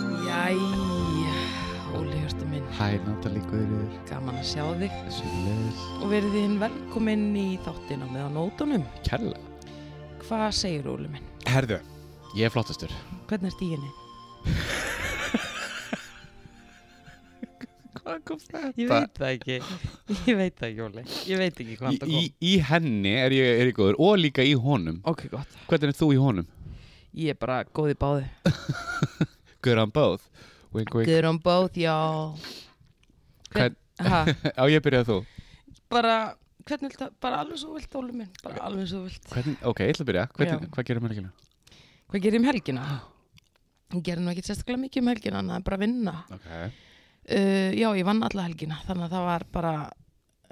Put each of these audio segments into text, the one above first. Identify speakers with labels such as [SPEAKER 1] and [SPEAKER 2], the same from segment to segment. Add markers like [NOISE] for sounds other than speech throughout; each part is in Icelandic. [SPEAKER 1] Jæja, Óli Hjörtu minn,
[SPEAKER 2] Hæ, Natalie Guðriður,
[SPEAKER 1] gaman að sjá þig
[SPEAKER 2] Sjöfnlegur.
[SPEAKER 1] og verið þín velkominn í þáttina með á nótunum.
[SPEAKER 2] Kjærlega.
[SPEAKER 1] Hvað segir Óli minn?
[SPEAKER 2] Herðu, ég er flottastur.
[SPEAKER 1] Hvernig ert í henni?
[SPEAKER 2] Hvað kom þetta?
[SPEAKER 1] Ég veit það ekki, [LAUGHS] ég veit það ekki Óli, ég veit ekki hvað það
[SPEAKER 2] Í,
[SPEAKER 1] kom.
[SPEAKER 2] í henni er ég, er ég góður og líka í honum.
[SPEAKER 1] Ok, gott.
[SPEAKER 2] Hvernig er þú í honum?
[SPEAKER 1] Ég er bara góð í báði.
[SPEAKER 2] Good on both. Wink, wink.
[SPEAKER 1] Good on both, já.
[SPEAKER 2] Hvern,
[SPEAKER 1] Ha,
[SPEAKER 2] á ég byrjaði þú.
[SPEAKER 1] bara, hvernig vilt það, bara alveg svo vilt Óli minn, bara alveg svo vilt.
[SPEAKER 2] Hvernig, ok, ég ætla að byrja. Hvernig,
[SPEAKER 1] Já.
[SPEAKER 2] hvað gerir maður ekki nú?
[SPEAKER 1] Hvað gerir um helgina? Ég gerir nú ekki sérstaklega mikið um helgina, en það er bara að vinna.
[SPEAKER 2] Ok.
[SPEAKER 1] Uh, já, ég vann alla helgina, þannig að það var bara,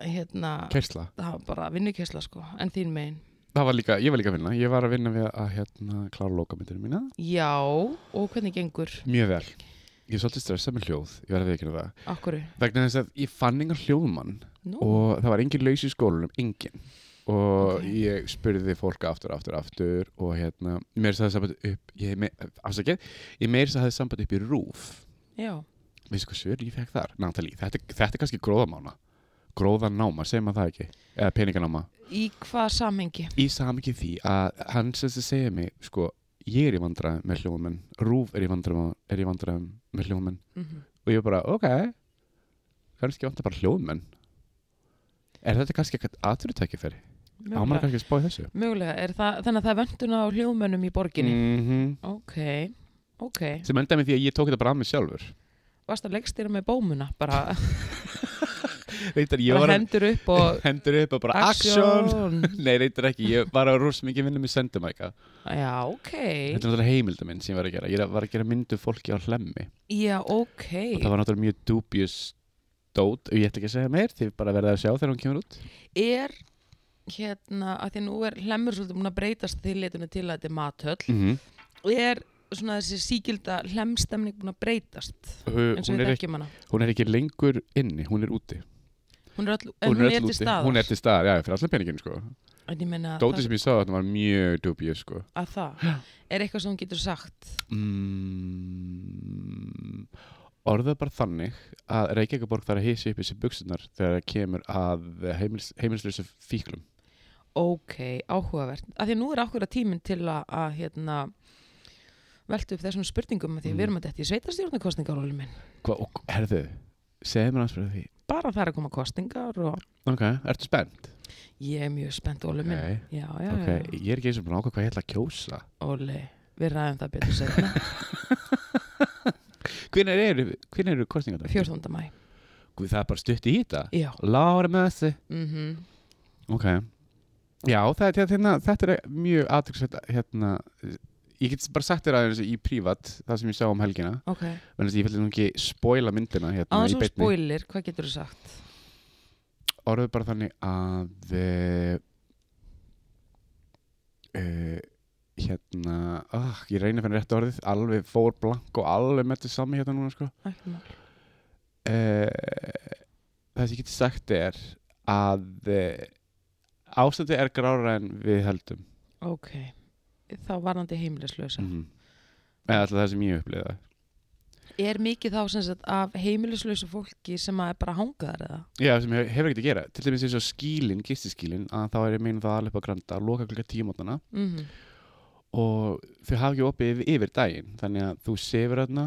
[SPEAKER 1] hérna,
[SPEAKER 2] Kersla.
[SPEAKER 1] það var bara vinnukesla sko, en þín megin.
[SPEAKER 2] Það var líka, ég var líka að vinna. Ég var að vinna við að hérna klára lókamyndinu mína.
[SPEAKER 1] Já, og hvernig gengur?
[SPEAKER 2] Mjög vel. Ég er svolítið stressað með hljóð, ég var að veikina það.
[SPEAKER 1] Akkur?
[SPEAKER 2] Vegna þess að ég fann engan hljóðmann
[SPEAKER 1] Nú,
[SPEAKER 2] og það var engin laus í skólanum, engin og
[SPEAKER 1] Ok.
[SPEAKER 2] ég spurði fólk aftur, aftur, aftur og hérna, mér sæði samband upp ég, me, afsakið, ég meir sæði samband upp í rúf
[SPEAKER 1] já,
[SPEAKER 2] veistu hvað svör ég fekk þar, Natalie, þetta, þetta er kannski gróðamána gróðanáma, segir maður það ekki eða peninganáma,
[SPEAKER 1] í hvað samhengi?
[SPEAKER 2] í samikið því að hann sem þess að segja mig, sko ég er í vandræðum með hljóðmenn, rúf er í vandræðum, er í vandræðum með hljóðmenn
[SPEAKER 1] Mm
[SPEAKER 2] og ég bara, ok kannski vantar bara hljóðmenn er þetta kannski eitthvað aðturutækifæri Ámar
[SPEAKER 1] Mögulega,
[SPEAKER 2] kannski að spá í þessu
[SPEAKER 1] mögulega, er það, þannig að það er vönduna á hljóðmönnum í borginni?
[SPEAKER 2] -hmm.
[SPEAKER 1] Ok, ok,
[SPEAKER 2] Sem endaði með því að ég tók þetta bara að mig sjálfur
[SPEAKER 1] varst að leggstýra með bómuna, bara,
[SPEAKER 2] Reyndar, ég
[SPEAKER 1] bara
[SPEAKER 2] var að
[SPEAKER 1] hendur upp og
[SPEAKER 2] hendur upp og [LAUGHS] bara action Nei, reyndar ekki, ég var að rosa mikið vinna með sendumæka
[SPEAKER 1] [LAUGHS] Já, ok,
[SPEAKER 2] Þetta er náttúrulega heimildar minn sem ég var að gera Ég var að gera myndu fólki á hlemmi
[SPEAKER 1] já, ok,
[SPEAKER 2] Og það var náttúrulega mjög dubious dót Ég ætla ekki að segja meir, þið bara verða að sjá þegar hún kemur út
[SPEAKER 1] er hérna, að því að nú er hlemmur svolítið múin að breytast því leitinu til að þetta er mathöll
[SPEAKER 2] mm -hmm.
[SPEAKER 1] er svona þessi síkilda hlemstemning búin að breytast eins og
[SPEAKER 2] hún,
[SPEAKER 1] við
[SPEAKER 2] er ekki,
[SPEAKER 1] þekkjum hana
[SPEAKER 2] hún er ekki lengur inni, hún er úti
[SPEAKER 1] hún er, all, en hún er
[SPEAKER 2] öll
[SPEAKER 1] til staðar
[SPEAKER 2] Hún er til staðar, já, fyrir allan peningin sko
[SPEAKER 1] en ég meina
[SPEAKER 2] Dótið
[SPEAKER 1] það,
[SPEAKER 2] sem ég sá þetta var mjög dubious sko
[SPEAKER 1] að það er eitthvað sem hún getur sagt
[SPEAKER 2] mm, orða bara þannig að Reykjavíkaborg þarf að hýsi upp í sér buksunar þegar það kemur að heimils, heimilislösa fíklum
[SPEAKER 1] ok, áhugavert að því að nú er ákveða tíminn til að, að hérna, velta upp þessum spurningum að
[SPEAKER 2] Mm.
[SPEAKER 1] því að við erum að þetta í sveitarstjórnarkostningarólum minn
[SPEAKER 2] Hva, og herðu, segðu mér aðspyrja því
[SPEAKER 1] bara það er að koma kostningar og
[SPEAKER 2] ok, ertu spennt?
[SPEAKER 1] ég er mjög spennt ólum minn
[SPEAKER 2] Nei.
[SPEAKER 1] já, já,
[SPEAKER 2] ok,
[SPEAKER 1] já,
[SPEAKER 2] ég er ekki eins og búin að ákvað hvað ég ætla að kjósa
[SPEAKER 1] óli við ræðum það betur segna
[SPEAKER 2] [LAUGHS] hvenær eru, hvenær eru kostningarnar?
[SPEAKER 1] 14. mæ,
[SPEAKER 2] Guð, það er bara stutt í þetta
[SPEAKER 1] já
[SPEAKER 2] Lára með þessi
[SPEAKER 1] mm
[SPEAKER 2] ok, já, þetta, hérna, þetta er mjög aðtryggsvægt hérna, ég get bara sagt þér aðeins í prívat það sem ég sá um helgina
[SPEAKER 1] ok,
[SPEAKER 2] Þannig að ég vil nú ekki spoila myndina hérna
[SPEAKER 1] aðeins
[SPEAKER 2] í
[SPEAKER 1] og
[SPEAKER 2] beinni.
[SPEAKER 1] spóilir hvað getur þú sagt?
[SPEAKER 2] Orðið bara þannig að uh, uh, hérna, uh, ég reyna að finna rétt orðið, alveg fór blank og alveg með þetta sami hérna núna sko.
[SPEAKER 1] Ekki mál.
[SPEAKER 2] Uh, það sem ég geti sagt er að uh, ástændi er grára en við heldum.
[SPEAKER 1] Ok, þá varandi heimilislösa.
[SPEAKER 2] Mm Eða alltaf það sem ég upplýða.
[SPEAKER 1] Er mikið þá sem sagt af heimilislösa fólki sem að er bara hangaðar eða?
[SPEAKER 2] Já, sem hefur, hefur ekkert að gera. Til dæmis eins og skílinn, gistiskílinn, að þá er ég meina það alveg upp á granda, loka klukka tímotana
[SPEAKER 1] Mm
[SPEAKER 2] og þau hafa ekki opið yfir, yfir daginn þannig að þú sefur þarna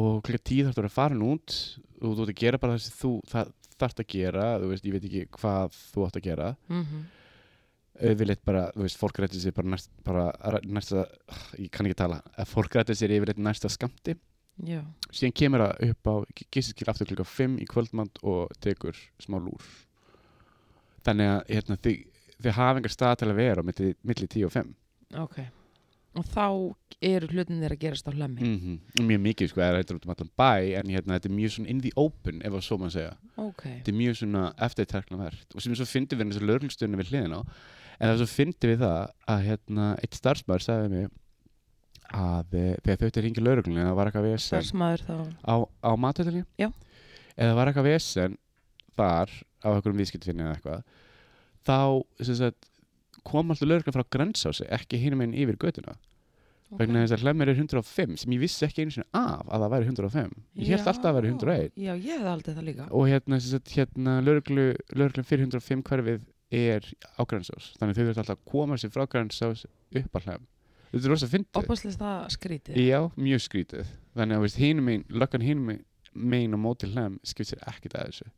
[SPEAKER 2] og klukka tíð þarf þú að vera farin út og þú ert að gera bara það sem þú það, þarft að gera, þú veist, ég veit ekki hvað þú átt að gera,
[SPEAKER 1] mhm.
[SPEAKER 2] yfirleitt bara þú veist, fólk rættir sér bara, næst, bara næsta, ég kann ekki tala að fólk rættir sér yfirleitt næsta skamti
[SPEAKER 1] Já,
[SPEAKER 2] síðan kemur það upp á gistiskil aftur klukka 5 í kvöldmand og tekur smá lúr þannig að hérna, þið, þið hafa engar stað til að vera á milli, milli 10 og 5
[SPEAKER 1] ok. Og þá eru hlutin þeirra að gerast á hlemmi.
[SPEAKER 2] mm mjög mikið sko, það er hættur út um allan bæ en hérna, þetta er mjög svona in the open ef að svo maður segja,
[SPEAKER 1] Ok,
[SPEAKER 2] þetta er mjög svona eftirteknavert og sem svo fyndi við þessu lögreglustjónu við hliðin á, en það er svo fyndi við það að hérna, eitt starfsmæður sagði mér að eh, þegar þau þetta ringi lögreglunni það var eitthvað við
[SPEAKER 1] starfsmæður þá.
[SPEAKER 2] á, á matöðinni
[SPEAKER 1] Já.
[SPEAKER 2] eða var eitthvað vesen þar á einhverjum viðskiptfinni eða eitthvað þá sem sagt, kom alltaf lögreglan frá grensási ekki hinum einn yfir götuna vegna þess að hlæmur er 105 sem ég vissi ekki einu sinni af að það væri 105 ég held alltaf að það væri 101
[SPEAKER 1] Já, ég hefði aldrei það líka.
[SPEAKER 2] og hérna, sem sagt, hérna lögreglu, lögreglan fyrir 105 hverfið er á grænsás þannig þau þurft alltaf að koma sér frá grænsás upp að hlæm þetta er rosa fyndið
[SPEAKER 1] Opaslega það skrítið.
[SPEAKER 2] já, mjög skrítið þannig að veist, hinum megin, löggan hinum megin- megin og móti hlæm skipt sér ekkert að þessu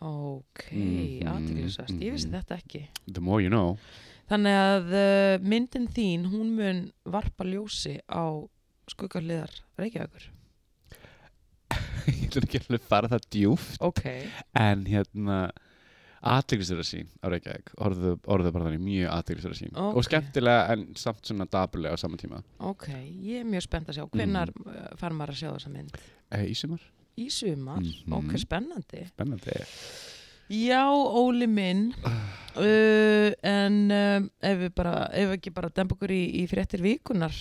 [SPEAKER 1] Ok,
[SPEAKER 2] Mhm,
[SPEAKER 1] aðteglisvært. Ég vissi
[SPEAKER 2] mhm.
[SPEAKER 1] þetta ekki.
[SPEAKER 2] the more you know
[SPEAKER 1] Þannig að uh, myndin þín, hún mun varpa ljósi á skuggarliðar Reykjavíkur.
[SPEAKER 2] [LAUGHS] ég ætla ekki alveg að fara það djúft
[SPEAKER 1] Ok.
[SPEAKER 2] en hérna aðteglisverða sín á Reykjavík orðuðu orðu bara þannig mjög aðteglisverða sín
[SPEAKER 1] Ókei.
[SPEAKER 2] og skemmtilega en samt svona dabulega á sama tíma
[SPEAKER 1] Ok, ég er mjög spennt að sjá. Hvenær mm. far maður að sjá þessa mynd?
[SPEAKER 2] e, í sumar,
[SPEAKER 1] Í sumar?
[SPEAKER 2] Mhm.
[SPEAKER 1] Ok, spennandi.
[SPEAKER 2] spennandi
[SPEAKER 1] Já, Óli minn. Uh, en um, ef við bara, ef við ekki bara dempa okkur í, í fréttir vikunar.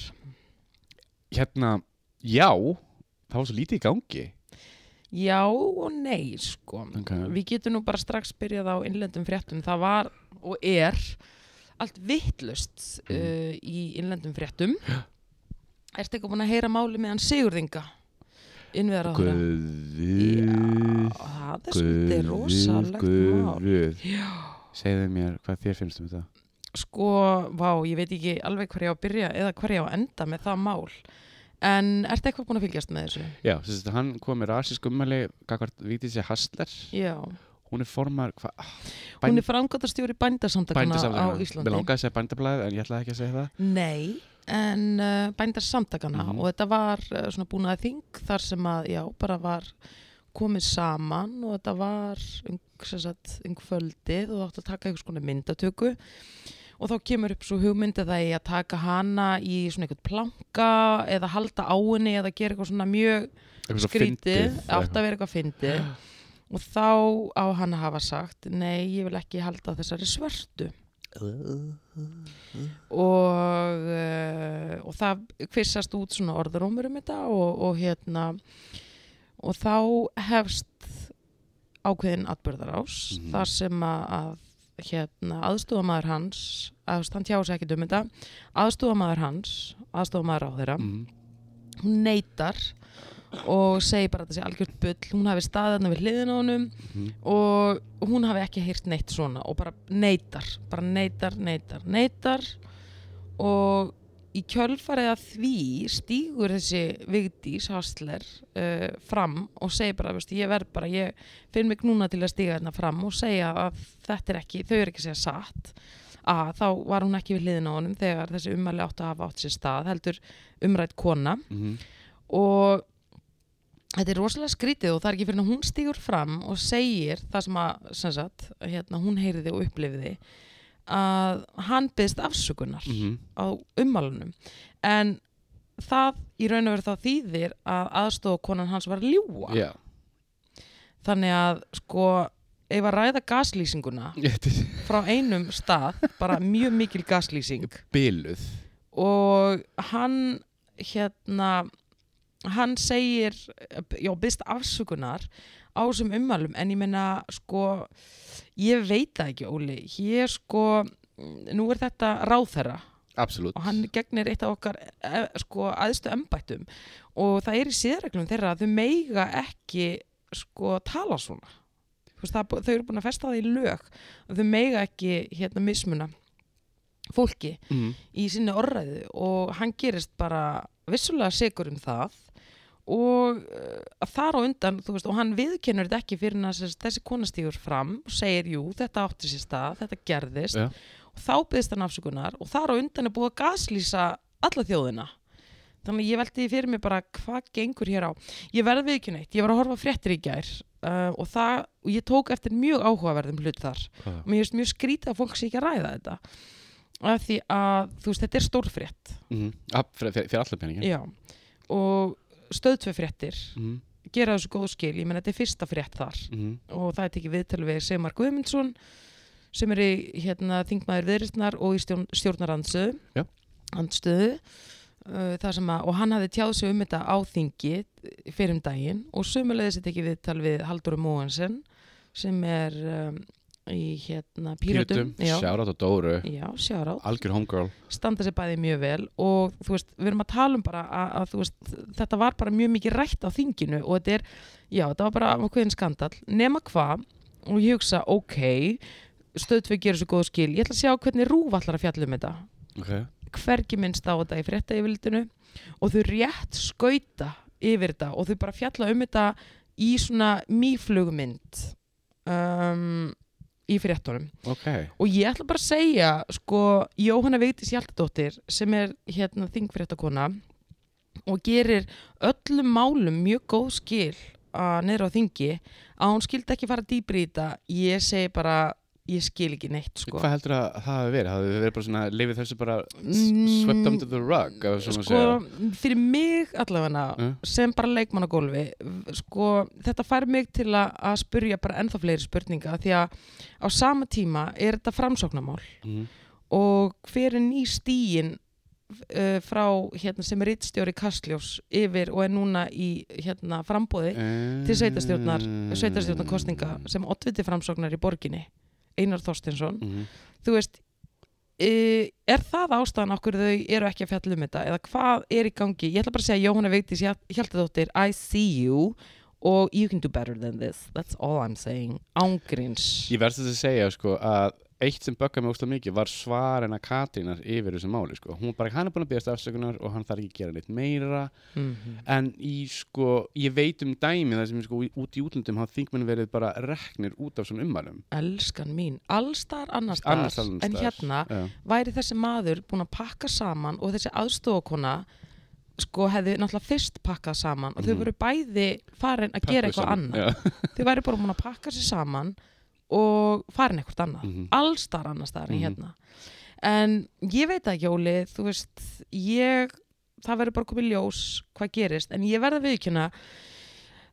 [SPEAKER 2] hérna, já það var svo lítið í gangi
[SPEAKER 1] Já og nei, sko.
[SPEAKER 2] okay.
[SPEAKER 1] Við getum nú bara strax byrjað á innlendum fréttum. Það var og er allt vittlust uh, í innlendum fréttum. Ertu ekki búin að heyra máli með hann Sigurðinga? Innverðar á þeirra.
[SPEAKER 2] Guð
[SPEAKER 1] Það er svolítið
[SPEAKER 2] Guð,
[SPEAKER 1] rosalegt mál.
[SPEAKER 2] Guð
[SPEAKER 1] Já.
[SPEAKER 2] segðu mér hvað þér finnst um þetta
[SPEAKER 1] Sko, vá, ég veit ekki alveg hvar ég á að byrja eða hvar ég á að enda með það mál. En ertu eitthvað búin að fylgjast með þessu?
[SPEAKER 2] já, sem sagt, hann kom með rasísk ummæli gagvart Vítísi Hastler
[SPEAKER 1] Já.
[SPEAKER 2] hún er formar, hvað,
[SPEAKER 1] Hún er frangatastjóri bændasamtakana á
[SPEAKER 2] bændasamtakana,
[SPEAKER 1] Íslandi.
[SPEAKER 2] við langaði að segja bændablaðið en ég ætlaði ekki að segja það
[SPEAKER 1] Nei, en uh, bændarsamtakana
[SPEAKER 2] Mhm.
[SPEAKER 1] og þetta var uh, svona búin að þing þar sem að, já, bara var komið saman og þetta var um, sem sagt, um kvöldið og þátt að taka einhvers konar myndatöku og þá kemur upp svo hugmyndið það ég að taka hana í svona einhvern planka eða halda á henni eða gera eitthvað svona mjög
[SPEAKER 2] Eitthvað svo fyndið,
[SPEAKER 1] skrítið,
[SPEAKER 2] eða
[SPEAKER 1] átt að vera eitthvað fyndið og þá á hann að hafa sagt nei, ég vil ekki halda þessari svörtu og, uh, og það kvissast út svona orðurómur um þetta og, og hérna og þá hefst ákveðin atbyrðarás
[SPEAKER 2] Mhm.
[SPEAKER 1] þar sem að, að hérna, aðstofamaður hans að hann tjáði sér ekki um þetta aðstofamaður hans, aðstofamaður á þeirra
[SPEAKER 2] Mm.
[SPEAKER 1] hún neytar og segir bara að þetta sé algjört bull hún hafi staðarna við hliðin á honum
[SPEAKER 2] Mhm.
[SPEAKER 1] og hún hafi ekki heyrt neitt svona og bara neytar, bara neytar, neytar, neytar og í kjölfarið að því stígur þessi Vigdís Hasler uh, fram og segir bara, veist, ég verð bara, ég finn mig núna til að stíga hérna fram og segja að þetta er ekki, þau eru ekki að segja satt að þá var hún ekki við hliðin á honum þegar þessi ummæli áttu að hafa átt sér stað heldur umrætt kona
[SPEAKER 2] Mhm.
[SPEAKER 1] og þetta er rosalega skrítið og það er ekki fyrir en hún stígur fram og segir það sem að sem sagt, hérna, hún heyriði og upplifiði að hann byggðist afsökunar
[SPEAKER 2] Mhm.
[SPEAKER 1] á ummálunum en það í raun og veru þá þýðir að aðstofa konan hans var að ljúa
[SPEAKER 2] Já, [LAUGHS]
[SPEAKER 1] þannig að sko ef að ræða gaslýsinguna
[SPEAKER 2] þetta er
[SPEAKER 1] frá einum stað bara mjög mikil gaslýsing
[SPEAKER 2] biluð
[SPEAKER 1] og hann hérna hann segir já, byrst afsökunar á þessum ummælum en ég meina sko ég veit það ekki Óli ég sko, nú er þetta ráðherra
[SPEAKER 2] Absolutt
[SPEAKER 1] og hann gegnir eitt af okkar eh, sko aðstu embættum og það er í síðreglum þeirra að þau meiga ekki sko tala svona Þú veist, það, er bú- þau eru búin að festa það í lög að þau meiga ekki hérna mismuna fólki
[SPEAKER 2] mm.
[SPEAKER 1] í sinni orðræðu og hann gerist bara vissulega segur um það og uh, þar á undan þú veist, og hann viðkennur þetta ekki fyrir að þess- þessi kona stígur fram og segir jú, þetta átti sér stað, þetta gerðist
[SPEAKER 2] Já.
[SPEAKER 1] og þá byggðist hann afsökunar og þar á undan er búið að gaslýsa alla þjóðina þannig að ég velti því fyrir mig bara hvað gengur hér á ég verði viðkynna eitt, ég var að horfa á fréttir í gær uh, og, það, og ég tók eftir mjög áhugaverðum hlut þar
[SPEAKER 2] Hvað?
[SPEAKER 1] mér finnst mjög skrítið að fólk sé ekki að ræða þetta af því að þú veist þetta er stórfrétt
[SPEAKER 2] mm. Ab, fyrir, fyrir, fyrir allar peningin
[SPEAKER 1] já. og stöðtveifréttir
[SPEAKER 2] mm.
[SPEAKER 1] gera þessu góð skil, ég menn þetta er fyrsta frétt þar
[SPEAKER 2] Mm.
[SPEAKER 1] og það er tekið viðtölu við Sigmar Guðmundsson sem er í hérna, þingmaður viðristnar og í stjórn,
[SPEAKER 2] Já.
[SPEAKER 1] stjórnarandstöðu andstöðu uh, þar sem að, og hann hafði tjáð sig um þetta á þingi fyrir um daginn og sömulegðis er tekið viðtal við Haldur Móensen sem er um, í hérna Pírötum, já,
[SPEAKER 2] sjárat og Dóru,
[SPEAKER 1] já, sjárá
[SPEAKER 2] algjör homegirl
[SPEAKER 1] standa sér bæði mjög vel og þú veist, við erum að tala um bara að, að þú veist, þetta var bara mjög mikið rætt á þinginu og þetta er, já, þetta var bara ákveðin skandal, nema hvað og ég hugsa, ok stöðtvei gerir svo góð skil, ég ætla að sjá hvernig rúf allar að fjalla um þetta
[SPEAKER 2] okay.
[SPEAKER 1] hvergi minnst á þetta í frétta yfirlitinu og þau rétt skauta yfir þetta og þau bara fjalla um þetta í svona mýflugmynd um, í fréttunum
[SPEAKER 2] ok,
[SPEAKER 1] og ég ætla bara að segja sko, Jóhanna Vigdís Hjaltadóttir sem er hérna þingfréttakona og gerir öllum málum mjög góð skil að neðra á þingi að hún skildi ekki fara dýpri í þetta ég segi bara, ég skil ekki neitt sko.
[SPEAKER 2] hvað heldur að það hafi verið? Hafið þið verið bara svona, lifið þessu bara
[SPEAKER 1] Mm,
[SPEAKER 2] s- swept under the rug, eða
[SPEAKER 1] sko,
[SPEAKER 2] svona segja
[SPEAKER 1] fyrir mig allavega
[SPEAKER 2] Mm.
[SPEAKER 1] sem bara leikmann á gólfi v- sko, þetta fær mig til að, að spurja bara ennþá fleiri spurninga því að á sama tíma er þetta framsóknarmál
[SPEAKER 2] Mhm.
[SPEAKER 1] og hver er ný stíin uh, frá hérna sem er rittstjóri Kastljós yfir og er núna í hérna frambóði til sveitarstjórnar,
[SPEAKER 2] Eh.
[SPEAKER 1] sveitarstjórnarkostninga
[SPEAKER 2] Mm.
[SPEAKER 1] sem oddviti framsóknar í borginni Einar Þorstinsson
[SPEAKER 2] Mhm.
[SPEAKER 1] þú veist, uh, er það ástæðan okkur þau eru ekki að fjalla um þetta eða hvað er í gangi, ég ætla bara að segja Jóhanna Vigdís Hjal- Hjaltadóttir, I see you og you can do better than this that's all I'm saying, ángrins
[SPEAKER 2] Ég verðst þess að segja sko að eitt sem bökkaði mig óslega mikið var svarina Katrínar yfir þessu máli sko. Hún bara, hann er búin að bíðast afsökunar og hann þarf ekki að gera neitt meira
[SPEAKER 1] mm
[SPEAKER 2] en í sko, ég veit um dæmi þar sem sko út í útlöndum hafa þingmenn verið bara reknir út af svona ummælum.
[SPEAKER 1] elskan mín, allstar annars
[SPEAKER 2] Annars
[SPEAKER 1] staðar
[SPEAKER 2] staðar.
[SPEAKER 1] en hérna
[SPEAKER 2] Já.
[SPEAKER 1] væri þessi maður búinn að pakka saman og þessi aðstofakona sko hefði náttúrulega fyrst pakkað saman og þau
[SPEAKER 2] Mhm.
[SPEAKER 1] voru bæði farin að gera
[SPEAKER 2] Pökkuðu
[SPEAKER 1] eitthvað
[SPEAKER 2] saman.
[SPEAKER 1] annað
[SPEAKER 2] Já.
[SPEAKER 1] þau væri bara búin að pakka sér saman og farin eitthvað annað mm
[SPEAKER 2] Mhm.
[SPEAKER 1] allstar annars staðar en
[SPEAKER 2] Mhm.
[SPEAKER 1] hérna en ég veit ekki Óli þú veist, ég það verður bara komið ljós hvað gerist en ég verða viðkjöna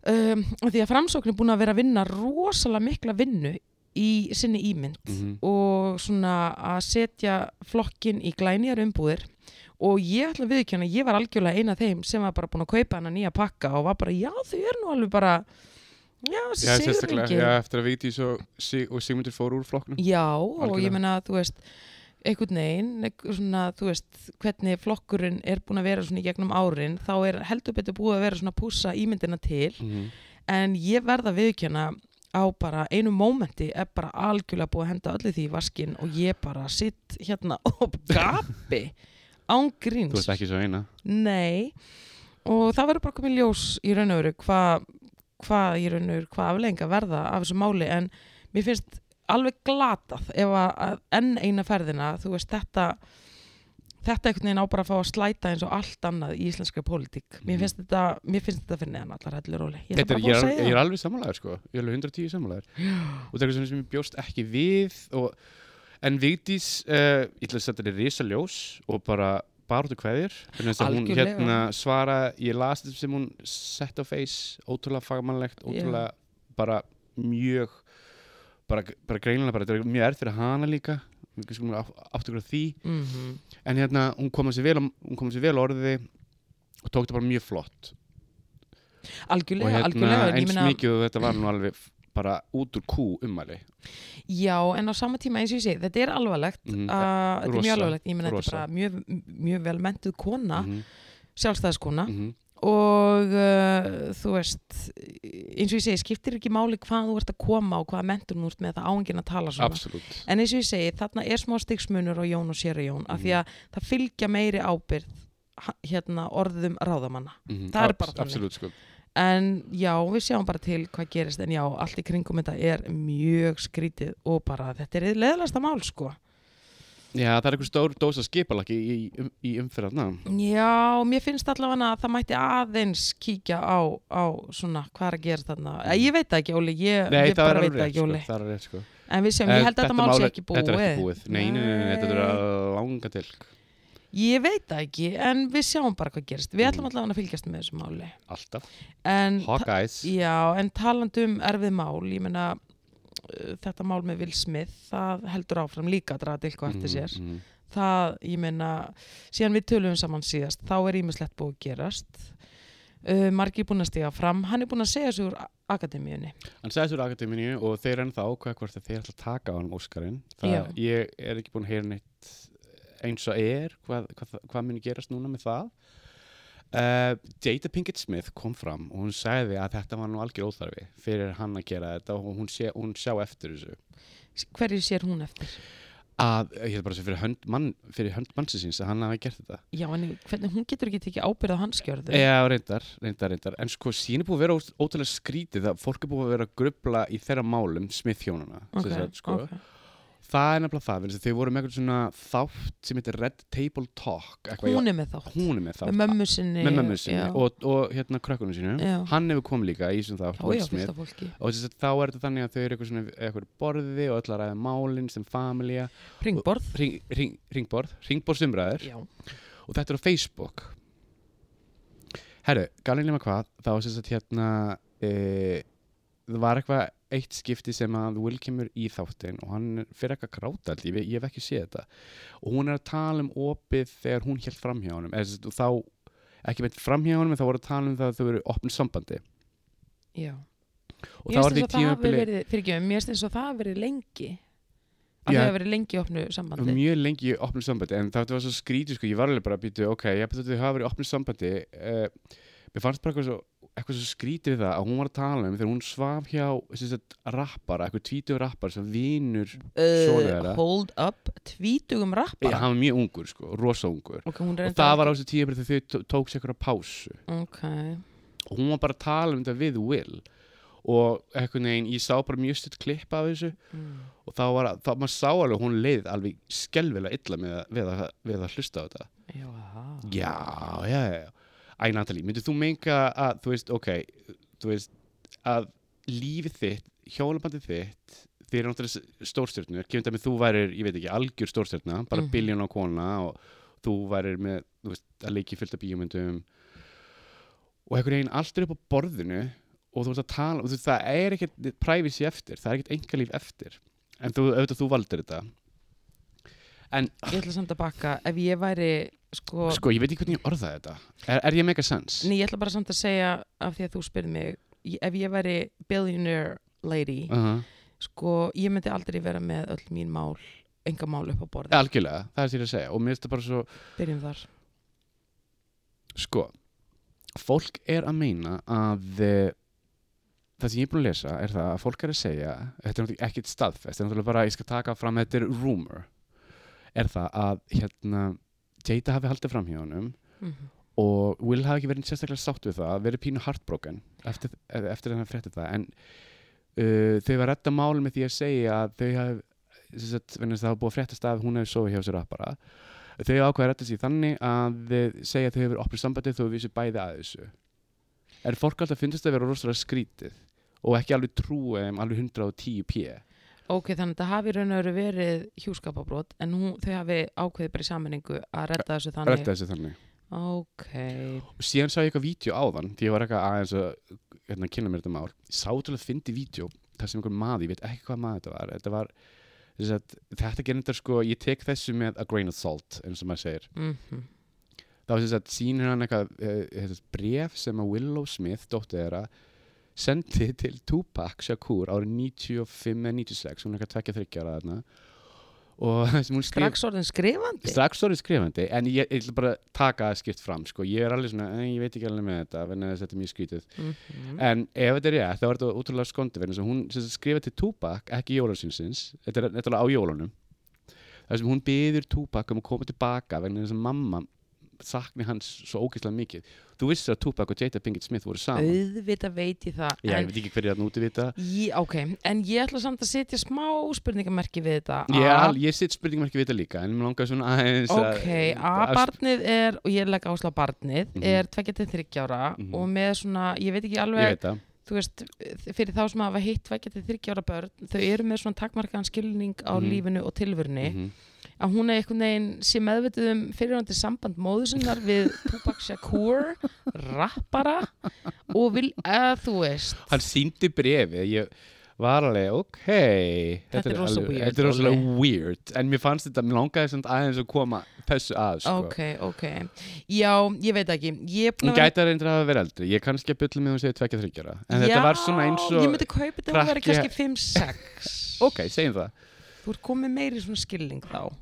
[SPEAKER 1] um, af því að framsókn er búin að vera að vinna rosalega mikla vinnu í sinni ímynd
[SPEAKER 2] Mhm.
[SPEAKER 1] og svona að setja flokkin í glænýjar umbúðir og ég ætla að viðkjöna, ég var algjörlega eina af þeim sem var bara búin að kaupa hana nýja pakka og var bara, já þau er nú alveg bara já,
[SPEAKER 2] Já,
[SPEAKER 1] þessi
[SPEAKER 2] sérstaklega,
[SPEAKER 1] sigurlingi
[SPEAKER 2] já, eftir að Vigdís og, Sig og Sigmundur fóru úr flokknum.
[SPEAKER 1] Já, og
[SPEAKER 2] Algjörlega.
[SPEAKER 1] ég meina að þú veist einhvern veginn, einhver svona, þú veist hvernig flokkurinn er búin að vera svona í gegnum árin, þá er heldur betur búið að vera svona að pússa ímyndina til
[SPEAKER 2] Mhm.
[SPEAKER 1] en ég verða viðkjöna á bara einu mómenti er bara algjörlega búið að henda öllu því í vaskin og ég bara sitt hérna [LAUGHS] og gapi án
[SPEAKER 2] Þú
[SPEAKER 1] gríns
[SPEAKER 2] veist ekki svo eina.
[SPEAKER 1] Nei, og það verður bara komið ljós í raun og veru hvað hva í raun og veru, hvað aflenga verða af þessu máli en mér finnst alveg glatað ef að, að enn eina ferðina, þú veist þetta þetta einhvern veginn á bara að fá að slæta eins og allt annað í íslenska pólitík mér
[SPEAKER 2] Mhm.
[SPEAKER 1] finnst þetta, mér finnst þetta fyrir neðan allar hellur óli, ég ætla
[SPEAKER 2] Þetta er,
[SPEAKER 1] bara að
[SPEAKER 2] ég,
[SPEAKER 1] fá að
[SPEAKER 2] er,
[SPEAKER 1] segja
[SPEAKER 2] ég
[SPEAKER 1] það.
[SPEAKER 2] er alveg samanlegaður sko, ég er alveg 110 samanlegaður og það er eitthvað sem ég bjóst ekki við og, en Vigdís uh, ég ætla að setja þetta risa ljós og bara bara út og kveðir þannig að hún
[SPEAKER 1] Algjörlega.
[SPEAKER 2] hérna svara ég las þetta sem hún sett á face ótrúlega fagmannlegt, ótrúlega bara mjög bara, bara greinilega, bara, þetta er mjög erð fyrir hana líka við skulum átt okkur á því
[SPEAKER 1] Mhm.
[SPEAKER 2] en hérna, hún kom að sér vel, hún kom að sér vel á orði og tók þetta bara mjög flott og
[SPEAKER 1] algjörlega,
[SPEAKER 2] hérna
[SPEAKER 1] algjörlega en ég
[SPEAKER 2] eins
[SPEAKER 1] meina-
[SPEAKER 2] mikið og þetta var nú alveg f- bara út úr kú ummæli
[SPEAKER 1] Já, en á sama tíma eins og ég segi, þetta er alvarlegt
[SPEAKER 2] Mhm,
[SPEAKER 1] mm, þetta er
[SPEAKER 2] rosa,
[SPEAKER 1] mjög alvarlegt, ég meina þetta
[SPEAKER 2] rosa.
[SPEAKER 1] er bara mjög, mjög vel mentuð kona,
[SPEAKER 2] Mhm,
[SPEAKER 1] sjálfstæðiskona
[SPEAKER 2] mhm.
[SPEAKER 1] og uh, þú veist eins og ég segi, skiptir ekki máli hvað þú ert að koma og hvaða mentur þú ert með það áengin að tala svona
[SPEAKER 2] Absolutt
[SPEAKER 1] en eins og ég segi, þarna er smá stigsmunur á Jón og Séra Jón, af
[SPEAKER 2] Mm.
[SPEAKER 1] því að það fylgja meiri ábyrð ha- hérna orðum ráðamanna
[SPEAKER 2] Mhm,
[SPEAKER 1] Það er
[SPEAKER 2] abs-
[SPEAKER 1] bara þannig.
[SPEAKER 2] Absolutt sko
[SPEAKER 1] en já, við sjáum bara til hvað gerist en já, allt í kringum þetta er mjög skrítið og bara þetta er leðlasta mál sko
[SPEAKER 2] Já, það er einhver stór dósa skipalaki í, í, um- í umferðarna
[SPEAKER 1] Já, mér finnst allavega að það mætti aðeins kíkja á, á svona hvað er að gera þarna. Eh, Ég veit það ekki, Óli, ég,
[SPEAKER 2] Nei,
[SPEAKER 1] ég
[SPEAKER 2] það er
[SPEAKER 1] bara veit það
[SPEAKER 2] alveg rétt,
[SPEAKER 1] ekki,
[SPEAKER 2] sko,
[SPEAKER 1] Óli.
[SPEAKER 2] það er rétt sko
[SPEAKER 1] En við sjáum,
[SPEAKER 2] Eh,
[SPEAKER 1] ég held að þetta mál sé ekki búið.
[SPEAKER 2] Þetta er ekki búið, nei, nei, nei, nei, þetta er að langa til
[SPEAKER 1] Ég veit það ekki, en við sjáum bara hvað gerist. Við
[SPEAKER 2] Mm.
[SPEAKER 1] ætlum allavega að fylgjast með þessu máli.
[SPEAKER 2] Alltaf,
[SPEAKER 1] En,
[SPEAKER 2] Hawkeyes
[SPEAKER 1] já, en talandi um erfið mál, ég meina eh, þetta mál með Will Smith, það heldur áfram líka að draga til hvað eftir sér.
[SPEAKER 2] Mhm, mhm.
[SPEAKER 1] það, ég meina síðan við tölum saman síðast, þá er ímislegt búið að gerast uh, margir búin að stiga fram, hann er búin að segja sig úr a- akademíunni.
[SPEAKER 2] Hann sagði þessu úr akademíu og þeir enn þá hvað hvort að þeir ætla að taka á hann Óskarinn. Það
[SPEAKER 1] Já.
[SPEAKER 2] ég er ekki búin að heyra neitt eins og er, hvað, hvað, hvað muni gerast núna með það. Uh, Jada Pinkett Smith kom fram og hún sagði að þetta var nú algjör óþarfi fyrir hann að gera þetta og hún, sé, hún sjá eftir þessu.
[SPEAKER 1] S- Hverju sér hún eftir?
[SPEAKER 2] Að, ég held bara að þessu fyrir hönd, mann, fyrir hönd mannsins að hann hafi gert þetta.
[SPEAKER 1] Já, en hvernig hún getur ekki tekið ábyrð á hans gjörðu?
[SPEAKER 2] Já, reyndar, reyndar, reyndar En sko, sín er búið að vera ó- ótrúlega skrítið að fólk er búið að vera að grubla í þeirra málum smithjónana
[SPEAKER 1] Ok,
[SPEAKER 2] sko.
[SPEAKER 1] ok.
[SPEAKER 2] Það er nefnilega það, vegna þess að þau voru með eitthvað svona þátt sem heitir Red Table Talk eitthvað,
[SPEAKER 1] Hún er með þátt.
[SPEAKER 2] í- hún er með
[SPEAKER 1] Með
[SPEAKER 2] þátt
[SPEAKER 1] mömmu sinni.
[SPEAKER 2] með mömmu sinni
[SPEAKER 1] já.
[SPEAKER 2] og, og hérna krökkunum sínum
[SPEAKER 1] Já.
[SPEAKER 2] Hann hefur komið líka í þessum þátt,
[SPEAKER 1] Já,
[SPEAKER 2] Will
[SPEAKER 1] já,
[SPEAKER 2] Smith
[SPEAKER 1] fullt af fólki.
[SPEAKER 2] og þess að þá er þetta þannig að þau eru eitthvað svona eitthvað borði og ætla að ræða málin sem familja
[SPEAKER 1] Ringborð.
[SPEAKER 2] ring, ring, ringborð, ringborðsumræður
[SPEAKER 1] Já.
[SPEAKER 2] og þetta er á Facebook Herru, galinn nema hvað þá var sérst að hérna e, það var eitthvað eitt skipti sem að Will kemur í þáttin og hann er- fer eitthvað að gráta allt, ég, ve- ég hef ekki séð þetta og hún er að tala um opið þegar hún held framhjá honum eða sérst, þá, ekki meint framhjá honum en þá voru að tala um það að þau eru opnum sambandi
[SPEAKER 1] Já.
[SPEAKER 2] og
[SPEAKER 1] Mér
[SPEAKER 2] það var
[SPEAKER 1] finnst eins og það
[SPEAKER 2] því
[SPEAKER 1] hafi
[SPEAKER 2] tímabili
[SPEAKER 1] verið, fyrir ekki, mér finnst eins og það hafi verið lengi. Að
[SPEAKER 2] Já. Mm,
[SPEAKER 1] það hafi verið lengi í opnu sambandi.
[SPEAKER 2] mjög lengi í opnum sambandi en það var svo skrítið sko, ég var alveg bara að býta ok, ég betur þau hafa verið í opnum sambandi uh, mér fannst bara eitthvað svo, eitthvað svo skrítið við það að hún var að tala um þegar hún svaf hjá sem sagt, rappara, eitthvað tvítugur rappara sem vinur, Svona er það.
[SPEAKER 1] Uh, hold up, tvítugum
[SPEAKER 2] bara.
[SPEAKER 1] rappara.
[SPEAKER 2] hann var mjög ungur sko, rosa ungur
[SPEAKER 1] Ok, hún er
[SPEAKER 2] og það var á þessu tíma þegar þau tó- tók sér eitthvað pásu
[SPEAKER 1] Ok,
[SPEAKER 2] og hún var bara að tala um þetta við Will og eitthvað neginn, ég sá bara mjög stutt klipp af þessu
[SPEAKER 1] mm.
[SPEAKER 2] og þá var, þá maður sá alveg að hún leið alveg skelvilega illa með, að- við, að, við að hlusta á þetta
[SPEAKER 1] já.
[SPEAKER 2] Já, já, já, já. Æ, Natalie, myndir þú menga að, þú veist, ok, þú veist, að lífið þitt, hjólabandið þitt, þið eru náttúrulega stórstjörnur, kemur dæmi þú værir, ég veit ekki, algjör stórstjörna, bara mm
[SPEAKER 1] Mhm.
[SPEAKER 2] biljón á kona og þú værir með, þú veist, að leiki fullt af bíómyndum og einhvern veginn allt er upp á borðinu og þú ert að tala, og þú veist, það er ekkert privacy eftir, það er ekkert engalíf eftir, en þú, auðvitað þú valdir þetta. En
[SPEAKER 1] Ég ætla samt að bakka, ef ég væri, sko,
[SPEAKER 2] Sko, ég veit ekki hvernig ég orðaði þetta. Er, er ég mega sens?
[SPEAKER 1] ný, ég ætla bara samt að segja af því að þú spyrð mig, ég- ef ég væri billionaire lady,
[SPEAKER 2] Uh -huh.
[SPEAKER 1] sko, ég myndi aldrei vera með öll mín mál, enga mál upp á borði.
[SPEAKER 2] Algjörlega, það er sér að segja. Og mér finnst það bara svo,
[SPEAKER 1] Byrjum þar.
[SPEAKER 2] sko, fólk er að meina að eh, það sem ég er búin að lesa er það að fólk er að segja, þetta er náttúrulega ekkit staðfest, þetta er náttúrulega bara, ég skal taka fram, þetta er rumor, er það að, hérna, Jada hafi haldið fram hjá honum
[SPEAKER 1] Mm
[SPEAKER 2] og Will hafi ekki verið sérstaklega sátt við það, verið pínu heartbroken eftir, eftir þannig að frétta það en uh, þau var retta mál með því að segja að þau hafi sem sagt, vegna þess að það var búið að fréttast að hún hefði sofið hjá sér rappara þau ákveða að retta sér þannig að þau segja að þau hefur opnið sambandi þó við sér bæði að þessu en fólk alltaf finnst þetta að vera rosalega skrítið og ekki alveg trúið um alveg 110 p
[SPEAKER 1] Ok, þannig að það hafi í raun og veru verið hjúskapabrót, en hún, þau hafi ákveðið bara í sammenningu að redda þessu þannig.
[SPEAKER 2] retta þessu þannig
[SPEAKER 1] Ok,
[SPEAKER 2] og síðan sá ég eitthvað vídeo á þann því ég var eitthvað aðeins að hérna, kynna mér þetta mál ég sá til að fyndi vídeo þar sem einhver maður, ég veit ekki hvað maður þetta var þetta var, þess að þetta gerir þetta sko ég tek þessu með a grain of salt eins og maður segir,
[SPEAKER 1] mm
[SPEAKER 2] þá þess að sýnir hann eitthvað uh, bref sem að Willow Smith, dóttir þeirra sendi [LAUGHS] til Tupac Shakur árið 95 eða 96 hún er eitthvað tvekja þryggjara þarna og [LAUGHS] það sem hún skrif
[SPEAKER 1] strax orðin skrifandi?
[SPEAKER 2] strax orðið skrifandi en ég, ég ætla bara að taka það skipt fram sko. ég er alveg svona, "Eh, ég veit ekki alveg með þetta vegna þess að þetta er mjög skrítið
[SPEAKER 1] Mhm.
[SPEAKER 2] en ef þetta er rétt, þá er þetta útrúlega skondi vegna þess að hún sem sagt skrifar til Tupac ekki í jólansins, þetta er þetta er alveg á jólunum þar sem hún byður Tupac um að koma tilbaka vegna þess að mamma sakni hans svo ógeðslega mikið þú vissir að Tupac og Jada Pinkett Smith voru saman
[SPEAKER 1] auðvitað veit ég það
[SPEAKER 2] Já, ég
[SPEAKER 1] en,
[SPEAKER 2] veit ekki hverju þarna úti við þetta
[SPEAKER 1] ég, ok, en ég ætla samt að setja smá spurningamerki við þetta
[SPEAKER 2] Ég, er
[SPEAKER 1] A,
[SPEAKER 2] al- ég sitt spurningum ekki við þetta líka en mér langar svona aðeins að-
[SPEAKER 1] ok, að
[SPEAKER 2] að-
[SPEAKER 1] barnið er og ég legg ásla barnið
[SPEAKER 2] Mhm.
[SPEAKER 1] er 2-3 ára
[SPEAKER 2] Mhm.
[SPEAKER 1] og með svona, ég veit ekki
[SPEAKER 2] Ég
[SPEAKER 1] alveg
[SPEAKER 2] veit það
[SPEAKER 1] þú veist, fyrir þá sem hafa hitt 2-3 ára börn, þau eru með svona takmarkaðan skilning á
[SPEAKER 2] Mhm.
[SPEAKER 1] lífinu og tilvörni
[SPEAKER 2] Mhm.
[SPEAKER 1] að hún er einhvern veginn sé meðvitið um fyrirhandi samband móður sinnar við Tupac Shakur rappara og vil, eða þú veist
[SPEAKER 2] hann síndi brefið ég, var alveg, ok þetta,
[SPEAKER 1] er rosa
[SPEAKER 2] alveg-
[SPEAKER 1] weird,
[SPEAKER 2] þetta er rosalega
[SPEAKER 1] Óli.
[SPEAKER 2] weird en mér fannst þetta, mér langaði samt aðeins að koma þessu að sko.
[SPEAKER 1] ok, ok já, ég veit ekki ég er búin
[SPEAKER 2] hún
[SPEAKER 1] að vera-
[SPEAKER 2] gæti að reynda að vera eldri ég er kannski að bylla mig hún segir tvekja þryggjara en þetta var svona eins
[SPEAKER 1] ég
[SPEAKER 2] og
[SPEAKER 1] myndi kaupa þetta að vera
[SPEAKER 2] krakki-
[SPEAKER 1] kannski 5-6
[SPEAKER 2] ok, segjum það
[SPEAKER 1] þú ert komið meiri svona skilning þá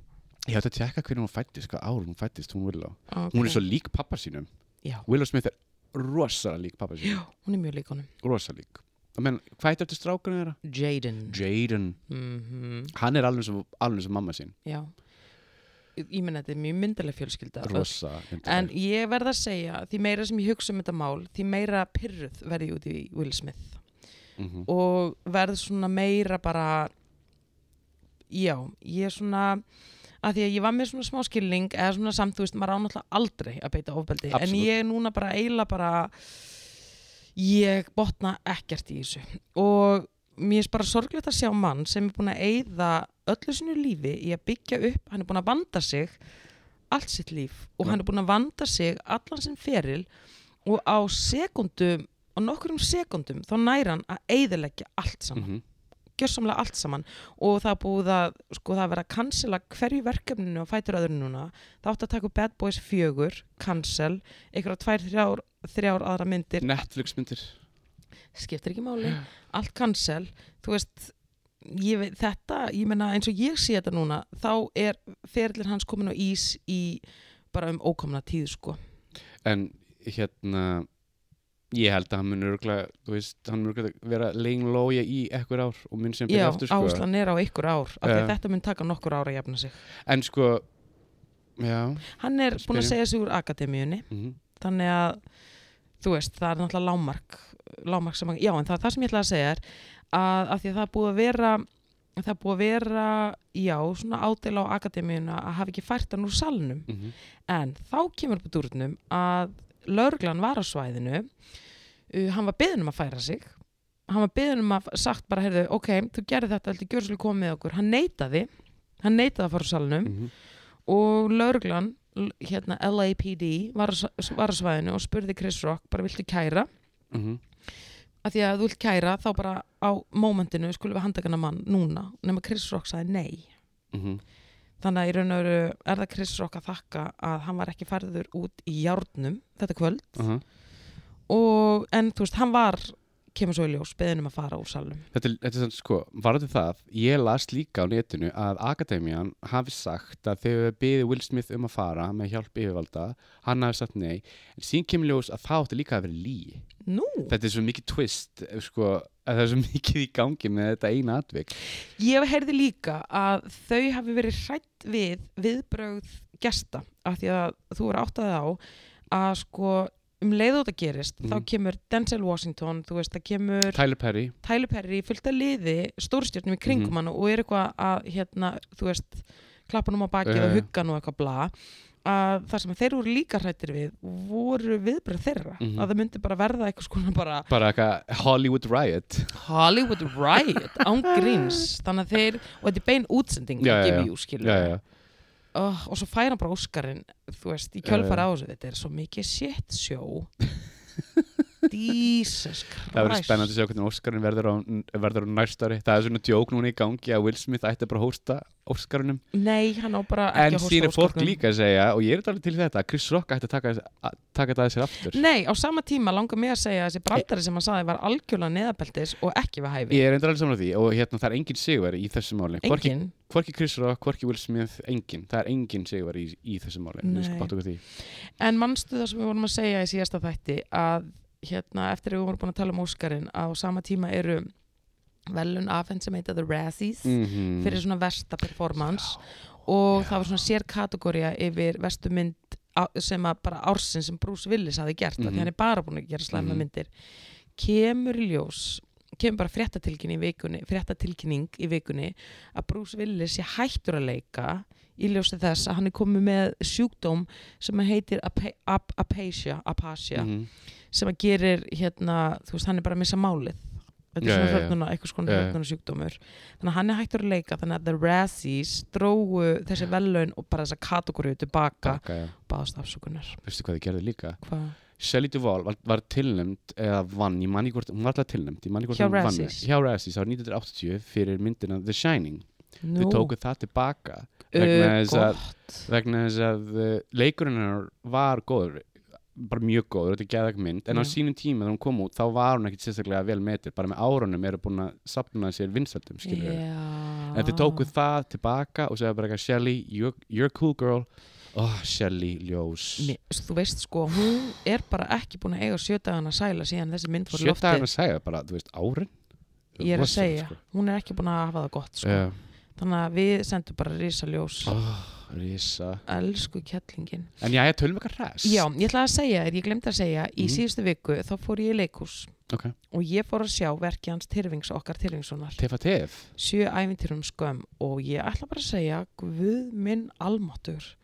[SPEAKER 2] ég ætti að tjekka hvernig hún fættist, hvað ár hún fættist hún Willow
[SPEAKER 1] okay.
[SPEAKER 2] hún er svo lík pappa sínum
[SPEAKER 1] Já.
[SPEAKER 2] Willow Smith er rosalega lík pappa sínum
[SPEAKER 1] hún er mjög lík honum
[SPEAKER 2] rosalega lík Ég meina, hvað heitir þetta strákurinn þeirra?
[SPEAKER 1] Jaden
[SPEAKER 2] Jaden,
[SPEAKER 1] mm
[SPEAKER 2] hann er alveg sem, alveg sem mamma sín
[SPEAKER 1] já ég ég meina þetta er mjög myndileg fjölskylda öll.
[SPEAKER 2] rosa
[SPEAKER 1] en ég verð að segja því meira sem ég hugsa um þetta mál því meira pyrruð verði ég út í Will Smith
[SPEAKER 2] mm -hmm.
[SPEAKER 1] og verð svona meira bara já, ég er svona að því að ég var með svona smá skilning eða svona samt, þú veist, maður á náttúrulega aldrei að beita ofbeldi, en
[SPEAKER 2] Absolutt.
[SPEAKER 1] ég er núna bara eiginlega bara ég botna ekkert í þessu og mér er bara sorglegt að sjá mann sem er búin að eyða öllu sinu lífi í að byggja upp, hann er búin að vanda sig allt sitt líf og
[SPEAKER 2] Já.
[SPEAKER 1] hann er búin að vanda sig allan sinn feril og á sekundum á nokkrum sekundum þá næra hann að eyðileggja allt
[SPEAKER 2] Mhm.
[SPEAKER 1] saman, gjörsamlega allt saman og það er búið að, sko, það er verið að cancela hverju verkefninu og fætur öðru núna það átti að taka upp Bad Boys 4 cancel, einhverja tvær, þrjár þrjár aðra myndir,
[SPEAKER 2] Netflix myndir
[SPEAKER 1] skiptir ekki máli allt cancel, þú veist ég veit þetta, ég meina eins og ég sé þetta núna, þá er ferillir hans komin á ís í bara um ókomna tíð, sko
[SPEAKER 2] en hérna ég held að hann mun örgulega þú veist, hann mun örgulega vera laying low í ekkur ár og mun sem
[SPEAKER 1] Já,
[SPEAKER 2] byrja aftur sko.
[SPEAKER 1] áherslan er á ykkur ár af því að
[SPEAKER 2] Já.
[SPEAKER 1] þetta mun taka nokkur ár að jafna sig
[SPEAKER 2] en sko já,
[SPEAKER 1] Hann er
[SPEAKER 2] Það
[SPEAKER 1] búin að
[SPEAKER 2] spyrjum.
[SPEAKER 1] segja sig úr akademíunni
[SPEAKER 2] mhm,
[SPEAKER 1] þannig að þú veist, það er náttúrulega lámark, lámark sem, að- já, en það, það sem ég ætla að segja er að, að því að það er búið að vera það er búið að vera, já, svona ádela á akademíuna að hafa ekki fært hann úr salnum
[SPEAKER 2] mhm.
[SPEAKER 1] en þá kemur upp úr dúrnum að laurglan var á svæðinu uh, hann var beðin um að færa sig hann var beðin um að sagt bara heyrðu, ok, þú gerir þetta, heldur gjörslu komið með okkur hann neitaði, hann neitaði að fara úr salnum
[SPEAKER 2] Mhm.
[SPEAKER 1] og laurglan hérna LAPD var á, s- var á svæðinu og spurði Chris Rock bara viltu kæra
[SPEAKER 2] Mhm.
[SPEAKER 1] að því að ef þú vilt kæra þá bara á mómentinu skulum við handakana mann núna nema Chris Rock sagði nei
[SPEAKER 2] Mhm.
[SPEAKER 1] þannig að í raun og veru er það Chris Rock að þakka að hann var ekki færður út í járnum þetta kvöld
[SPEAKER 2] Aha.
[SPEAKER 1] og en þú veist, hann var kemur svo í ljós, beðin um að fara úr salnum
[SPEAKER 2] Þetta, er- þetta er sann sko, varðu það, ég las líka á netinu að Akademian hafi sagt að þegar byði Will Smith um að fara með hjálp yfirvalda, hann hafi sagt nei, en sín kemur ljós að það átti líka að vera líi.
[SPEAKER 1] Nú,
[SPEAKER 2] þetta er svo mikið twist eh, sko, að það er svo [LAUGHS] mikið í gangi með þetta eina atvik
[SPEAKER 1] ég heyrði líka að þau hafi verið hrætt við viðbrögð gesta af því að þú er áttaði á að sko um leið og þetta gerist
[SPEAKER 2] Mhm.
[SPEAKER 1] þá kemur Denzel Washington, þú veist, það kemur
[SPEAKER 2] Tyler Perry
[SPEAKER 1] Tyler Perry fullt að liði stórstjörnum í kringum
[SPEAKER 2] Mhm.
[SPEAKER 1] hann og er eitthvað að hérna, þú veist, klappa hann á bakið
[SPEAKER 2] Já,
[SPEAKER 1] og
[SPEAKER 2] já.
[SPEAKER 1] hugga hann og eitthvað bla að það sem þeir voru líka hrættir við voru viðbröð þeirra
[SPEAKER 2] Mhm.
[SPEAKER 1] að það myndi bara verða eitthvað skona bara
[SPEAKER 2] bara eitthvað Hollywood Riot
[SPEAKER 1] Hollywood Riot án
[SPEAKER 2] [LAUGHS]
[SPEAKER 1] gríns þannig að þeir, og þetta er bein útsending
[SPEAKER 2] Já,
[SPEAKER 1] að
[SPEAKER 2] já,
[SPEAKER 1] gefa
[SPEAKER 2] já.
[SPEAKER 1] jú, skilur
[SPEAKER 2] já, já.
[SPEAKER 1] Oh, og svo fær hann bara Óskarinn þú veist, í
[SPEAKER 2] Já, já.
[SPEAKER 1] kjölfara á þessu þetta er svo mikið shit show [LAUGHS] Jesus Christ
[SPEAKER 2] það verður spennandi að sjá hvernig Óskarinn verður á, verður á næstari það er svona djók núna í gangi að Will Smith ætti bara að hósta Óskarinnum
[SPEAKER 1] Nei, hann á bara ekki að
[SPEAKER 2] en
[SPEAKER 1] hósta
[SPEAKER 2] síðan er fólk
[SPEAKER 1] Óskarnum.
[SPEAKER 2] líka að segja og ég er þetta alveg til í þetta að Chris Rock ætti að taka, þess- að taka þetta að sér aftur
[SPEAKER 1] Nei, á sama tíma langar mig að segja að þessi brandari sem hann saði var algjörlega neðabeltis og ekki við hæfi.
[SPEAKER 2] ég er eitthvað alveg samlega því og hérna það er engin sigvar í þessu máli hvorki,
[SPEAKER 1] Engin.
[SPEAKER 2] hvorki Chris Rock, hvorki Will Smith, engin það er engin sigvar í, í þessu máli Þú veist,
[SPEAKER 1] Nei.
[SPEAKER 2] báttu okkur því.
[SPEAKER 1] En manstu það sem við vorum að segja í síðasta þætti að hérna, eftir að við vorum búin að tala um Óskarinn að á sama tíma eru velun afhengt sem heita The Razzies
[SPEAKER 2] Mhm.
[SPEAKER 1] fyrir svona versta performance
[SPEAKER 2] Já.
[SPEAKER 1] og
[SPEAKER 2] Já.
[SPEAKER 1] það var svona sér kategória yfir verstu mynd á- sem að bara ársin sem Bruce Willis hafi gert mm
[SPEAKER 2] Mhm.
[SPEAKER 1] því hann er bara búin að gera slæma
[SPEAKER 2] Mhm.
[SPEAKER 1] myndir kemur í ljós kemur bara fréttatilkynning í vikunni fréttatilkynning í vikunni að Bruce Willis sé hættur að leika í ljósi þess að hann er komið með sjúkdóm sem að heitir apa- ap- apasia, apasia
[SPEAKER 2] Mhm.
[SPEAKER 1] sem að gerir hérna, þú veist, hann er bara að missa málið þetta er
[SPEAKER 2] Já,
[SPEAKER 1] svona
[SPEAKER 2] já, já.
[SPEAKER 1] hrörnuna, eitthvað skona
[SPEAKER 2] Já, já.
[SPEAKER 1] hrörnuna sjúkdómur þannig að hann er hættur að leika þannig að The Razzies drógu þessi vellaun og bara þessa kategóriu tilbaka
[SPEAKER 2] Baka, já.
[SPEAKER 1] báðast afsökunar
[SPEAKER 2] veistu hvað þið gerðu líka
[SPEAKER 1] hvað?
[SPEAKER 2] Shelley Duvall var, var tilnæmd eða vann, ég manni hvort, hún var alltaf tilnæmd ég manni hvort
[SPEAKER 1] Hjá
[SPEAKER 2] hún vann
[SPEAKER 1] Razzies.
[SPEAKER 2] hjá Razzies árið 1980 fyrir myndina The Shining
[SPEAKER 1] Nú,
[SPEAKER 2] þau tóku það tilbaka vegna
[SPEAKER 1] uh,
[SPEAKER 2] þess að-
[SPEAKER 1] gott.
[SPEAKER 2] vegna þess að uh, leikurinn hennar var góður bara mjög góður, þetta er geðvæg mynd en á
[SPEAKER 1] Já.
[SPEAKER 2] sínum tíma þegar hún kom út þá var hún ekkit sérstaklega vel metir bara með árunum eru búin að sapna sér vinsaldum skilur
[SPEAKER 1] Já.
[SPEAKER 2] en þau tóku það tilbaka og segja bara eitthvað Shelley, you're, you're a cool girl oh Shelley, ljós
[SPEAKER 1] Mér- Þú veist sko, hún er bara ekki búin að eiga sjötagana sæla síðan þessi mynd fór í
[SPEAKER 2] sjötta
[SPEAKER 1] loftið.
[SPEAKER 2] hennar segja bara, þú veist, árin
[SPEAKER 1] Ég er að
[SPEAKER 2] Rosalegt,
[SPEAKER 1] segja, hún er ekki búin að hafa það gott sko.
[SPEAKER 2] Já.
[SPEAKER 1] Þannig að við sendum bara risaljós.
[SPEAKER 2] oh, risa
[SPEAKER 1] Elsku kettlingin.
[SPEAKER 2] en já, ég tölum eitthvað res
[SPEAKER 1] Já, ég ætlaði að segja þér, ég glemdi að segja, í
[SPEAKER 2] Mhm.
[SPEAKER 1] síðustu viku þá fór ég í leikhús
[SPEAKER 2] ok,
[SPEAKER 1] og ég fór að sjá verkið hans Tyrfings, okkar Tyrfingssonar,
[SPEAKER 2] tefa tef
[SPEAKER 1] sjö æfintýrum skömm og ég ætla bara að segja, guð minn almáttur,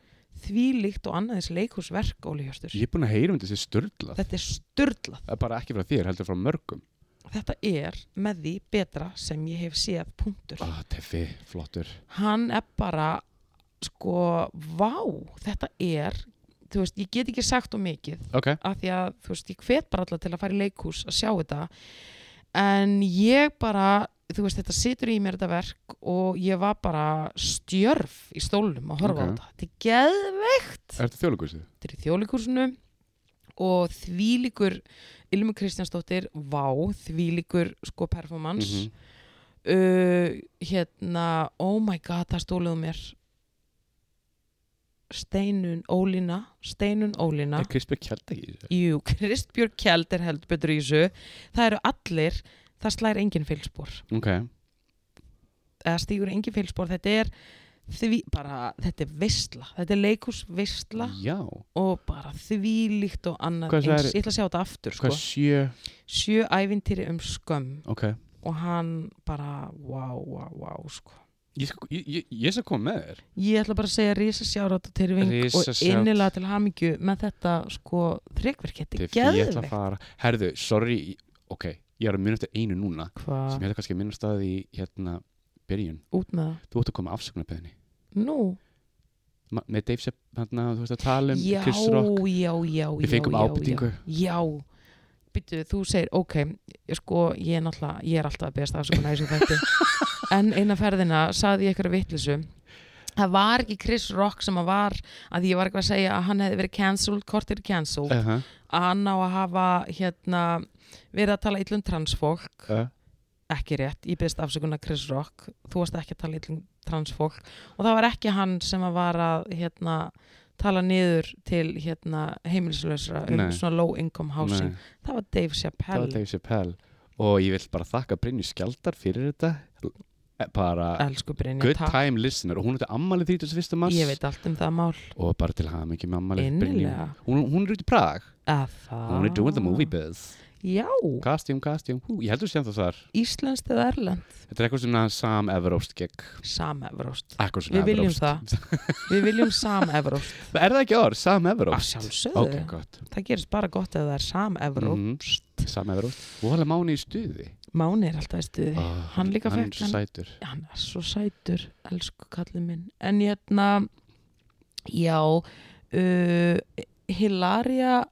[SPEAKER 1] þvílíkt og annaðins leikhúsverk, Óli Hjörstur.
[SPEAKER 2] ég er búin að heyra um þessi störlað
[SPEAKER 1] Þetta er sturdlað.
[SPEAKER 2] það er bara ekki frá þér, heldur frá mörgum
[SPEAKER 1] Þetta er með því betra sem ég hef séð punktur.
[SPEAKER 2] ah, tefi, flottur
[SPEAKER 1] Hann er bara, sko, vá, þetta er, þú veist, ég get ekki sagt um mikið,
[SPEAKER 2] ok,
[SPEAKER 1] af því að þú veist, ég hvet bara alla til að fara í leikhús að sjá þetta en ég bara, þú veist, þetta situr í mér þetta verk og ég var bara stjörf í stólnum að horfa á
[SPEAKER 2] Ok.
[SPEAKER 1] þetta þetta er geðveikt
[SPEAKER 2] er þetta þjóðlugusið?
[SPEAKER 1] þetta er í þjóðlíkursinu og þvílíkur Ilmi Kristjánsdóttir, vá þvílíkur sko performance
[SPEAKER 2] Mhm.
[SPEAKER 1] uh, hérna oh my god, það stóluðu mér Steinun Ólína Steinun Ólína
[SPEAKER 2] er Kristbjörg Kjald ekki í þessu?
[SPEAKER 1] Jú, Kristbjörg Kjeld er heldur betur í þessu. Það eru allir, það slæðir engin fylgspor.
[SPEAKER 2] ok,
[SPEAKER 1] Eða stígur engin fylgspor, þetta er því, bara, þetta er veistla. Þetta er leikús veistla
[SPEAKER 2] já
[SPEAKER 1] og bara þvílíkt og annað.
[SPEAKER 2] Mm. Hvað
[SPEAKER 1] eins.
[SPEAKER 2] sagði-
[SPEAKER 1] Ég ætla að sjá þetta aftur,
[SPEAKER 2] hvað
[SPEAKER 1] sko.
[SPEAKER 2] sjö,
[SPEAKER 1] Sjö ævintýri um skömm
[SPEAKER 2] ok
[SPEAKER 1] og hann bara, wow, wow, wow, sko.
[SPEAKER 2] ég, skal- ég, ég, ég skal koma með þér
[SPEAKER 1] Ég ætla bara að segja risa sjárat og tyrfing og
[SPEAKER 2] Risasjárat.
[SPEAKER 1] innilega til hamingju með þetta, sko, þryggverk. Þetta er
[SPEAKER 2] Tefi, ég ætla að
[SPEAKER 1] geðveikt.
[SPEAKER 2] fara herðu, sorry, ég- ok ég er að muna eftir einu núna sem
[SPEAKER 1] Hvað?
[SPEAKER 2] ég ætla kannski að minna staði í hérna byrjun,
[SPEAKER 1] Út með það.
[SPEAKER 2] þú ætti að koma afsökunarbeðinni
[SPEAKER 1] Nú,
[SPEAKER 2] Ma- með Dave Sepp, hérna, þú veist að tala um
[SPEAKER 1] já,
[SPEAKER 2] Chris Rock,
[SPEAKER 1] já, já, já,
[SPEAKER 2] við fengum
[SPEAKER 1] já,
[SPEAKER 2] ábyrtingu
[SPEAKER 1] já, já. Býtu, þú segir, ok, ég sko, ég er náttúrulega, ég er alltaf að beðast afsökunar í þessum
[SPEAKER 2] [LAUGHS]
[SPEAKER 1] þætti, en eina ferðina saði ég eitthvað vittlisu, það var ekki Chris Rock sem að var, að ég var eitthvað að segja að hann hefði verið cancelled, kortir cancelled,
[SPEAKER 2] uh -huh.
[SPEAKER 1] að hann á að hafa, hérna, verið að tala illum transfólk,
[SPEAKER 2] uh,
[SPEAKER 1] ekki rétt, ég beðast afsökunar Chris Rock, þú varst ekki að tala illum transfólk, og það var ekki hann sem að var að, hérna, tala niður til hérna, heimilislausra um
[SPEAKER 2] Nei.
[SPEAKER 1] svona low income housing það var Dave
[SPEAKER 2] það var
[SPEAKER 1] Chappelle
[SPEAKER 2] Dave Chappelle og ég vil bara þakka Brynju Skjaldar fyrir þetta Eh, bara
[SPEAKER 1] elsku Brynja,
[SPEAKER 2] good
[SPEAKER 1] takk
[SPEAKER 2] time listener og hún er þetta ammali 31. mars
[SPEAKER 1] ég veit allt um það mál
[SPEAKER 2] og bara til hafa mikið með ammali
[SPEAKER 1] innilega Ah.
[SPEAKER 2] hún, hún er út í Prag
[SPEAKER 1] að það
[SPEAKER 2] hún er doing the movie biz
[SPEAKER 1] já,
[SPEAKER 2] costume, costume, hú, ég heldur sem það þar
[SPEAKER 1] Íslandskt eða Erlend
[SPEAKER 2] þetta er eitthvað svona Sam Everost gig
[SPEAKER 1] Sam Everost
[SPEAKER 2] eitthvað svona
[SPEAKER 1] Við viljum
[SPEAKER 2] Everost.
[SPEAKER 1] við viljum Sam Everost
[SPEAKER 2] [LAUGHS] er það ekki orð, Sam
[SPEAKER 1] að
[SPEAKER 2] Everost
[SPEAKER 1] sjálfsögðu,
[SPEAKER 2] ok, gott
[SPEAKER 1] það gerist bara gott ef það er Sam Everost
[SPEAKER 2] Mhm. Sam Everost, og hann er mánu í stuði
[SPEAKER 1] Máni er alltaf í stuði
[SPEAKER 2] oh,
[SPEAKER 1] Eh, hann líka
[SPEAKER 2] hann er
[SPEAKER 1] fekk
[SPEAKER 2] svo sætur
[SPEAKER 1] hann er svo sætur, elsku kallið minn en hérna já uh, Hilaria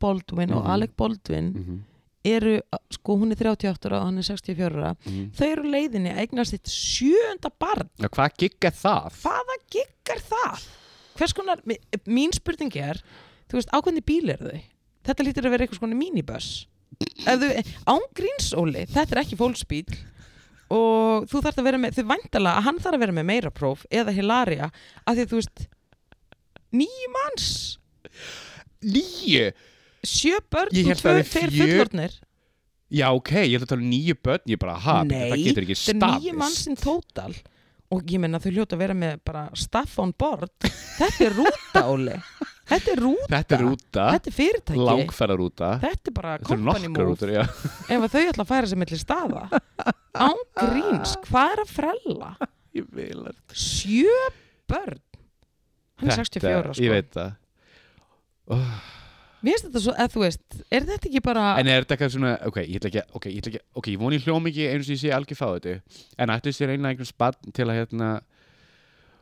[SPEAKER 1] Baldwin og
[SPEAKER 2] Mhm.
[SPEAKER 1] Alec Baldwin
[SPEAKER 2] mm -hmm.
[SPEAKER 1] eru, sko hún er 38 ára og hann er 64 ára, þau eru á leiðinni að eignast þitt sjöunda barn
[SPEAKER 2] Mhm. Já, hvað gigg er það?
[SPEAKER 1] hvaða giggar það? hvers konar, mi- mín spurning er þú veist, ákveðni bíl eru þau þetta lítur að vera eitthvað svona minibus Ef þau- án grínsóli, þetta er ekki fólksbíl og þú þarft að vera með þau væntalega að hann þarf að vera með meira próf eða Hilaria, af því að þú veist nýju manns
[SPEAKER 2] Níu?
[SPEAKER 1] sjö börn
[SPEAKER 2] Ég
[SPEAKER 1] og
[SPEAKER 2] hélt að
[SPEAKER 1] tvö,
[SPEAKER 2] við
[SPEAKER 1] tveir
[SPEAKER 2] fjö-
[SPEAKER 1] fullornir
[SPEAKER 2] Já, ok, ég ætla að tala um níu börn, ég bara, ha,
[SPEAKER 1] Nei,
[SPEAKER 2] þetta getur ekki
[SPEAKER 1] þetta er nýju
[SPEAKER 2] staðist.
[SPEAKER 1] mannsinn tótal og ég menna þau hljóta að vera með bara staff on board þetta er rúta Óli þetta er rúta,
[SPEAKER 2] Þetta er rúta,
[SPEAKER 1] þetta er fyrirtæki
[SPEAKER 2] langferðarúta,
[SPEAKER 1] þetta er bara
[SPEAKER 2] þetta er
[SPEAKER 1] company
[SPEAKER 2] nokkar
[SPEAKER 1] move
[SPEAKER 2] rútur, já.
[SPEAKER 1] ef að þau ætla að færa sér millir staða án gríns, hvað er að frella
[SPEAKER 2] Ég vil að...
[SPEAKER 1] sjö börn hann er 64 sko
[SPEAKER 2] Ég veit það. Oh.
[SPEAKER 1] mér finnst þetta svo, eða þú veist, er þetta ekki bara
[SPEAKER 2] En er þetta eitthvað svona, ok, ég ætla ekki, að- ok, ég ætla ekki, að- ok, ég voni hljóm ekki eins og ég sé algjör fá þetta, en ætla sér einlega einhvern spann til að, hérna,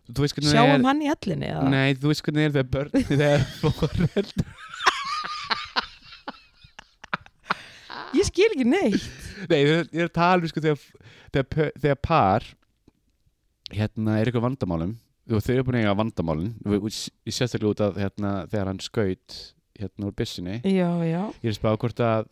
[SPEAKER 2] þú veist hvernig það
[SPEAKER 1] sjáum
[SPEAKER 2] er...
[SPEAKER 1] hann í ellinni eða?
[SPEAKER 2] [LAUGHS] Nei, þú veist hvernig það er þegar börn, þegar fóreld
[SPEAKER 1] Ég skil ekki neitt.
[SPEAKER 2] Nei, ég er- ég er að tala um sko þegar, þegar, pö- þegar par hérna er eitthvað vandamálum og þau eru búin að eiga vandamálin og- og s- ég sérstaklega út að hérna, þegar hann skaut hérna úr byssinni
[SPEAKER 1] Já, já.
[SPEAKER 2] [LAUGHS] ég er að spá hvort að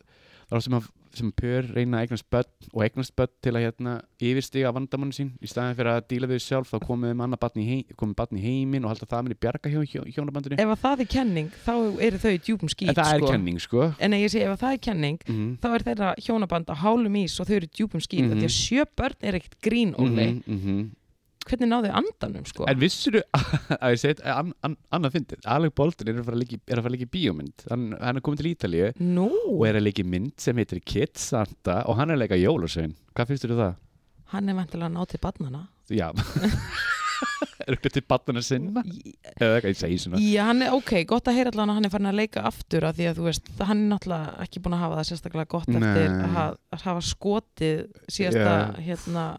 [SPEAKER 2] það er sem að sem pör reyna að eignast börn og eignast börn til að hérna yfirstiga vandamannu sín í staðin fyrir að díla við þau sjálf þá komið um annað barn í, heim, komið barn í heiminn og halda það minni bjarga hjá, hjá hjónabandinu
[SPEAKER 1] Ef að það er kenning, þá eru þau í djúpum skýt,
[SPEAKER 2] en það er
[SPEAKER 1] sko.
[SPEAKER 2] kenning sko
[SPEAKER 1] En nei, ég segi, ef að það er kenning,
[SPEAKER 2] mm
[SPEAKER 1] þá er þeirra hjónaband á hálum ís og þau eru í djúpum skýt. Mm
[SPEAKER 2] Mhm.
[SPEAKER 1] Því að sjö börn er ekkert grín, Óli. Hvernig náðu þau andanum, sko?
[SPEAKER 2] en vissur [LAUGHS] að ég segi an, an, annað fyndið, Alec Bolton er að fara að leika í- er að fara að leika í bíómynd hann, hann er komið til Ítalíu
[SPEAKER 1] Nú,
[SPEAKER 2] og er að leika í mynd sem heitir Kids Santa og hann er að leika jólusvein hvað finnst þér um það?
[SPEAKER 1] hann er vantilega að ná til barnana.
[SPEAKER 2] Já Er þetta til barnana sinna? Eða eitthvað, ég segi svona
[SPEAKER 1] Já, hann er, ok, gott að heyra allan að hann er farin að leika aftur að því að þú veist, hann er náttúrulega ekki búin að hafa það sérstaklega gott eftir
[SPEAKER 2] Nei.
[SPEAKER 1] að, ha- að hafa skotið síðasta,
[SPEAKER 2] Já.
[SPEAKER 1] hérna,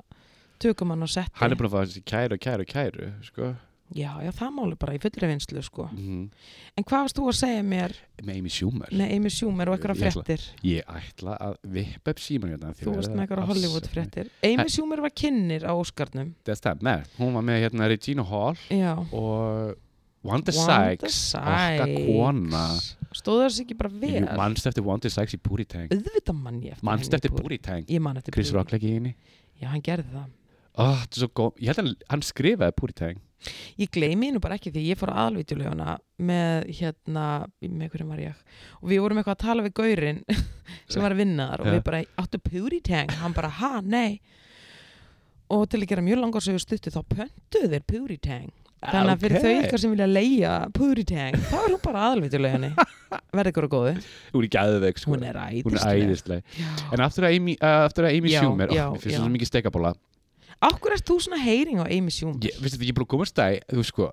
[SPEAKER 1] tökum hann á setti.
[SPEAKER 2] Hann er búin að fá þessi kæru, kæru, kæru sko.
[SPEAKER 1] Já, já, það máli bara í fullri vinslu, sko.
[SPEAKER 2] mm.
[SPEAKER 1] En hvað varst þú að segja mér
[SPEAKER 2] Með Amy Schumer
[SPEAKER 1] með Amy Schumer og einhverja
[SPEAKER 2] Ég ætla-
[SPEAKER 1] fréttir?
[SPEAKER 2] Ég ætla að vippa upp síman hérna því
[SPEAKER 1] Þú
[SPEAKER 2] við
[SPEAKER 1] varst
[SPEAKER 2] erum
[SPEAKER 1] með einhverja
[SPEAKER 2] að-
[SPEAKER 1] Hollywood fréttir. Amy
[SPEAKER 2] Hæ-
[SPEAKER 1] Schumer var kynnir á Óskarnum.
[SPEAKER 2] That's that man Hún var með hérna Regina Hall
[SPEAKER 1] Já.
[SPEAKER 2] og
[SPEAKER 1] Wanda
[SPEAKER 2] Wanda Sykes Okkar kona
[SPEAKER 1] Stóðu þessi ekki bara vel?
[SPEAKER 2] Jú, Manstu eftir Wanda Sykes í Booty Tank
[SPEAKER 1] Auðvitað mann ég eftir henni í
[SPEAKER 2] Manstu eftir
[SPEAKER 1] Booty-
[SPEAKER 2] Booty Tank
[SPEAKER 1] Ég man eftir
[SPEAKER 2] Chris
[SPEAKER 1] Booty.
[SPEAKER 2] Rock leik í henni
[SPEAKER 1] Já, hann gerði það.
[SPEAKER 2] oh, þetta er svo góð Ég held að hann- hann skrifaði Booty Tank
[SPEAKER 1] Ég gleymi hennu bara ekki því ég fór á aðalvítjuleguna með hérna, með hverjum var ég og við vorum eitthvað að tala við gaurinn [LAUGHS] sem var að vinna þar og við
[SPEAKER 2] Ja.
[SPEAKER 1] bara áttu púri teng, hann bara ha, nei og til að gera mjög langar sögur stuttu þá pöntuðu þeir púri teng þannig að fyrir
[SPEAKER 2] Ok.
[SPEAKER 1] þau ykkar sem vilja leia púri teng, þá er hún bara á
[SPEAKER 2] [LAUGHS]
[SPEAKER 1] aðalvítjulegunni verði ykkur að góðu,
[SPEAKER 2] Hún er gæðveik sko.
[SPEAKER 1] hún er
[SPEAKER 2] Hún er
[SPEAKER 1] æðislega
[SPEAKER 2] æðisleg
[SPEAKER 1] Já.
[SPEAKER 2] En aftur að Amy, uh, aftur að Amy
[SPEAKER 1] Já,
[SPEAKER 2] Schumer
[SPEAKER 1] já,
[SPEAKER 2] oh, Mér finnst
[SPEAKER 1] já.
[SPEAKER 2] það mikið stekabóla
[SPEAKER 1] Akkur er þú svona heyring á Amy Schumer?
[SPEAKER 2] ég, veistu, þetta, ég er búin að komast að þú veist sko,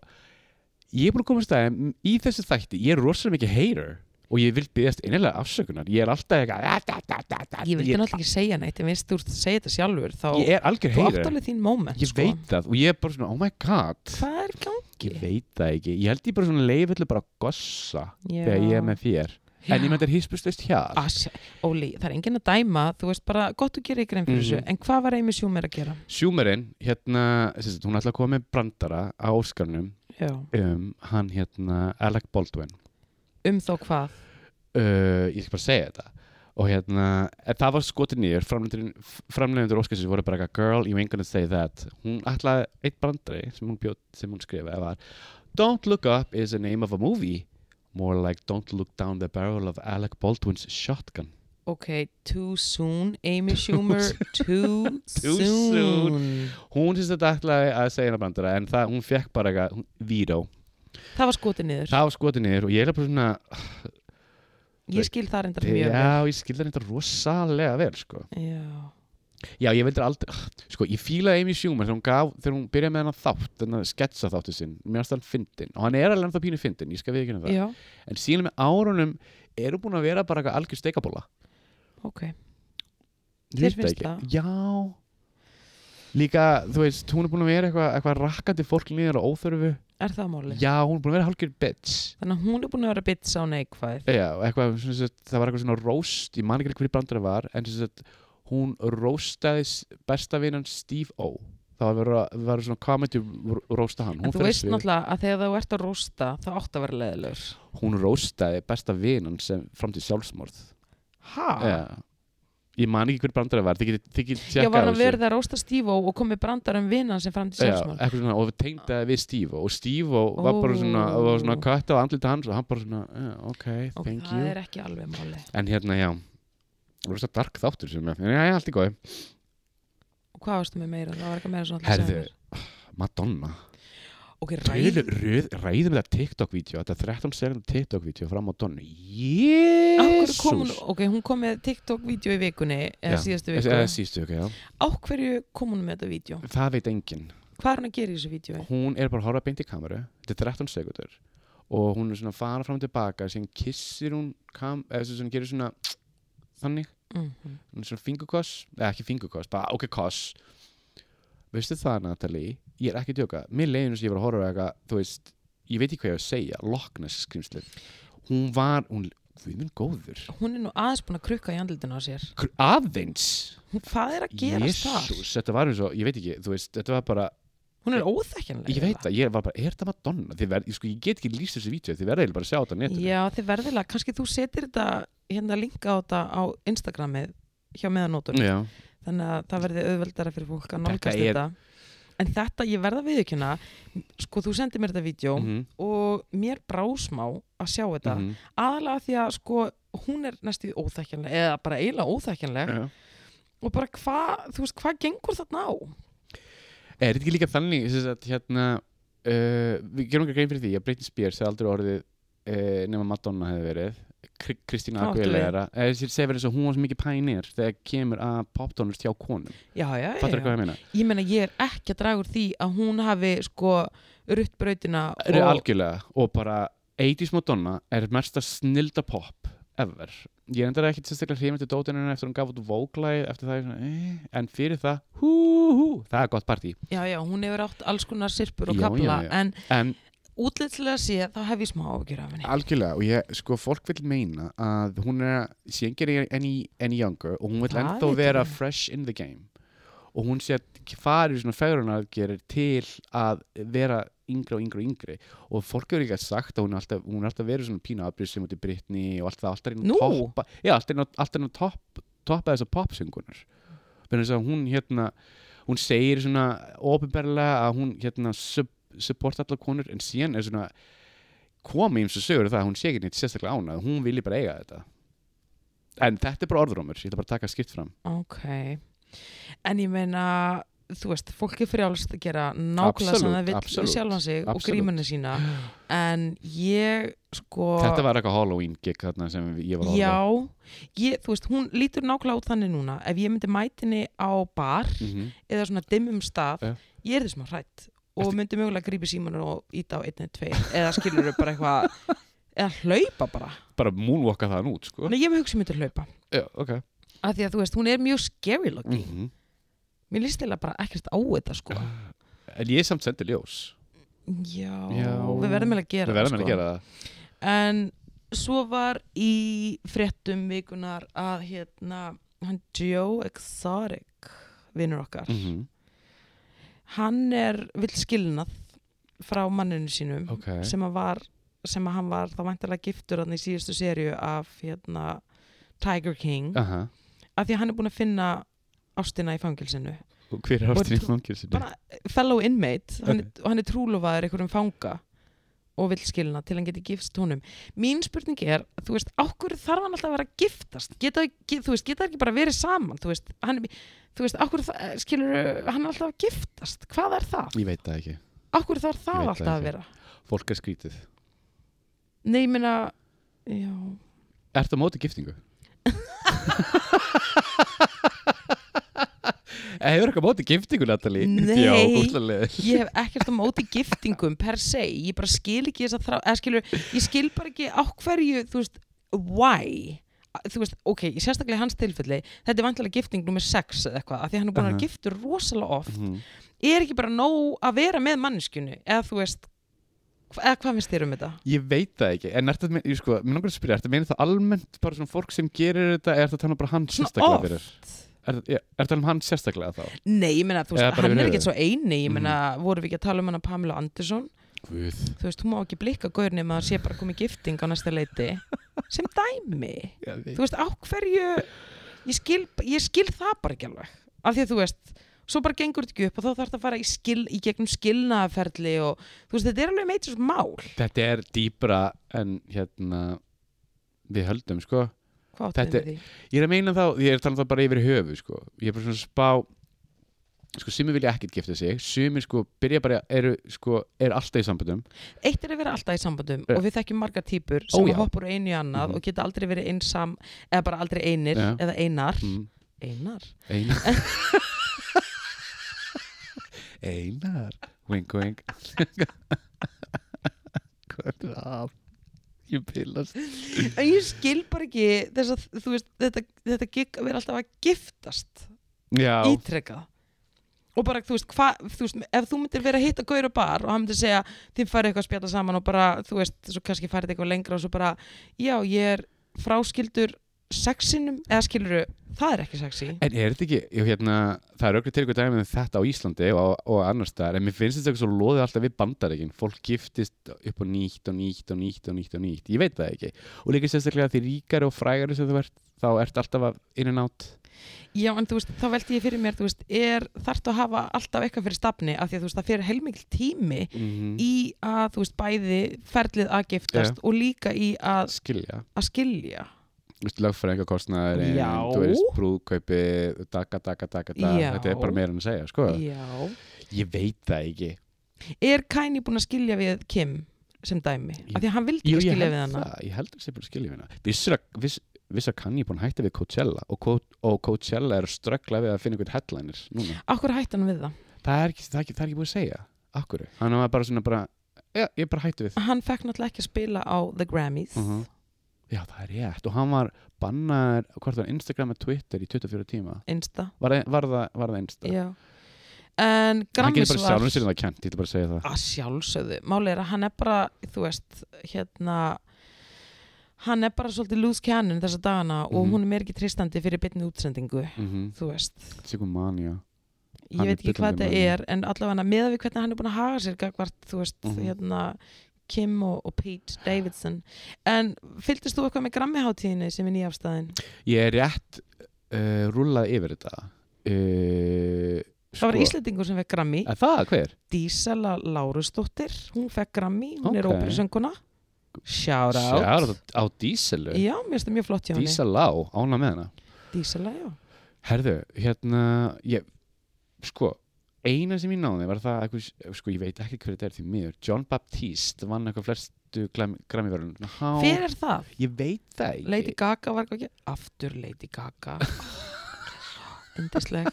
[SPEAKER 2] ég er búin að komast að í þessu þætti, ég er rosalega mikið hater og ég vil byggast einlega afsökunar ég er alltaf eitthvað "Ah, da, da, da, da, da.
[SPEAKER 1] Ég vildi
[SPEAKER 2] ég,
[SPEAKER 1] náttúrulega ekki segja neitt, en minnst þú ert að segja þetta sjálfur þá
[SPEAKER 2] ég er algjör
[SPEAKER 1] þú
[SPEAKER 2] hater
[SPEAKER 1] átt alveg þín moment
[SPEAKER 2] ég
[SPEAKER 1] sko.
[SPEAKER 2] veit það og ég er bara svona, oh my god
[SPEAKER 1] Hvað er í gangi?
[SPEAKER 2] ég veit það ekki, ég held ég bara svona leifillu bara að gossa
[SPEAKER 1] Já.
[SPEAKER 2] þegar ég er með þér en ég með þetta er hispustist hér
[SPEAKER 1] Asja, Óli, það er enginn að dæma, þú veist bara gott að gera ykkur einn fyrir
[SPEAKER 2] Mhm.
[SPEAKER 1] þessu, en hvað var Amy Schumer að gera?
[SPEAKER 2] Sjúmerinn, hérna sem sagt, hún ætla að koma með brandara á Óskarnum
[SPEAKER 1] Já.
[SPEAKER 2] um hann hérna Alec Baldwin
[SPEAKER 1] Um þá hvað?
[SPEAKER 2] uh, ég skal bara segja þetta og hérna, en það var skotið nýjur framleifundur Óskarsins voru bara eitthvað girl, you ain't gonna say that hún ætlaði eitt brandari sem hún, bjóð, sem hún skrifaði var Don't look up is the name of a movie more like don't look down the barrel of Alec Baldwin's shotgun
[SPEAKER 1] Ok, too soon, Amy Schumer, too,
[SPEAKER 2] [LAUGHS] Too soon. hún syns þetta ætlaði að segja hennar brandara en það, hún fekk bara eitthvað, hún- vító
[SPEAKER 1] Það var skotið niður.
[SPEAKER 2] það var skotið nýjur og ég er bara svona
[SPEAKER 1] Ég skil það reyndar mjög vel.
[SPEAKER 2] já, ég skilði þetta rosalega vel sko
[SPEAKER 1] Já.
[SPEAKER 2] Já, ég veldur aldrei, sko, ég fílaði Amy Schumer þegar hún gaf, þegar hún byrjaði með hennar þátt, þennan sketsa þáttu sinn, mér varst hann fyndin og hann er alveg ennþá pínu fyndin, ég skal við ekki það,
[SPEAKER 1] Já,
[SPEAKER 2] en síðan með árunum eru búin að vera bara eitthvað algjör steikabóla.
[SPEAKER 1] ok.
[SPEAKER 2] Ég
[SPEAKER 1] Þér
[SPEAKER 2] veit
[SPEAKER 1] finnst
[SPEAKER 2] ekki.
[SPEAKER 1] það?
[SPEAKER 2] Já, líka, þú veist, hún er búin að vera eitthvað eitthva rakkandi fólk niður og óþörfu.
[SPEAKER 1] Er það máli?
[SPEAKER 2] Já, hún er búin að vera hálfgjör bitch.
[SPEAKER 1] Þannig að hún er búin að vera bitsa á neikvæð.
[SPEAKER 2] Já, eitthvað, svona, svona, það var eitthvað svona roast, ég man ekki hverju brandar það var, en svona, hún roastaði s- besta vinnan Steve O. Það var, verið að- var svona comedy ro- roasta hann.
[SPEAKER 1] En
[SPEAKER 2] Hún
[SPEAKER 1] þú
[SPEAKER 2] fer á
[SPEAKER 1] veist
[SPEAKER 2] svið,
[SPEAKER 1] náttúrulega að þegar þú ert að rústa, þá átt að vera leðilegur.
[SPEAKER 2] Hún roastaði besta vinnan sem fram til sjálfsmorð.
[SPEAKER 1] Hæ?
[SPEAKER 2] Já. Ég man ekki hverju brandar það var, þið getið þið getið
[SPEAKER 1] Ah. Já,
[SPEAKER 2] tjekkað
[SPEAKER 1] var
[SPEAKER 2] á
[SPEAKER 1] hann
[SPEAKER 2] þessu.
[SPEAKER 1] verið að rósta Stífó og komið brandar um vinnan sem fram til
[SPEAKER 2] Já,
[SPEAKER 1] sjálfsmál?
[SPEAKER 2] eitthvað svona, og við tengdaði við Steve O. og Steve O. var bara
[SPEAKER 1] Ó.
[SPEAKER 2] svona, það var svona kött á andlita hans og hann bara svona, "Já, ok,
[SPEAKER 1] Ok,
[SPEAKER 2] thank
[SPEAKER 1] það
[SPEAKER 2] you.
[SPEAKER 1] er ekki alveg máli.
[SPEAKER 2] En hérna, já, rosa dark þáttur sem ég, en já, já, allt í góði.
[SPEAKER 1] Og hvað varstu með meira? Það var eitthvað meira svona
[SPEAKER 2] Herðu, Madonna
[SPEAKER 1] Ok,
[SPEAKER 2] Tölu,
[SPEAKER 1] ræð.
[SPEAKER 2] röð, ræðum þetta TikTok-vídeó Þetta er 13 sekundar TikTok-vídeó frá Madonna
[SPEAKER 1] Af hverju kom hún,
[SPEAKER 2] Jésús
[SPEAKER 1] ok, hún kom með TikTok-vídeó í vikunni, eða
[SPEAKER 2] Já,
[SPEAKER 1] síðastu viku.
[SPEAKER 2] Eða sístu, ok, eh, já
[SPEAKER 1] Á hverju kom hún með þetta vídeó?
[SPEAKER 2] Það veit enginn
[SPEAKER 1] Hvað er hún að gera í þessu vídeói?
[SPEAKER 2] Hún er bara að horfa beint í kameru Þetta er 13 sekundur Og hún er svona að fara fram og tilbaka Síðan kissir hún kam Eða sem gerir svona Þannig
[SPEAKER 1] Mm
[SPEAKER 2] Hún er svona fingurkoss Eða ekki fingurkoss, bara ok, koss Veistu það, Natalie Ég er ekki að djóka Mér leiðin þess að ég var að horfa á eitthvað Þú veist Ég veit ekki hvað ég var að segja Loch Ness skrimslið Hún var, hún því minn góður
[SPEAKER 1] Hún er nú aðeins búin að krukka í andlutinu á sér.
[SPEAKER 2] Kr- aðeins
[SPEAKER 1] Hún, hvað er að gera þar?
[SPEAKER 2] Jésús, þetta var eins og, ég veit ekki, þú veist, þetta var bara
[SPEAKER 1] Hún er óþekkjanlega.
[SPEAKER 2] ég veit það, ég var bara, er þetta Madonna Þið verð, ég, sko, ég get ekki lýst þessu vítjóð, þið verða eiginlega bara að sjá þetta á netinu
[SPEAKER 1] Já, þið verðilega, kannski þú setir þetta hérna linka á þetta á Instagramið hjá meðanótur.
[SPEAKER 2] Já.
[SPEAKER 1] Þannig að það verði auðveldara fyrir fólk að
[SPEAKER 2] Þetta
[SPEAKER 1] nálgast
[SPEAKER 2] er-
[SPEAKER 1] þetta. En þetta, ég verða viðurkjöna, sko þú sendir mér þetta vídeo
[SPEAKER 2] Mhm,
[SPEAKER 1] og mér brásmá að sjá þetta.
[SPEAKER 2] mhm,
[SPEAKER 1] Aðalega því að sko hún er næstu óþekkjanleg eða bara eiginlega óþekkjanleg
[SPEAKER 2] já.
[SPEAKER 1] og bara hvað, þú veist, hvað gengur þarna á?
[SPEAKER 2] Er þetta ekki líka þannig sem sagt, hérna, uh, við gerum ekki grein fyrir því að Britney Spears hefði aldrei orðið uh, nema Madonna hefði verið Kri- Kristína
[SPEAKER 1] Hvað áttu
[SPEAKER 2] Aguilera eh, þessi segir verið eins og hún var svo mikið pænir þegar kemur að poptónlist hjá konum
[SPEAKER 1] Já, já, já.
[SPEAKER 2] Fattar
[SPEAKER 1] já.
[SPEAKER 2] hvað ég meina?
[SPEAKER 1] Ég meina, ég er ekki að draga úr því að hún hafi sko rutt brautina
[SPEAKER 2] Er algjörlega og bara 80s Madonna er mesta snilda pop ever Ég er endara ekkit sérstaklega hrifin til dótinu hennar eftir hún gaf út vóklæð eftir það, ég svona, eh, en fyrir það hú, hú, það er gott partí
[SPEAKER 1] Já, já, hún hefur átt alls konar sirpur og
[SPEAKER 2] Já,
[SPEAKER 1] kapla
[SPEAKER 2] já, já.
[SPEAKER 1] en
[SPEAKER 2] en
[SPEAKER 1] útlitslega sé þá hef ég smá ágjur af henni.
[SPEAKER 2] Algjörlega, og ég, sko, fólk vil meina að hún er síngeri any, any younger og hún vil
[SPEAKER 1] Það
[SPEAKER 2] ennþá
[SPEAKER 1] vitum
[SPEAKER 2] vera
[SPEAKER 1] við.
[SPEAKER 2] fresh in the game og hún sé að farið svona fegrunargerir til að vera yngri og yngri og yngri og fólk hefur líka sagt að hún er alltaf, hún er alltaf verið svona pína afbrýðsum út í Britni og allt það, alltaf er
[SPEAKER 1] Nú?
[SPEAKER 2] að toppa já, alltaf er að, alltaf er að topp, toppa þessar popsöngunar þannig að hún hérna hún segir svona ofinberlega að hún hérna sub, support allar konur en síðan er svona komið eins og sögur það að hún sé ekki neitt sérstaklega ána hún vilji bara eiga þetta en þetta er bara orðrómur, ég ætla bara að taka skipt fram
[SPEAKER 1] Ok. En ég meina, þú veist, fólk er frjálst að gera nákvæmlega sem
[SPEAKER 2] Absolutt,
[SPEAKER 1] það vill við
[SPEAKER 2] absolutt,
[SPEAKER 1] sjálfan sig og
[SPEAKER 2] absolutt.
[SPEAKER 1] grímunni sína en ég sko
[SPEAKER 2] þetta var eitthvað Halloween gig þarna sem ég var að
[SPEAKER 1] Já,
[SPEAKER 2] horfa á.
[SPEAKER 1] ég, þú veist, hún lítur nákvæmlega út þannig núna ef ég myndi mætinni á bar
[SPEAKER 2] Mhm.
[SPEAKER 1] eða svona dimmum stað,
[SPEAKER 2] Já.
[SPEAKER 1] ég er þessum að hrætt og myndi mögulega grípi símanur og íta á 1-2 eða skilur bara
[SPEAKER 2] [LAUGHS]
[SPEAKER 1] eitthvað eða hlaupa bara
[SPEAKER 2] bara moonwalka þaðan út sko.
[SPEAKER 1] Nei, ég með hugsa ég myndi hlaupa
[SPEAKER 2] já, ok
[SPEAKER 1] af því að þú veist, hún er mjög scary looking
[SPEAKER 2] Mhm.
[SPEAKER 1] mér líst eða bara ekkert á þetta sko
[SPEAKER 2] en ég samt sendi ljós
[SPEAKER 1] já,
[SPEAKER 2] Já.
[SPEAKER 1] við verðum eiginlega að gera
[SPEAKER 2] við
[SPEAKER 1] það,
[SPEAKER 2] verðum að
[SPEAKER 1] sko.
[SPEAKER 2] gera það
[SPEAKER 1] en svo var í fréttum vikunar að hérna hann Joe Exotic vinnur okkar,
[SPEAKER 2] mm
[SPEAKER 1] hann er vill skilnað frá manninu sínum
[SPEAKER 2] ok,
[SPEAKER 1] sem að var sem að hann var þá væntalega giftur hann í síðustu serju af hérna Tiger King,
[SPEAKER 2] aha
[SPEAKER 1] af því að hann er búin að finna ástina í fangilsinu
[SPEAKER 2] og hver er ástin í
[SPEAKER 1] Og-
[SPEAKER 2] fangilsinu?
[SPEAKER 1] bara fellow inmate hann, okay. hann er trúlofaður einhverjum fanga og vill skilna til hann geti gifst honum mín spurning er, þú veist, ákveð þarf hann alltaf að vera að giftast geta, get, þú veist, geta þær ekki bara verið saman þú veist, hann, er- þú veist, ákveð skilur eh, hann er alltaf að giftast, hvað er það?
[SPEAKER 2] ég veit það ekki,
[SPEAKER 1] ákveð þarf
[SPEAKER 2] Ég
[SPEAKER 1] það
[SPEAKER 2] veit
[SPEAKER 1] alltaf
[SPEAKER 2] það
[SPEAKER 1] að
[SPEAKER 2] ekki.
[SPEAKER 1] vera?
[SPEAKER 2] fólk er skrítið
[SPEAKER 1] Nei, ég meina já,
[SPEAKER 2] Ertu á móti giftingu? Eh, Hefur eitthvað á móti giftingu, Natalie?
[SPEAKER 1] Nei.
[SPEAKER 2] Já, útlaðlega.
[SPEAKER 1] ég hef ekkert á móti giftingum per se, ég bara skil ekki þess að þrá, eða skilur, ég skil bara ekki á hverju, þú veist, why þú veist, ok, ég sérstaklega í hans tilfelli þetta er vantilega gifting nummer 6 eða eitthvað, af því að hann er búin að vera
[SPEAKER 2] Aha.
[SPEAKER 1] giftur rosalega oft
[SPEAKER 2] Mhm.
[SPEAKER 1] er ekki bara nóg að vera með manneskjunu eða þú veist hva- eða hvað finnst þér um þetta?
[SPEAKER 2] Ég veit það ekki, en ertu að meina, ég sko, mér langar að spyrja, ertu að meina það almennt bara svona fólk sem gerir þetta, er þetta tala um bara hann
[SPEAKER 1] Svona
[SPEAKER 2] sérstaklega
[SPEAKER 1] oft.
[SPEAKER 2] fyrir? Er þetta er, tala um hann sérstaklega þá?
[SPEAKER 1] Nei, ég meina, þú veist,
[SPEAKER 2] Eða bara Mhm.
[SPEAKER 1] hann
[SPEAKER 2] yfir
[SPEAKER 1] er
[SPEAKER 2] höfuð.
[SPEAKER 1] ekkert svo eini ég meina, vorum við ekki að tala um hann að Pamela Anderson
[SPEAKER 2] Guð.
[SPEAKER 1] þú veist, hún má ekki blikka gaur nema að sé bara komið gifting á næsta
[SPEAKER 2] [LAUGHS]
[SPEAKER 1] leiti sem dæmi þú veist, á hverju ég skil, ég skil það bara ekki alveg af því að þú veist, svo bara gengur þetta ekki upp og þá þarf þetta að fara í, skil, í gegnum skilnaðaferli og þú veist, þetta er alveg meitur mál
[SPEAKER 2] Þetta er dýpra en hérna við höldum, sko.
[SPEAKER 1] hvað áttu
[SPEAKER 2] Þetta
[SPEAKER 1] þetta... því?
[SPEAKER 2] Ég er að meina þá, ég er talað þá bara yfir höfu sko. Ég er bara svona að spá sko, sumir vilja ekkert gifta sig sumir sko, byrja bara, eru sko, er alltaf í sambundum
[SPEAKER 1] Eitt er að vera alltaf í sambandum
[SPEAKER 2] Ja.
[SPEAKER 1] og við þekkjum marga típur sem
[SPEAKER 2] Ó, já.
[SPEAKER 1] hoppar úr einu í annað
[SPEAKER 2] Mhm.
[SPEAKER 1] og geta aldrei verið einsam eða bara aldrei einir
[SPEAKER 2] Ja.
[SPEAKER 1] eða einar
[SPEAKER 2] mm.
[SPEAKER 1] einar?
[SPEAKER 2] Einar Einar Wink, wink Hvað er að? Ég pilast
[SPEAKER 1] En ég skil bara ekki þess að þú veist, þetta, þetta gig að vera alltaf að giftast
[SPEAKER 2] Já,
[SPEAKER 1] ítrekkað og bara þú veist, hva, þú veist ef þú myndir vera að hitta gaur og bar og hann myndir segja þið farið eitthvað að spjalla saman og bara þú veist, svo kannski farið eitthvað lengra og svo bara já, ég er fráskildur sexinum eða skiluru, það er ekki sexy
[SPEAKER 2] En er þetta ekki, ég, hérna, það er okkur til ykkur dæmið um þetta á Íslandi og, og annar staðar, en mér finnst þetta eitthvað svo loðið alltaf við bandaríkin, fólk giftist upp og nýtt og nýtt og nýtt og nýtt og nýtt, ég veit það ekki, og líka sérstaklega því ríkari og frægari sem þú ert, þá ert alltaf að inn and out,
[SPEAKER 1] Já, en þú veist, þá veldi ég fyrir mér, þú veist, er þarft að hafa alltaf eitthvað fyrir stafni af því að þú veist, það fyrir heilmikil tími
[SPEAKER 2] mm
[SPEAKER 1] í að, þú veist, bæði ferlið að giftast og líka í að,
[SPEAKER 2] skilja,
[SPEAKER 1] að skilja.
[SPEAKER 2] þú veist, lögfræðingakostnaður,
[SPEAKER 1] Já.
[SPEAKER 2] þú veist, brúðkaupi, daga, daga, daga, daga,
[SPEAKER 1] Já.
[SPEAKER 2] þetta er bara meira en að segja, sko,
[SPEAKER 1] Já.
[SPEAKER 2] ég veit það ekki,
[SPEAKER 1] Er Kanye búin að skilja við Kim sem dæmi? Af
[SPEAKER 2] Ég-
[SPEAKER 1] því að hann vildi ekki
[SPEAKER 2] ég
[SPEAKER 1] skilja
[SPEAKER 2] held
[SPEAKER 1] við hana.
[SPEAKER 2] það, ég held að það sé bara skilja við hana vissir að, viss, viss að kann ég búin að hætta við Coachella og, Co og Coachella er að ströggla við að finna einhvern headliners núna
[SPEAKER 1] Akkur hætti hann við það?
[SPEAKER 2] það er ekki, það er ekki, það er ekki búin að segja akkur, hann var bara svona bara já, ég er bara hættu við
[SPEAKER 1] Hann fekk náttúrulega ekki að spila á The Grammys.
[SPEAKER 2] Mhm. já, það er rétt, og hann var bannar, hvort var Instagram og Twitter í 24 tíma,
[SPEAKER 1] Insta.
[SPEAKER 2] var, það- var, það, var það Insta
[SPEAKER 1] Já. En
[SPEAKER 2] hann
[SPEAKER 1] Grammys
[SPEAKER 2] getur bara
[SPEAKER 1] var...
[SPEAKER 2] sjálfum sér um það kent, ég ætla bara að segja það
[SPEAKER 1] að sjálfsögðu, máli er að hann er bara þú veist, hérna hann er bara svolítið loose cannon þessa dagana og
[SPEAKER 2] Mhm.
[SPEAKER 1] hún er mér ekki tristandi fyrir bitni útsendingu,
[SPEAKER 2] mm -hmm.
[SPEAKER 1] þú veist
[SPEAKER 2] Sigur manja
[SPEAKER 1] ég
[SPEAKER 2] Hann er
[SPEAKER 1] veit ekki hvað
[SPEAKER 2] bullandi
[SPEAKER 1] þetta
[SPEAKER 2] maður.
[SPEAKER 1] er, en allavega meða við hvernig hann er búin að haga sér gagvart, þú veist,
[SPEAKER 2] Mhm.
[SPEAKER 1] hérna Kim og, og Pete Davidson en fylgdist þú eitthvað með grammiháttíðinni sem er nýjafstæðin?
[SPEAKER 2] ég er rétt uh, rúlaði yfir þetta uh,
[SPEAKER 1] Það var Íslendingur sem fekk grammi,
[SPEAKER 2] Að það, hver?
[SPEAKER 1] Dísala Lárusdóttir hún fekk grammi, hún er
[SPEAKER 2] Ok.
[SPEAKER 1] óperusönguna shout out,
[SPEAKER 2] Sjára á eh, dísilu
[SPEAKER 1] Já, mér finnst það mjög flott hjá henni
[SPEAKER 2] Dísalá, ána með hana
[SPEAKER 1] Dísala, já
[SPEAKER 2] Herðu, hérna ég, Sko, eina sem ég náði var það eitthvað, Sko, ég veit ekki hver þetta er því miður John Baptiste vann eitthvað flestu Grammyverðun
[SPEAKER 1] Hver er það?
[SPEAKER 2] Ég veit það ekki
[SPEAKER 1] Lady Gaga var ekki Aftur Lady
[SPEAKER 2] [LAUGHS]
[SPEAKER 1] Gaga Indisleg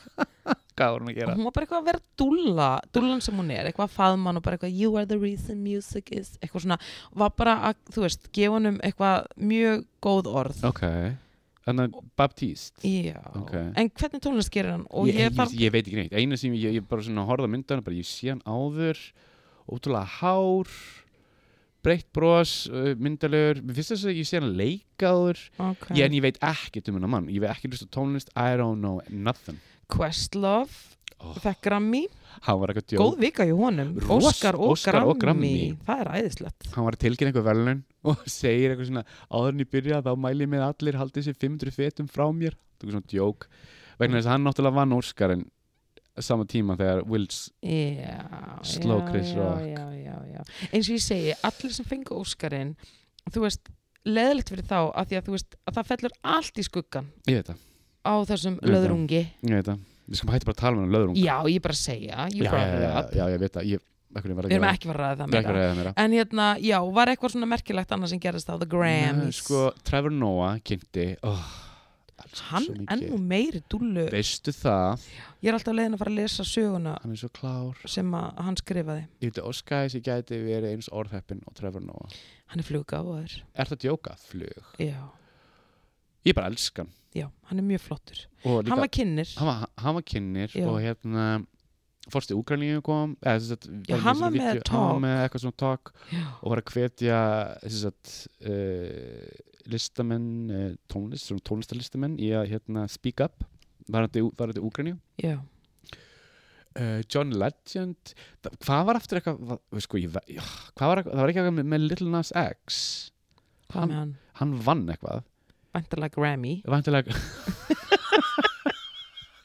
[SPEAKER 2] Hvað var hún að gera?
[SPEAKER 1] Hún var bara eitthvað að vera dúlla Dúllan sem hún er, eitthvað að faðmann og bara eitthvað You are the reason music is Eitthvað svona, var bara að, þú veist, gefa honum eitthvað mjög góð orð
[SPEAKER 2] Ok, þannig að Baptiste
[SPEAKER 1] Já,
[SPEAKER 2] Ok.
[SPEAKER 1] en hvernig tónlist gerir hann? Og
[SPEAKER 2] ég,
[SPEAKER 1] ég,
[SPEAKER 2] ég,
[SPEAKER 1] þarf,
[SPEAKER 2] ég veit ekki neitt Eina sem ég, ég bara svona horfði á myndan bara, Ég sé hann áður Ótrúlega hár Breitt bros, uh, myndalegur Mér finnst þess að ég sé hann leika áður
[SPEAKER 1] ok
[SPEAKER 2] Ég, en ég veit ekkert um hennar mann, ég veit ekki hlust á tónlist, I don't know nothing.
[SPEAKER 1] Questlove,
[SPEAKER 2] Oh.
[SPEAKER 1] fekk Grammy
[SPEAKER 2] Hann var eitthvað djóð,
[SPEAKER 1] Góð vika í honum,
[SPEAKER 2] Ros-
[SPEAKER 1] Óskar og,
[SPEAKER 2] Óskar og Grammy.
[SPEAKER 1] Það er æðislegt
[SPEAKER 2] hann var að tilkynna eitthvað velun [LAUGHS] og segir eitthvað svona, áður en ég byrja þá mæli ég með að allir haldið sér 500 fetum frá mér, það er svona djók. Vegna þess að hann náttúrulega vann Óskar en sama tíma þegar Wills,
[SPEAKER 1] Já,
[SPEAKER 2] Sló
[SPEAKER 1] já,
[SPEAKER 2] Chris
[SPEAKER 1] já,
[SPEAKER 2] Rock.
[SPEAKER 1] já, já, já. eins og ég segi, allir sem fengu Óskarinn þú veist, leðilegt fyrir þá að því að þú veist, að það fellur allt í skuggan
[SPEAKER 2] ég veit það,
[SPEAKER 1] á þessum
[SPEAKER 2] Ég veit það.
[SPEAKER 1] löðrungi
[SPEAKER 2] ég veit það. Við skum hætti bara að tala með hann löðrung.
[SPEAKER 1] já, ég bara segja, you
[SPEAKER 2] já, já,
[SPEAKER 1] brought it
[SPEAKER 2] já,
[SPEAKER 1] up
[SPEAKER 2] já, ég veit það, ég, ekkur
[SPEAKER 1] við
[SPEAKER 2] var ekki
[SPEAKER 1] erum ekki fara að ræða það
[SPEAKER 2] ekki að
[SPEAKER 1] meira
[SPEAKER 2] reyða mér að.
[SPEAKER 1] en hérna, já, var eitthvað svona merkilegt annað sem gerist á The
[SPEAKER 2] Nei,
[SPEAKER 1] Grammys
[SPEAKER 2] Sko, Trevor Noah kynnti, oh, elska
[SPEAKER 1] hann
[SPEAKER 2] svo mikið.
[SPEAKER 1] enn og meiri dúllu
[SPEAKER 2] Veistu það,
[SPEAKER 1] ég er alltaf leiðin að fara að lesa söguna
[SPEAKER 2] hann er svo klár.
[SPEAKER 1] sem að hann skrifaði
[SPEAKER 2] Ég veit að Óskæs ég gæti verið eins orðheppin og Trevor Noah.
[SPEAKER 1] hann er fluggáður,
[SPEAKER 2] Er það djóka? Flug.
[SPEAKER 1] já,
[SPEAKER 2] Ég bara elska hann.
[SPEAKER 1] já, hann er mjög flottur
[SPEAKER 2] Og líka,
[SPEAKER 1] hann var kynnir
[SPEAKER 2] hann var, hann var kynnir
[SPEAKER 1] Já.
[SPEAKER 2] og hérna, fórstu Úkraníu kom, eða þess að,
[SPEAKER 1] Já, hann var með
[SPEAKER 2] Hann
[SPEAKER 1] talk.
[SPEAKER 2] var með eitthvað svona talk
[SPEAKER 1] já
[SPEAKER 2] og var að hvetja, þess að, uh, listamenn, uh, tónlist, svona tónlistarlistamenn í að, hérna, speak up, var þetta Úkraníu.
[SPEAKER 1] Já,
[SPEAKER 2] Uh, John Legend, það, hvað var aftur eitthvað, va- sko, ég, ve- já, hvað var eitthvað, það var ekki eitthvað með, með Little Nas X,
[SPEAKER 1] hvað
[SPEAKER 2] Hann-
[SPEAKER 1] með hann?
[SPEAKER 2] hann vann eitthvað.
[SPEAKER 1] Væntalega Grammy
[SPEAKER 2] Vantilega [LAUGHS]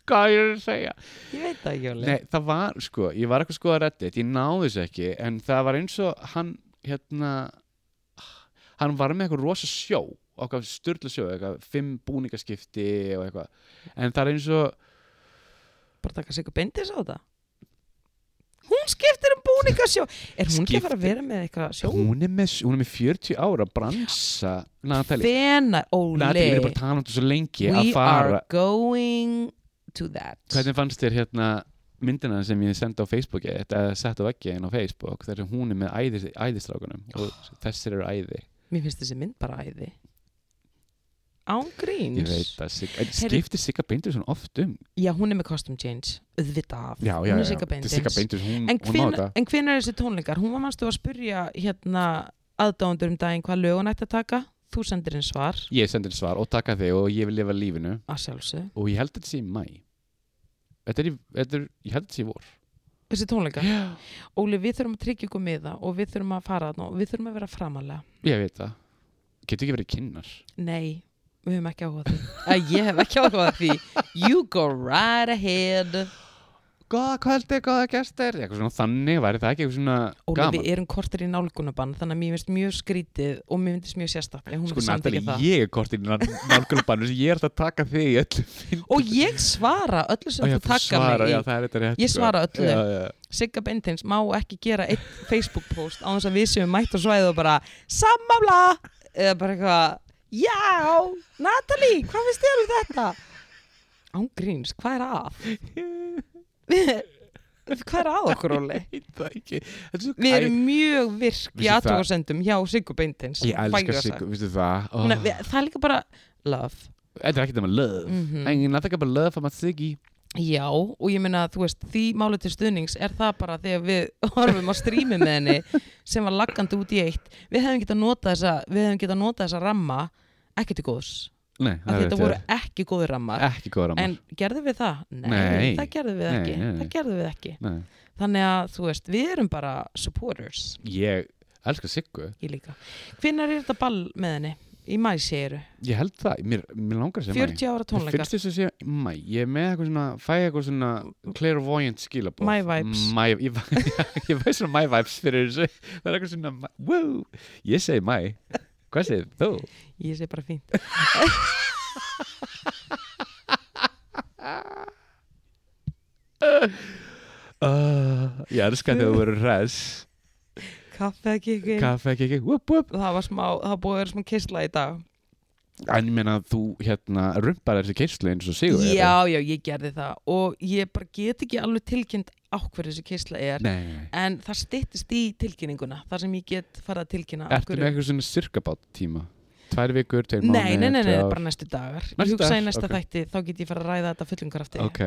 [SPEAKER 2] Hvað er það að segja?
[SPEAKER 1] Ég veit það ekki alveg
[SPEAKER 2] Nei, það var, sko, ég var eitthvað sko að reddit Ég náði þessu ekki, en það var eins og Hann, hérna Hann var með eitthvað rosa sjó Okkar styrla sjó, eitthvað Fimm búningaskipti og eitthvað En það er eins og,
[SPEAKER 1] Bara taka sig og bendis á það Hún skiptir um búningasjó Er hún ekki að fara að vera með eitthvað sjó?
[SPEAKER 2] hún er með, hún er með 40 ára Bransa, Natalie
[SPEAKER 1] Hvenar,
[SPEAKER 2] Natalie, við
[SPEAKER 1] Óli
[SPEAKER 2] erum bara að tala um þetta svo lengi Að
[SPEAKER 1] We are
[SPEAKER 2] fara,
[SPEAKER 1] going to that
[SPEAKER 2] hvernig fannst þér hérna myndina sem ég sendi á Facebooki eða sett á veggi einn á Facebook þar sem hún er með æðis, æðistrákunum og þessir eru æði
[SPEAKER 1] Mér finnst þessi mynd bara æði Án gríns
[SPEAKER 2] ég veit að sig, en
[SPEAKER 1] Heyrðu-
[SPEAKER 2] skiptir Sigga Beindur svona oft um
[SPEAKER 1] Já, hún er með costume change Auðvitað af Hún er Sigga
[SPEAKER 2] Þetta er Sigga
[SPEAKER 1] Bendins
[SPEAKER 2] Beindur, hún,
[SPEAKER 1] En
[SPEAKER 2] hún má
[SPEAKER 1] hvenær
[SPEAKER 2] þetta
[SPEAKER 1] en hvenær eru þessi tónleikar? Hún var mannstu að spurja hérna aðdándur um daginn hvað lög hún ætti að taka þú sendir inn svar
[SPEAKER 2] Ég sendir svar og taka þig og ég vil lifa lífinu
[SPEAKER 1] að sjálfsög,
[SPEAKER 2] og ég held að þetta sé í mæ Þetta er, í, þetta er ég held að þetta sé í vor
[SPEAKER 1] þessi tónleika
[SPEAKER 2] Já,
[SPEAKER 1] Óli, við þurfum að tryggja ykkur miða og við þurfum að fara þarna og við þurfum að vera framalega
[SPEAKER 2] ég veit það Getur ekki verið kynnar
[SPEAKER 1] Nei, við höfum ekki áhuga á [LAUGHS] því að Ég hef ekki áhuga á því You go right ahead
[SPEAKER 2] Góða kvöldi, góða gestir Eitthvað svona þannig, væri það ekki eitthvað svona
[SPEAKER 1] Óli,
[SPEAKER 2] gaman
[SPEAKER 1] við erum kortir í nálgunabann þannig að mér finnst mjög skrítið og mér finnst mjög sérstakt en hún
[SPEAKER 2] Sko
[SPEAKER 1] sko,
[SPEAKER 2] Natalie,
[SPEAKER 1] samtækja það
[SPEAKER 2] ég er kortinn nálgulbannu sem ég er alltaf að taka þig í öllu
[SPEAKER 1] Og ég svara öllu sem
[SPEAKER 2] Ó, já,
[SPEAKER 1] þú taka
[SPEAKER 2] svarar,
[SPEAKER 1] mig í
[SPEAKER 2] já, það er þetta rétt,
[SPEAKER 1] Ég
[SPEAKER 2] sko.
[SPEAKER 1] svara öllu.
[SPEAKER 2] já, já.
[SPEAKER 1] Sigga Bentins má ekki gera eitt Facebook post á þess að við séum mætt á svæðu og bara sammála eða bara eitthvað Já, Natalie, hvað finnst þér um þetta? Ángríns, hvað er að? [LAUGHS] hvað er að okkur, Óli?
[SPEAKER 2] Ég veit það ekki. Þetta er svo-
[SPEAKER 1] Við erum
[SPEAKER 2] Æ,
[SPEAKER 1] mjög virk í
[SPEAKER 2] Vissi það-
[SPEAKER 1] aðtókasendum hjá Siggu Beintins
[SPEAKER 2] Ég elska sig, vissu það Ó,
[SPEAKER 1] Nei, við- Það er líka bara love
[SPEAKER 2] Þetta er ekkert um að love
[SPEAKER 1] Mhm.
[SPEAKER 2] Engin að taka bara love um að maður sig í
[SPEAKER 1] Já, og ég meina, þú veist, því máli til stuðnings er það bara þegar við [LAUGHS] horfum á strími með henni sem var laggandi út í eitt Við hefum getað notað þessa, við hefum getað notað þessa ramma ekki til góðs
[SPEAKER 2] Nei,
[SPEAKER 1] Af því
[SPEAKER 2] rétt
[SPEAKER 1] Þetta
[SPEAKER 2] hjá
[SPEAKER 1] voru ekki góði rammar
[SPEAKER 2] þér. ekki góð ramar
[SPEAKER 1] En gerðum við það? Nei,
[SPEAKER 2] Nei.
[SPEAKER 1] það gerðum við
[SPEAKER 2] Nei,
[SPEAKER 1] ekki
[SPEAKER 2] nei, nei.
[SPEAKER 1] Það gerðum við ekki
[SPEAKER 2] Nei.
[SPEAKER 1] Þannig að, þú veist, við erum bara supporters
[SPEAKER 2] Ég elska Siggu
[SPEAKER 1] Ég líka Hvenær er þetta ball með henni? Í mæ séru
[SPEAKER 2] Ég held það, mér, mér langar að segja mæ
[SPEAKER 1] 40 ára
[SPEAKER 2] Mér
[SPEAKER 1] tónleikar
[SPEAKER 2] finnst þess að segja mæ Ég er með eitthvað svona, fæ eitthvað svona clairvoyant skilabóð
[SPEAKER 1] My vibes.
[SPEAKER 2] my, ég, ég, ég fæ [LAUGHS] svona my vibes fyrir þessu Það er eitthvað svona, my- wow Ég segi mæ, hvað segir þú?
[SPEAKER 1] Ég sé bara fínt
[SPEAKER 2] Uh, ég elska þegar þú verður res
[SPEAKER 1] Kaffe ekki ekki
[SPEAKER 2] Kaffe ekki ekki, whoop whoop
[SPEAKER 1] Það var smá, það var búið að vera smá kistla í dag
[SPEAKER 2] En ég meina þú hérna rumpar þessi keislu eins og sigur
[SPEAKER 1] Já, já, ég gerði það Og ég bara get ekki alveg tilkynnt á hverju þessi kistla er
[SPEAKER 2] Nei, nei, nei.
[SPEAKER 1] En það styttist í tilkynninguna Þar sem ég get farið að tilkynna af
[SPEAKER 2] Ertu með eitthvað svona sirkabát tíma? Tvær vikur, tveir
[SPEAKER 1] Nei,
[SPEAKER 2] mánuðir,
[SPEAKER 1] nei, nei, nei,
[SPEAKER 2] tvö ár?
[SPEAKER 1] bara næstu dagar Ég
[SPEAKER 2] Næstu
[SPEAKER 1] hugsa í
[SPEAKER 2] dagar,
[SPEAKER 1] næsta
[SPEAKER 2] ok.
[SPEAKER 1] þætti, þá get ég farið að ræða þetta fullungarafti
[SPEAKER 2] Ok,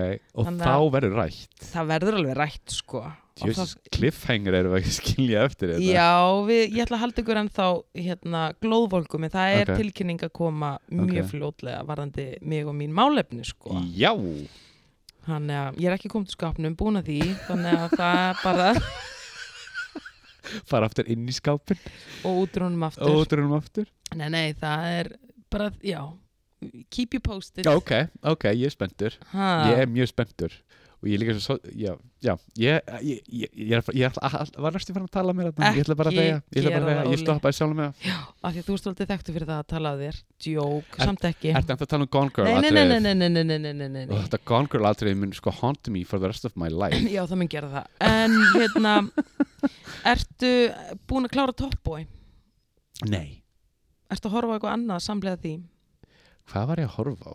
[SPEAKER 2] og
[SPEAKER 1] Þannig
[SPEAKER 2] þá
[SPEAKER 1] að-
[SPEAKER 2] verður rætt
[SPEAKER 1] Það verður alveg rætt, sko Og
[SPEAKER 2] Jesus,
[SPEAKER 1] það-
[SPEAKER 2] cliffhanger erum við ekki að skilja eftir þetta
[SPEAKER 1] Já, við, ég ætla að halda ykkur ennþá hérna, glóðvolgum en það er
[SPEAKER 2] Ok.
[SPEAKER 1] tilkynning að koma mjög
[SPEAKER 2] Ok.
[SPEAKER 1] fljótlega varðandi mig og mín málefni sko.
[SPEAKER 2] Já
[SPEAKER 1] Þannig að ég er ekki komið til skapnum búin að því þannig að það er bara
[SPEAKER 2] fara aftur inn í skápin
[SPEAKER 1] og útrunum aftur.
[SPEAKER 2] og drunum aftur
[SPEAKER 1] Nei, nei, það er bara, já, keep you posted.
[SPEAKER 2] Ok, ok, ég er spenntur
[SPEAKER 1] Ha,
[SPEAKER 2] Ég er mjög spenntur og ég er líka svo, svo- já, já ég, ég, ég, ég, er- ég, ég var næstu fann að tala mér þarna, ég ætla bara að
[SPEAKER 1] Ekki
[SPEAKER 2] þegja ég ætla bara að
[SPEAKER 1] gera það,
[SPEAKER 2] þegja, ég
[SPEAKER 1] Óli.
[SPEAKER 2] stoppaði sjálf með það
[SPEAKER 1] af því að þú ert svolítið þekktu fyrir það að tala að þér. Jók,
[SPEAKER 2] Er-
[SPEAKER 1] samt ekki.
[SPEAKER 2] Ertu ennþá að tala um Gone Girl
[SPEAKER 1] nei, nei, nei, nei,
[SPEAKER 2] atriðið?
[SPEAKER 1] nei, nei, nei, nei, nei, nei,
[SPEAKER 2] Og
[SPEAKER 1] nei.
[SPEAKER 2] þetta Gone Girl atriði mun sko haunt me for the rest of my life
[SPEAKER 1] [CLEARS THROAT] Já, það mun gera það. En hérna, ertu búin að klára Top Boy?
[SPEAKER 2] Nei,
[SPEAKER 1] Ertu að horfa á eitthvað annað samlega því?
[SPEAKER 2] hvað var ég að horfa á?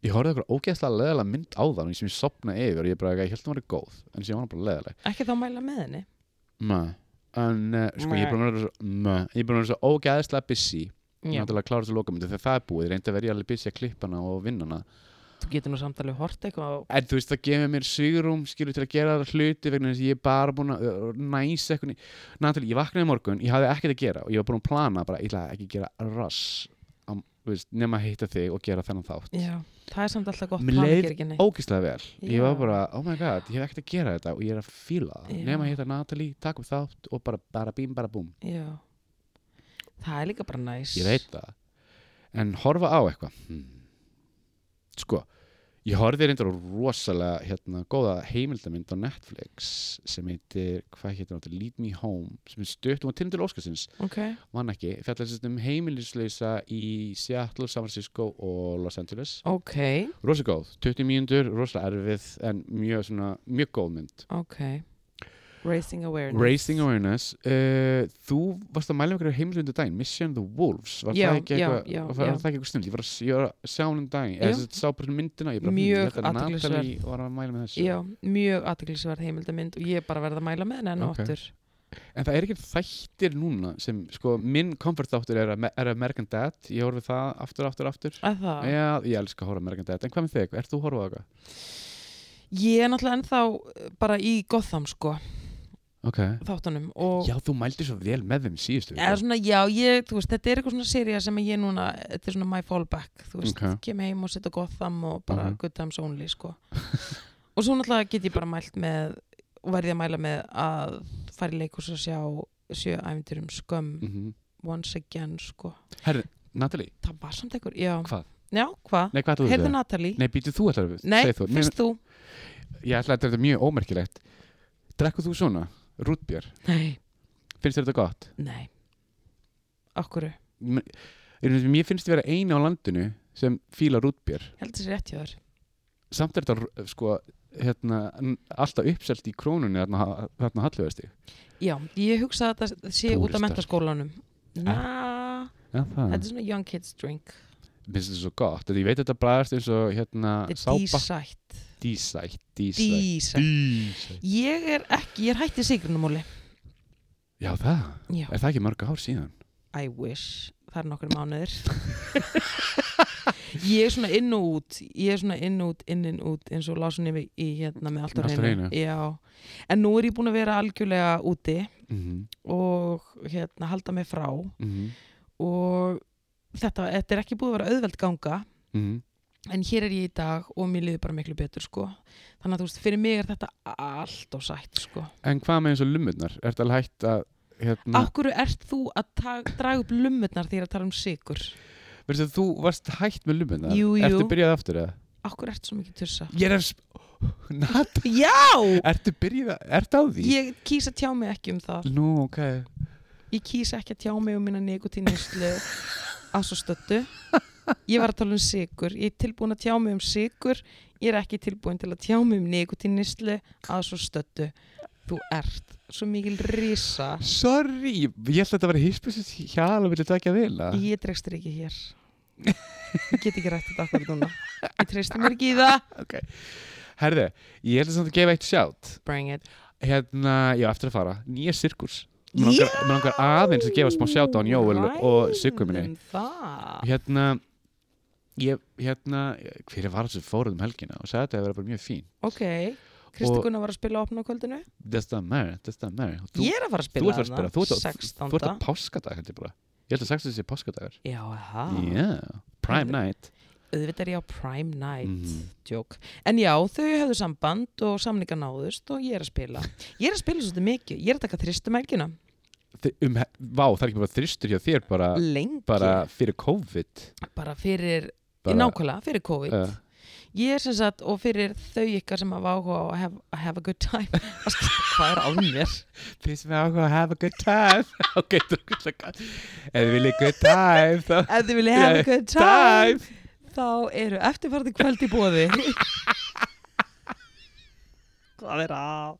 [SPEAKER 2] Ég horfði okkur ógeðslega leðalega mynd á þann sem ég sopnaði yfir og ég bara, ég held hún var góð en sem ég var hún bara leðalega
[SPEAKER 1] Ekki þá mæla með henni?
[SPEAKER 2] Mæ, en uh, sko ég er búin að vera svo mæ, ég er búin að vera svo ógeðslega busy náttúrulega að klára þessu lokamöndu þegar það er búið, ég reyndi að vera ég alveg busy að klippa hana og vinna hana
[SPEAKER 1] Þú getur nú samt alveg hort eitthvað á...
[SPEAKER 2] en þú veist það gefur mér sigurum skilur til að gera það hluti vegna þess að ég er bara búin að uh, næsa eitthvað ný- Natalie, ég vaknaði í morgun, ég hafði ekkert að gera og ég var búin að plana bara, ég ætla ekki að gera rass á, þú veist, nema að hitta þig og gera þennan þátt
[SPEAKER 1] Já, það er samt alltaf gott.
[SPEAKER 2] Mér
[SPEAKER 1] það
[SPEAKER 2] leið
[SPEAKER 1] gerir ekki neitt.
[SPEAKER 2] ógislega vel, ég
[SPEAKER 1] Já.
[SPEAKER 2] var bara oh my god, ég hef ekkert að gera þetta og ég er að fíla það
[SPEAKER 1] Já.
[SPEAKER 2] nema að hitta Natalie, takk um þátt og bara, bara bím, bara búm,
[SPEAKER 1] Já. Það er líka bara næs.
[SPEAKER 2] ég veit það en horfa á eitthvað hmm. sko ég horfði reyndar á rosalega hérna, góða heimildamind á Netflix sem heitir, hvað heitir hann, Lead Me Home sem er stutt, hún var tilnum til Óskarsins
[SPEAKER 1] Ok.
[SPEAKER 2] vann ekki, fjallast um heimilisleysa í Seattle, San Francisco og Los Angeles,
[SPEAKER 1] Ok,
[SPEAKER 2] rosa góð 20 mínútur, rosa erfið en mjög, svona, mjög góð mynd
[SPEAKER 1] ok Raising Awareness
[SPEAKER 2] Raising Awareness uh, þú varst að mæla með einhverju heimilundu daginn Mission the Wolves var
[SPEAKER 1] Já,
[SPEAKER 2] það ekki
[SPEAKER 1] já,
[SPEAKER 2] eitthvað
[SPEAKER 1] já,
[SPEAKER 2] var
[SPEAKER 1] já.
[SPEAKER 2] það ekki eitthvað snill ég var að, s- ég var að sjá hún um daginn
[SPEAKER 1] Já.
[SPEAKER 2] eða þess að sá bara myndina ég bara,
[SPEAKER 1] Mjög
[SPEAKER 2] hm, ég held að
[SPEAKER 1] athyglisverð.
[SPEAKER 2] Natalie var að mæla með þessu
[SPEAKER 1] Já, mjög athyglisverð heimildamind og ég er bara verið að mæla með henni enn og
[SPEAKER 2] Ok.
[SPEAKER 1] aftur
[SPEAKER 2] en það er ekki þættir núna sem sko minn comfort þáttur er, Amer- er American Dad ég horfi það aftur, aftur, aftur
[SPEAKER 1] að það,
[SPEAKER 2] já, ég elska að horfa á American Dad en hvað með þig, ert þú að horfa á það?
[SPEAKER 1] Ég er náttúrulega ennþá eh, bara í Gotham sko
[SPEAKER 2] ok
[SPEAKER 1] þáttunum og
[SPEAKER 2] Já, þú mældi svo vel með þeim síðustu
[SPEAKER 1] eða
[SPEAKER 2] viku.
[SPEAKER 1] svona, já, ég, þú veist, þetta er eitthvað svona seria sem ég núna, þetta er svona my fallback þú veist,
[SPEAKER 2] Ok.
[SPEAKER 1] kem heim og setja Gotham og bara
[SPEAKER 2] Mhm.
[SPEAKER 1] good times only, sko [LAUGHS] og svo náttúrulega get ég bara mælt með og verði að mæla með að fara í leikus að sjá sjö æfindurum skömm
[SPEAKER 2] Mhm.
[SPEAKER 1] once again, sko
[SPEAKER 2] Herri, Natalie,
[SPEAKER 1] það var samt eitthvað, já,
[SPEAKER 2] hvað?
[SPEAKER 1] já, hvað
[SPEAKER 2] Nei, hvað ætlaðu
[SPEAKER 1] heyrðu
[SPEAKER 2] þetta?
[SPEAKER 1] Natalie,
[SPEAKER 2] Nei, býtu þú ætlaðu við
[SPEAKER 1] nei,
[SPEAKER 2] segð þú.
[SPEAKER 1] fyrst þú
[SPEAKER 2] Ég ætla að þetta er mjög ómerkilegt Drekku þú svona, rútbjör
[SPEAKER 1] nei,
[SPEAKER 2] Finnst þér þetta gott?
[SPEAKER 1] nei okkur,
[SPEAKER 2] M- í rauninni, Mér finnst þér vera eina á landinu sem fíla rútbjör
[SPEAKER 1] heldur þessi rétt hjá þér
[SPEAKER 2] Samt er þetta r- sko hérna, n- alltaf uppselt í krónunni þarna, ha- þarna hallöðasti
[SPEAKER 1] já, ég hugsa að þetta sé út af
[SPEAKER 2] Túristar.
[SPEAKER 1] mentaskólanum na,
[SPEAKER 2] Já, það
[SPEAKER 1] þetta er svona young kids drink
[SPEAKER 2] finnst þetta svo gott Þetta- Ég veit að þetta bræðast eins og hérna,
[SPEAKER 1] Þetta er
[SPEAKER 2] sápa
[SPEAKER 1] dísætt
[SPEAKER 2] Dísætt, dísætt
[SPEAKER 1] Ah, Dísætt
[SPEAKER 2] Dísætt
[SPEAKER 1] Ég er ekki, ég er hætti sigrunumóli
[SPEAKER 2] Já, það
[SPEAKER 1] Já,
[SPEAKER 2] Er það ekki mörg ár síðan?
[SPEAKER 1] I wish Það er nokkur mánuðir [LAUGHS] Ég er svona inn og út Ég er svona inn og út, inn inn út eins og lásun yfir í hérna með allt á
[SPEAKER 2] Allt á
[SPEAKER 1] reynu
[SPEAKER 2] hreinu.
[SPEAKER 1] Já, en nú er ég búin að vera algjörlega úti
[SPEAKER 2] Mm -hmm.
[SPEAKER 1] og hérna halda mig frá og þetta, þetta er ekki búið að vera auðveld ganga en hér er ég í dag og mér liður bara miklu betur sko þannig að þú veist, fyrir mig er þetta allt og sætt sko
[SPEAKER 2] En hvað með eins og lumurnar? Er þetta alveg hægt að hérna,
[SPEAKER 1] Af hverju ert þú að ta- draga upp lummurnar þegar að tala um sigur?
[SPEAKER 2] Verður þú varst hægt með lumurnar?
[SPEAKER 1] Jú, jú.
[SPEAKER 2] Ertu byrjað aftur eða?
[SPEAKER 1] Af hverju ert svo mikið tussa?
[SPEAKER 2] Ég er [LAUGHS] Nata,
[SPEAKER 1] Já!
[SPEAKER 2] ertu byrjað Ertu á því?
[SPEAKER 1] Ég kýs að tjá mig ekki um það.
[SPEAKER 2] Nú, ok
[SPEAKER 1] Ég kýs ekki að tjá mig um minna nikotínnuslu að svo stöttu. Ég var að tala um sigur. Ég er tilbúin að tjá mig um sigur. Ég er ekki tilbúin til að tjá mig um nikotínnuslu að svo stöttu. Þú ert svo mikil risa.
[SPEAKER 2] Sorry, ég, ég held að þetta var hispusins hjal og vilja taka vel að
[SPEAKER 1] Ég drekstir ekki hér. Ég get ekki rætt þetta akkur núna. Ég treysti mér ekki í það.
[SPEAKER 2] Herði, ég held að þetta gefa eitt sjátt
[SPEAKER 1] Bring it.
[SPEAKER 2] Hérna, já, eftir að fara Nýja sirkurs Mér
[SPEAKER 1] Já!
[SPEAKER 2] langar, mig langar aðeins að gefa smá sjátt á hann Jóel og Siggu minni
[SPEAKER 1] Ræðum það.
[SPEAKER 2] hérna ég, hérna, hver var það sem fóruð um helgina og sagði að þetta að vera bara mjög fín
[SPEAKER 1] Ok, Kristi
[SPEAKER 2] Og-
[SPEAKER 1] Gunnar var að spila á opnarkvöldinu
[SPEAKER 2] That's not Mary, that's not Mary og þú,
[SPEAKER 1] Ég er að fara að
[SPEAKER 2] þú
[SPEAKER 1] spila
[SPEAKER 2] ert að
[SPEAKER 1] þarna,
[SPEAKER 2] spila, þú ert að,
[SPEAKER 1] 16.
[SPEAKER 2] þú ert að páskadag held ég bara, ég held að 16 sé páskadagur
[SPEAKER 1] Já, aha,
[SPEAKER 2] yeah, prime night
[SPEAKER 1] auðvitað er ég á Prime Night
[SPEAKER 2] Mhm.
[SPEAKER 1] joke. En já, þau höfðu samband og samningar náðust og ég er að spila Ég er að spila svolítið mikið, ég er að taka þristum helgina
[SPEAKER 2] Þi- um, he- Vá, það er ekki bara þristur hjá þér bara,
[SPEAKER 1] Lengi,
[SPEAKER 2] bara
[SPEAKER 1] bara,
[SPEAKER 2] fyrir COVID
[SPEAKER 1] fyrir
[SPEAKER 2] bara,
[SPEAKER 1] Nákvæmlega, fyrir COVID
[SPEAKER 2] uh,
[SPEAKER 1] Ég er sem sagt, og fyrir þau ykkar sem hafa áhuga á að have, að have a good time [LAUGHS] Að skilja Hvað er á mér?
[SPEAKER 2] Please me out and have a good time [LAUGHS] Ok, þú veist að Ef þið viljið good time þá
[SPEAKER 1] Ef þið viljið have a good time
[SPEAKER 2] Time
[SPEAKER 1] Þá eru eftirfarandi kvöld í bóði Hvað er að?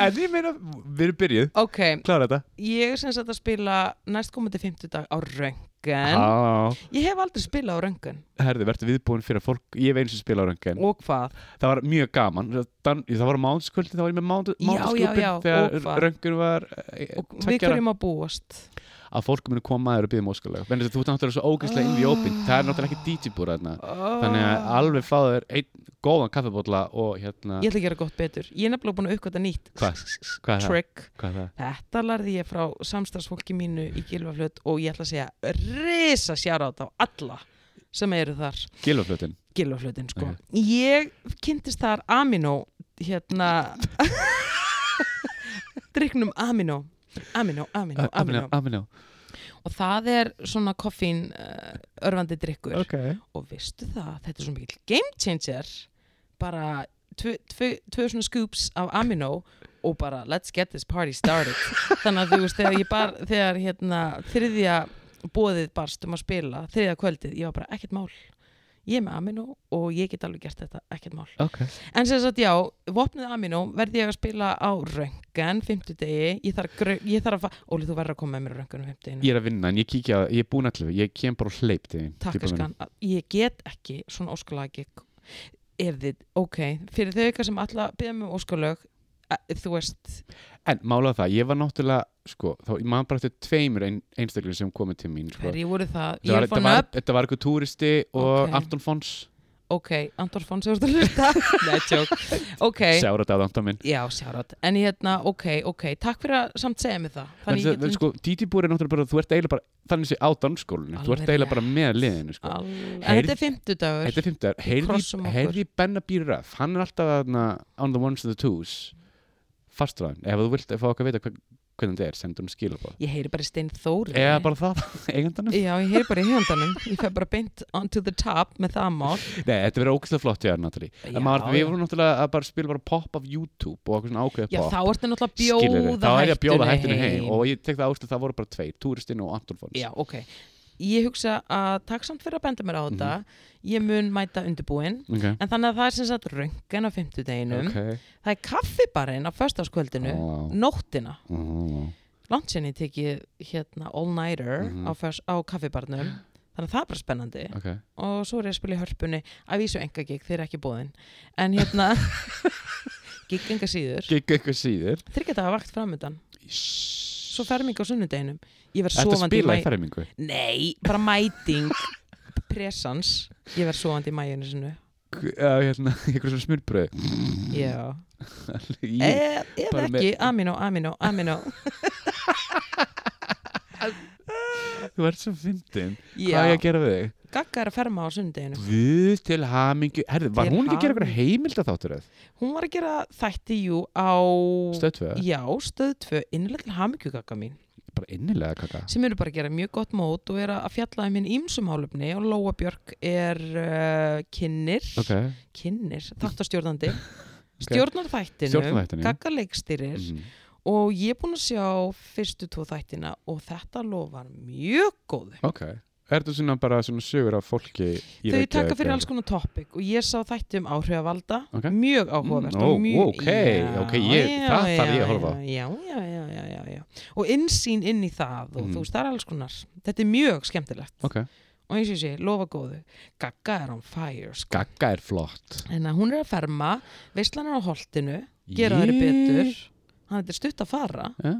[SPEAKER 2] En ég meina, við erum byrjuð
[SPEAKER 1] Ok,
[SPEAKER 2] Klára þetta
[SPEAKER 1] ég er sem sagt að spila næstkomandi fimmtudag á röngan
[SPEAKER 2] Há.
[SPEAKER 1] Ég hef aldrei spilað á röngan
[SPEAKER 2] herði, verður viðbúin fyrir að fólk ég hef eins og spila á röngan
[SPEAKER 1] Og hvað?
[SPEAKER 2] það var mjög gaman Dan, það var mánskvöldi, það var ég með
[SPEAKER 1] Já, já,
[SPEAKER 2] mánskvöldin
[SPEAKER 1] já, og hvað?
[SPEAKER 2] þegar röngun var eh,
[SPEAKER 1] Og við
[SPEAKER 2] tveggjara,
[SPEAKER 1] hverju maður búast?
[SPEAKER 2] að fólk muni koma að þér og býða móskalega þú ert náttúrulega svo ógeðslega inn við ópinn það er náttúrulega ekki DJ búra þarna þannig að alveg fá þér einn góðan kaffibólla og hérna,
[SPEAKER 1] Ah. Ég ætla að gera gott betur Ég er nefnilega búin að uppgöta nýtt
[SPEAKER 2] Hvað? hvað er það?
[SPEAKER 1] Trick
[SPEAKER 2] Hvað er það?
[SPEAKER 1] Þetta larði ég frá samstagsfólki mínu í Gilvaflöt og ég ætla að segja risa sjára á alla sem eru þar
[SPEAKER 2] Gilvaflutin
[SPEAKER 1] gilvaflutin sko. Ég kynntist þar Amino hérna dryknum Amino Amino,
[SPEAKER 2] Ah,
[SPEAKER 1] Amino, Amino
[SPEAKER 2] Amino
[SPEAKER 1] og það er svona koffín uh, örfandi drykkur
[SPEAKER 2] ok
[SPEAKER 1] og veistu það, þetta er svona mikill game changer bara tvö tvö- tvö svona scoops af Amino og bara let's get this party started þannig að þú veist þegar ég bar þegar hérna þriðja bóðið barst um að spila þriðja kvöldið, ég var bara ekkert mál ég er með Amino og ég get alveg gert þetta ekkert mál
[SPEAKER 2] ok
[SPEAKER 1] En sem sagt, já, vopnið Amino verði ég að spila á röngan 50 degi, ég þarf, að grau- ég þarf að fa- Óli, þú verður að koma með mér á röngan 50 deginu
[SPEAKER 2] ég er að vinna en ég kíkja á- ég er búin allir ég kem bara og hleyp til þín
[SPEAKER 1] Takk
[SPEAKER 2] djúpa mín.
[SPEAKER 1] eskan, ég get ekki svona óskalagi er þið, ok fyrir þau ykkar sem alla byrja með um óskalög eh, þú veist,
[SPEAKER 2] en mála það ég var náttúrulega sko þá ég man bara eftir tveimur ein, einstaklega sem komið til mín sko.
[SPEAKER 1] hverju voru það
[SPEAKER 2] Þetta
[SPEAKER 1] ég
[SPEAKER 2] var,
[SPEAKER 1] er
[SPEAKER 2] þetta
[SPEAKER 1] fann
[SPEAKER 2] var,
[SPEAKER 1] upp,
[SPEAKER 2] þetta var eitthvað túristi og
[SPEAKER 1] Ok.
[SPEAKER 2] Anton Fons
[SPEAKER 1] ok, Andor Fons hefur þetta
[SPEAKER 2] [LAUGHS]
[SPEAKER 1] hlusta Nei, tjók, ok
[SPEAKER 2] Sjára þetta á andan minn
[SPEAKER 1] Já, sjárat, en ég hérna, ok, ok Takk fyrir að samt segja mig það
[SPEAKER 2] Þannig
[SPEAKER 1] ég
[SPEAKER 2] að
[SPEAKER 1] get-
[SPEAKER 2] sko, DD-búr er náttúrulega bara, þú ert eiginlega bara, þannig sé á dansskólinu, þú
[SPEAKER 1] Alveg
[SPEAKER 2] ert eiginlega bara með liðinu, sko.
[SPEAKER 1] Al- En
[SPEAKER 2] Heyrð-
[SPEAKER 1] þetta er fimmtudagur
[SPEAKER 2] Þetta er fimmtar,
[SPEAKER 1] krossum okkur.
[SPEAKER 2] heyrði Benna Bíraf, hann er alltaf aðna on the ones and the twos, fastraðan, ef þú vilt að fá okkar að vita hver- hvernig þetta er, sendur hún skilabóð.
[SPEAKER 1] Ég heyri bara í Stein Þóri
[SPEAKER 2] Eða bara það, [LAUGHS] eigandanum.
[SPEAKER 1] Já, ég heyri bara í hugandanum Ég fæ bara beint on to the top með það mál
[SPEAKER 2] Nei, þetta verður ógæslega flott hjá þér, Natalie.
[SPEAKER 1] Já,
[SPEAKER 2] En maður, við
[SPEAKER 1] já.
[SPEAKER 2] vorum náttúrulega að bara spila bara pop af YouTube og okkur svona ákveðið
[SPEAKER 1] Já,
[SPEAKER 2] pop.
[SPEAKER 1] þá ertu náttúrulega að
[SPEAKER 2] Skilurðu,
[SPEAKER 1] bjóða
[SPEAKER 2] þá er ég að bjóða
[SPEAKER 1] hættunni
[SPEAKER 2] hættinu heim og ég tek það ástu það voru bara tveir, Túristinn og Antolfons
[SPEAKER 1] Já, ok Ég hugsa að takk samt fyrir að benda mér á
[SPEAKER 2] Mhm.
[SPEAKER 1] þetta Ég mun mæta undirbúin
[SPEAKER 2] okay.
[SPEAKER 1] En þannig að það er sem sagt röngan á fimmtudeginum
[SPEAKER 2] okay.
[SPEAKER 1] Það er kaffibarinn á föstaskvöldinu
[SPEAKER 2] Ó,
[SPEAKER 1] Nóttina
[SPEAKER 2] ó, ó.
[SPEAKER 1] Langt sinni tekið hérna all-nighter
[SPEAKER 2] Mhm.
[SPEAKER 1] á, föst- á kaffibarnum Þannig að það er bara spennandi
[SPEAKER 2] Ok.
[SPEAKER 1] og svo er ég að spila í hörpunni að vísu enga gig, þeir eru ekki bóðin en
[SPEAKER 2] [LAUGHS]
[SPEAKER 1] hérna gig enga síður,
[SPEAKER 2] Gigg eitthvað síður
[SPEAKER 1] þryggja daga vakt framöndan svo ferming á sunnudeginum ég verð
[SPEAKER 2] Þetta
[SPEAKER 1] sofandi
[SPEAKER 2] spila
[SPEAKER 1] mæ-
[SPEAKER 2] í fermingu
[SPEAKER 1] Nei, bara mæting presans, ég verð sofandi í mæjunni sinu,
[SPEAKER 2] K- Já, hérna, [LAUGHS] eitthvað svona smurbröð
[SPEAKER 1] já
[SPEAKER 2] Í-
[SPEAKER 1] e, eða
[SPEAKER 2] bara með-
[SPEAKER 1] ekki, amino, amino, amino
[SPEAKER 2] [LAUGHS] Þú ert svo fyndin Hvað er ég
[SPEAKER 1] já,
[SPEAKER 2] að gera við þig?
[SPEAKER 1] Gagga er að ferma á sunnudeginu
[SPEAKER 2] Guð til hamingu Herði, var
[SPEAKER 1] Til
[SPEAKER 2] hún ekki að gera eitthvað
[SPEAKER 1] hamingju.
[SPEAKER 2] heimild að þáttur eða?
[SPEAKER 1] hún var að gera þætti jú á
[SPEAKER 2] Stöðtvö
[SPEAKER 1] já, stöð 2, innlega til hamingju Gagga mín
[SPEAKER 2] Bara innilega kaka
[SPEAKER 1] sem eru bara að gera mjög gott mót og eru að fjalla um hinn ímsum hálfni og Lóa Björk er uh, kynnir,
[SPEAKER 2] Ok
[SPEAKER 1] kynnir,
[SPEAKER 2] [LAUGHS]
[SPEAKER 1] þáttastjórnandi stjórnar þættinu,
[SPEAKER 2] Stjórnar þættinum.
[SPEAKER 1] gagga leikstýrir
[SPEAKER 2] Mhm.
[SPEAKER 1] og ég er búin að sjá fyrstu tvo þættina og þetta lofar mjög góðu.
[SPEAKER 2] Ok Er þetta svona bara svona sögur af fólki í
[SPEAKER 1] Þau
[SPEAKER 2] Reykjavík
[SPEAKER 1] taka fyrir
[SPEAKER 2] eða-
[SPEAKER 1] alls konar topic og ég sá þætti um áhrifavalda,
[SPEAKER 2] Ok.
[SPEAKER 1] mjög áhugavert
[SPEAKER 2] Mm, ó,
[SPEAKER 1] og mjög...
[SPEAKER 2] ok, ok, ég- það þarf ég að horfa á.
[SPEAKER 1] Já, já, já, já, já, já. Og innsýn inn í það og
[SPEAKER 2] Mhm.
[SPEAKER 1] þú veist, það er alls konar. Þetta er mjög skemmtilegt.
[SPEAKER 2] Ok
[SPEAKER 1] og eins og ég sé, lofa góðu Gagga er on fire sko.
[SPEAKER 2] Gagga er flott
[SPEAKER 1] en að hún er að ferma veislan er á holtinu, gera þeirri betur hann er stutt að fara
[SPEAKER 2] ja?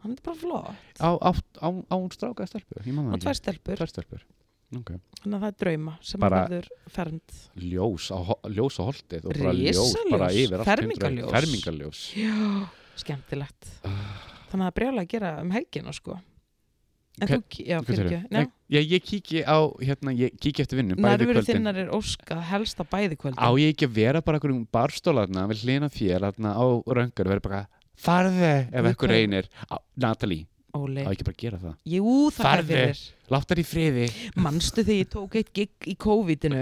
[SPEAKER 1] hann er bara flott,
[SPEAKER 2] á, á, á, á hún stráka eða stelpu? Ég man
[SPEAKER 1] og
[SPEAKER 2] það
[SPEAKER 1] tvær
[SPEAKER 2] ekki
[SPEAKER 1] stelpur
[SPEAKER 2] Tvær stelpur okay.
[SPEAKER 1] þannig að það er drauma sem bara,
[SPEAKER 2] Bara-
[SPEAKER 1] verður fermt
[SPEAKER 2] Ljós á, ho- ljós á holdið og bara ljós,
[SPEAKER 1] Risaljós,
[SPEAKER 2] bara yfir allt heim til
[SPEAKER 1] fermingarljós.
[SPEAKER 2] Reykjavík. Fermingarljós
[SPEAKER 1] já, skemmtilegt þannig að það er brjálega að gera um helgina sko en
[SPEAKER 2] Hver-
[SPEAKER 1] þú, já,
[SPEAKER 2] Hvað segirðu?
[SPEAKER 1] fyrir ekki
[SPEAKER 2] Ég, ég kíki á, hérna, ég kíki eftir vinnu bæði
[SPEAKER 1] nærveru
[SPEAKER 2] kvöldin
[SPEAKER 1] þinnar er óskað helst að bæði kvöldin
[SPEAKER 2] Á ég ekki að vera bara einhverjum barstólarna við hlina þér hérna á röngar og vera bara farði ef
[SPEAKER 1] Guð,
[SPEAKER 2] eitthvað
[SPEAKER 1] hvað-
[SPEAKER 2] reynir á, Natalie,
[SPEAKER 1] Óli,
[SPEAKER 2] á ekki bara að gera það
[SPEAKER 1] jú það er
[SPEAKER 2] Farðu.
[SPEAKER 1] fyrir
[SPEAKER 2] Látt þær í friði
[SPEAKER 1] manstu þegar ég tók eitt gig í COVID-inu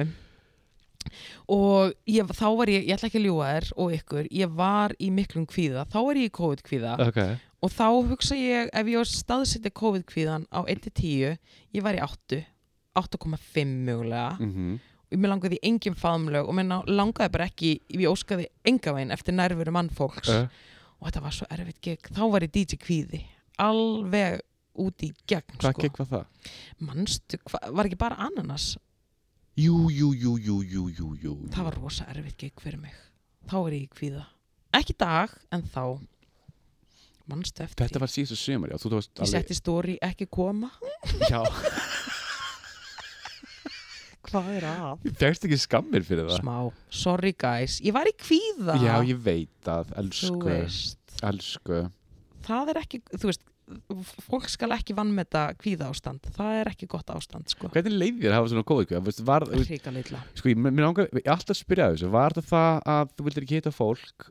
[SPEAKER 1] og ég, þá var ég, ég ætla ekki að ljúga þér og ykkur, ég var í miklum kvíða þá var ég í COVID-kvíða
[SPEAKER 2] okay.
[SPEAKER 1] og þá hugsa ég ef ég var staðsetja COVID-kvíðan á 1-10 ég var í 8 8,5 mögulega
[SPEAKER 2] mm -hmm.
[SPEAKER 1] og mér langaði í engin faðumlög og mér ná- langaði bara ekki, ég óskaði engavegin eftir nærveru mannfólks
[SPEAKER 2] Eh.
[SPEAKER 1] og þetta var svo erfitt gig, þá var ég DJ kvíði alveg út í gegn
[SPEAKER 2] Hvað
[SPEAKER 1] sko.
[SPEAKER 2] gekk var það?
[SPEAKER 1] manstu, hva, var ekki bara ananas
[SPEAKER 2] Jú, jú, jú, jú, jú, jú, jú
[SPEAKER 1] það var rosa erfitt gig fyrir mig þá er ég í kvíða ekki í dag, en þá mannstu eftir
[SPEAKER 2] Þetta var síðustu sömur, já, þú tókst
[SPEAKER 1] því ég setti stóri ekki koma
[SPEAKER 2] Já, [LAUGHS]
[SPEAKER 1] hvað er að?
[SPEAKER 2] fegst ekki skammir fyrir það
[SPEAKER 1] smá, sorry guys, ég var í kvíða
[SPEAKER 2] Já, ég Sko. veit að,
[SPEAKER 1] þú
[SPEAKER 2] elsku,
[SPEAKER 1] veist
[SPEAKER 2] elsku
[SPEAKER 1] það er ekki, þú veist f- fólk skal ekki vannmeta kvíða ástand það er ekki gott ástand, sko
[SPEAKER 2] Hvernig leiði þér að hafa svona kóðið Vist, var,
[SPEAKER 1] hríka litla
[SPEAKER 2] Sko, ég, mér langar, ég er alltaf að spyrja þessu Var þetta það að þú vildir ekki hitta fólk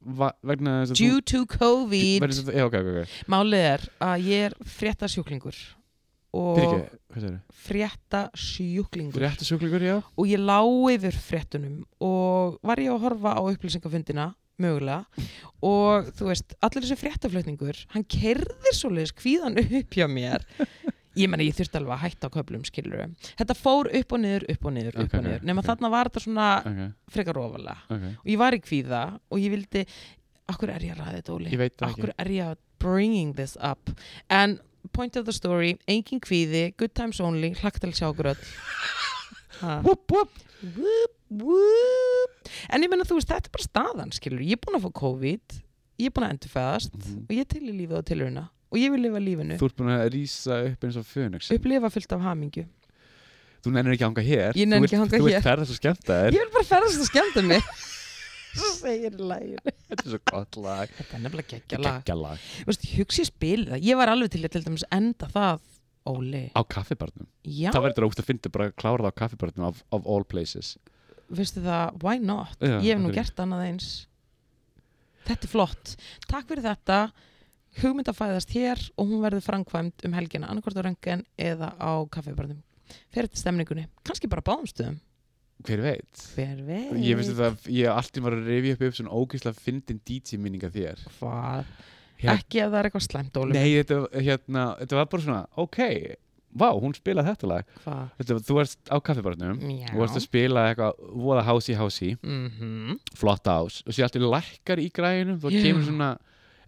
[SPEAKER 2] va, vegna þess að
[SPEAKER 1] due to
[SPEAKER 2] þú
[SPEAKER 1] COVID,
[SPEAKER 2] vegna þess að- Já, ok, ok, ok
[SPEAKER 1] málið er að ég er frétta sjúklingur og
[SPEAKER 2] Fyrir ekki, hvað segir
[SPEAKER 1] frétta sjúklingur
[SPEAKER 2] Rétta sjúklingur, já
[SPEAKER 1] og ég lá yfir fréttunum og var ég að horfa á upplýsingafundina mögulega og þú veist, allir þessi fréttaflutningur hann kerðir svoleiðis kvíðan upp hjá mér ég meni ég þurfti alveg að hætta á köflum skilur þetta fór upp og niður, upp og niður, upp
[SPEAKER 2] Ok,
[SPEAKER 1] og niður
[SPEAKER 2] ok,
[SPEAKER 1] nema
[SPEAKER 2] ok.
[SPEAKER 1] þarna var þetta svona
[SPEAKER 2] Ok,
[SPEAKER 1] frekar ofalega
[SPEAKER 2] ok
[SPEAKER 1] og ég var í kvíða og ég vildi akkur er ég að ræða þetta Óli
[SPEAKER 2] Ég veit það
[SPEAKER 1] akkur
[SPEAKER 2] ekki
[SPEAKER 1] er ég að bringing this up en point of the story, engin kvíði good times only, hlagt til að sjá okkur öll Ha.
[SPEAKER 2] Whoop, whoop.
[SPEAKER 1] Vup, vup. En ég meina þú veist, þetta er bara staðan, skilur. Ég er búin að fá COVID, ég er búin að endurfæðast
[SPEAKER 2] Mhm.
[SPEAKER 1] og ég er til í lífið og tilurina og ég vil lifa lífinu,
[SPEAKER 2] Þú ert búin að rísa upp eins og fönix
[SPEAKER 1] upplifa fullt af hamingu.
[SPEAKER 2] þú nennir ekki að hanga hér
[SPEAKER 1] Ég nenni ekki
[SPEAKER 2] Þú
[SPEAKER 1] að
[SPEAKER 2] vilt-
[SPEAKER 1] hanga
[SPEAKER 2] þú
[SPEAKER 1] hér.
[SPEAKER 2] vilt ferðast og skemmta
[SPEAKER 1] Ég
[SPEAKER 2] þér
[SPEAKER 1] vil bara ferðast og skemmta [LAUGHS] mig Svo segir lægir
[SPEAKER 2] þetta er svo gott lag
[SPEAKER 1] Þetta er nefnilega geggja lag
[SPEAKER 2] geggja lag
[SPEAKER 1] Vist, Hugsi spil það, ég var alveg til að til dæmis enda það Óli
[SPEAKER 2] á kaffibarnum
[SPEAKER 1] Já,
[SPEAKER 2] það verður ógst að finna bara að klára það á kaffibarnum of, of all places
[SPEAKER 1] veistu það, why not
[SPEAKER 2] Já,
[SPEAKER 1] Ég hef nú
[SPEAKER 2] akkurat.
[SPEAKER 1] gert annað eins Þetta er flott Takk fyrir þetta Hugmynd að fæðast hér og hún verður framkvæmd um helgina annarkvort á röngan eða á kaffibarnum Fyrir til stemningunni, kannski bara á báðum stöðum
[SPEAKER 2] hver veit
[SPEAKER 1] Hver veit
[SPEAKER 2] ég finnst þetta að ég allt í maður að rifja upp upp svona ógeðslega fyndin DJ minninga þér
[SPEAKER 1] Hvað?
[SPEAKER 2] Hér-
[SPEAKER 1] Ekki að það er eitthvað slæmt, Óli
[SPEAKER 2] nei þetta, hérna, þetta var bara svona ok, vá hún spilaði þetta lag
[SPEAKER 1] Hvað?
[SPEAKER 2] þetta, var- þú varst á kaffibarnum
[SPEAKER 1] Já
[SPEAKER 2] og varst að spila eitthvað voða hási hási
[SPEAKER 1] Mhm.
[SPEAKER 2] flott ás og sér alltaf lækkar í græðinu þá
[SPEAKER 1] Já.
[SPEAKER 2] kemur svona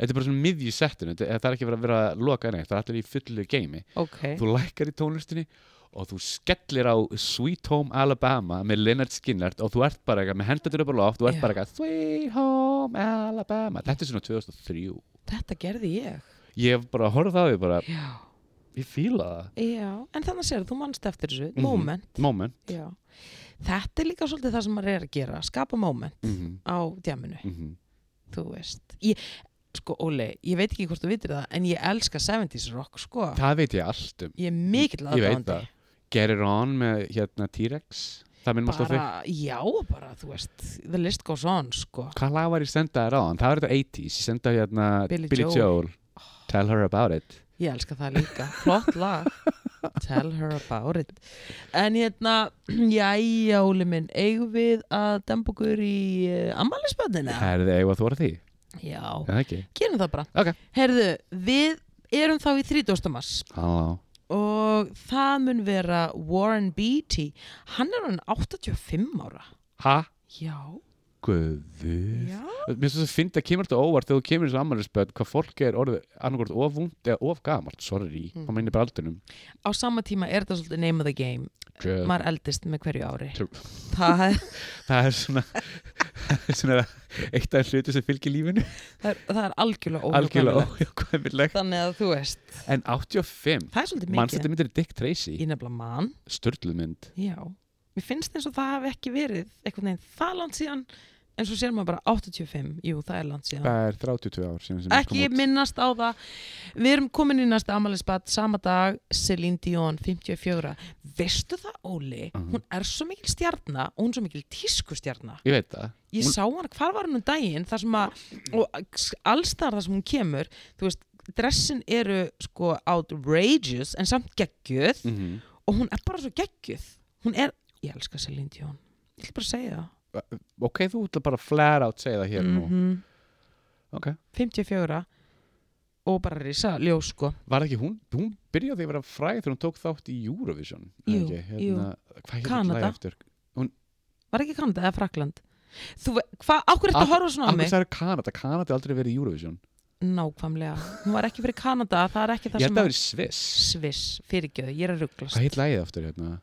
[SPEAKER 2] þetta er bara svona miðju settinu þetta það er ekki verið að vera að loka neitt það er allir í fullu geimi
[SPEAKER 1] Ok
[SPEAKER 2] þú lækkar í tónlistinni og þú skellir á Sweet Home Alabama með Leonard Skinnert og þú ert bara eitthvað með hendatur upp á loft þú ert
[SPEAKER 1] Já.
[SPEAKER 2] bara eitthvað Sweet Home Alabama þetta er svona 2003
[SPEAKER 1] Þetta gerði ég
[SPEAKER 2] ég hef bara horfði á því bara
[SPEAKER 1] Já
[SPEAKER 2] ég fíla það
[SPEAKER 1] Já, en þannig sér þú mannst eftir þessu,
[SPEAKER 2] Mhm.
[SPEAKER 1] moment
[SPEAKER 2] moment
[SPEAKER 1] Já. Þetta er líka svolítið það sem maður er að gera, skapa moment
[SPEAKER 2] mm -hmm.
[SPEAKER 1] á djaminu,
[SPEAKER 2] Mm -hmm.
[SPEAKER 1] þú veist. Ég, sko, Óli, ég veit ekki hvort þú vitir það, en ég elska 70s rock, sko.
[SPEAKER 2] það veit ég allt um
[SPEAKER 1] Ég er mikill
[SPEAKER 2] Ég veit
[SPEAKER 1] aðdáandi.
[SPEAKER 2] það. Get it on með hérna T-Rex það minnum alltaf á þig
[SPEAKER 1] Bara, já, bara, þú veist, the list goes on, sko.
[SPEAKER 2] Hvað lag var ég sendað þér á hann? Það var þetta 80s, ég sendaði hérna
[SPEAKER 1] Billy
[SPEAKER 2] Billy, Joel. Tell her about it
[SPEAKER 1] Ég elska það líka. Flott
[SPEAKER 2] [LAUGHS]
[SPEAKER 1] lag. Tell her about it. En hérna, [CLEARS THROAT] jæja, Óli minn, eigum við að dempa okkur í uh, ammælisböndina?
[SPEAKER 2] Það er þið eigvað þú voru því,
[SPEAKER 1] Já.
[SPEAKER 2] er það ekki?
[SPEAKER 1] gerum það bara
[SPEAKER 2] Ok.
[SPEAKER 1] Heyrðu, við erum þá í 30. mars
[SPEAKER 2] Halló
[SPEAKER 1] og það mun vera Warren Beatty hann er hann 85 ára
[SPEAKER 2] Ha?
[SPEAKER 1] já,
[SPEAKER 2] Guðu
[SPEAKER 1] já.
[SPEAKER 2] Mér finnst þess að finna að kemur þetta óvart þegar þú kemur þessu ammælisböð hvað fólk er orðið annarkort of vúnt eða of gamalt, sorry,
[SPEAKER 1] Mm.
[SPEAKER 2] mm. hvað meinir bara aldunum
[SPEAKER 1] á sama tíma er þetta svolítið name of the game
[SPEAKER 2] True.
[SPEAKER 1] maður eldist með hverju ári
[SPEAKER 2] True.
[SPEAKER 1] það,
[SPEAKER 2] Það er svona, [LAUGHS] það er svona eitt af hlutu sem fylgir lífinu
[SPEAKER 1] það, er, það er algjörlega
[SPEAKER 2] algjörlega
[SPEAKER 1] óhjóðkvæmilegt
[SPEAKER 2] óhjákvæmilegt
[SPEAKER 1] þannig að þú veist,
[SPEAKER 2] En 85,
[SPEAKER 1] það er svolítið
[SPEAKER 2] mannst þetta
[SPEAKER 1] mikið
[SPEAKER 2] myndir Dick Tracy,
[SPEAKER 1] í nefnilega mann
[SPEAKER 2] störtluð mynd
[SPEAKER 1] já, mér finnst eins og það hafi ekki verið einhvern veginn það langt síðan en svo sér maður bara 85, jú það er langt síðan
[SPEAKER 2] Það er 32 ár síðan sem hún kom
[SPEAKER 1] ekki
[SPEAKER 2] út.
[SPEAKER 1] minnast á það við erum komin í næsta amalisbat sama dag Celine Dion 54 veistu það Óli
[SPEAKER 2] Mhm.
[SPEAKER 1] hún er svo mikil stjarnar og hún er svo mikil tískustjarnar
[SPEAKER 2] Ég veit það
[SPEAKER 1] ég
[SPEAKER 2] Hún-
[SPEAKER 1] sá hann, hvar var hún um daginn þar sem að, og allstar þar sem hún kemur þú veist, dressin eru sko outrageous en samt geggjöð
[SPEAKER 2] mm
[SPEAKER 1] og hún er bara svo geggjöð hún er, ég elska Celine Dion ég ætla bara að segja það
[SPEAKER 2] ok, þú ætla bara að flare out segja það hér
[SPEAKER 1] Mhm.
[SPEAKER 2] nú ok,
[SPEAKER 1] 54 og bara risa ljós sko
[SPEAKER 2] var ekki hún, hún byrjaði að vera fræð þegar hún tók þátt í Eurovision
[SPEAKER 1] Jú,
[SPEAKER 2] ekki, Hérna,
[SPEAKER 1] jú.
[SPEAKER 2] hvað hér
[SPEAKER 1] Kanada.
[SPEAKER 2] lag eftir
[SPEAKER 1] Var ekki Kanada eða Frakland? Þú, ve- hvað, ákveð þetta
[SPEAKER 2] Af-
[SPEAKER 1] að horfa svona á
[SPEAKER 2] alveg
[SPEAKER 1] mig?
[SPEAKER 2] sagði Kanada, Kanada er aldrei verið í Eurovision
[SPEAKER 1] Nákvæmlega, hún var ekki fyrir Kanada, það er ekki það
[SPEAKER 2] ég held
[SPEAKER 1] sem
[SPEAKER 2] að það verið Sviss
[SPEAKER 1] Sviss, fyrirgjöðu, ég er að rugglast.
[SPEAKER 2] hvað hér lagið eftir hérna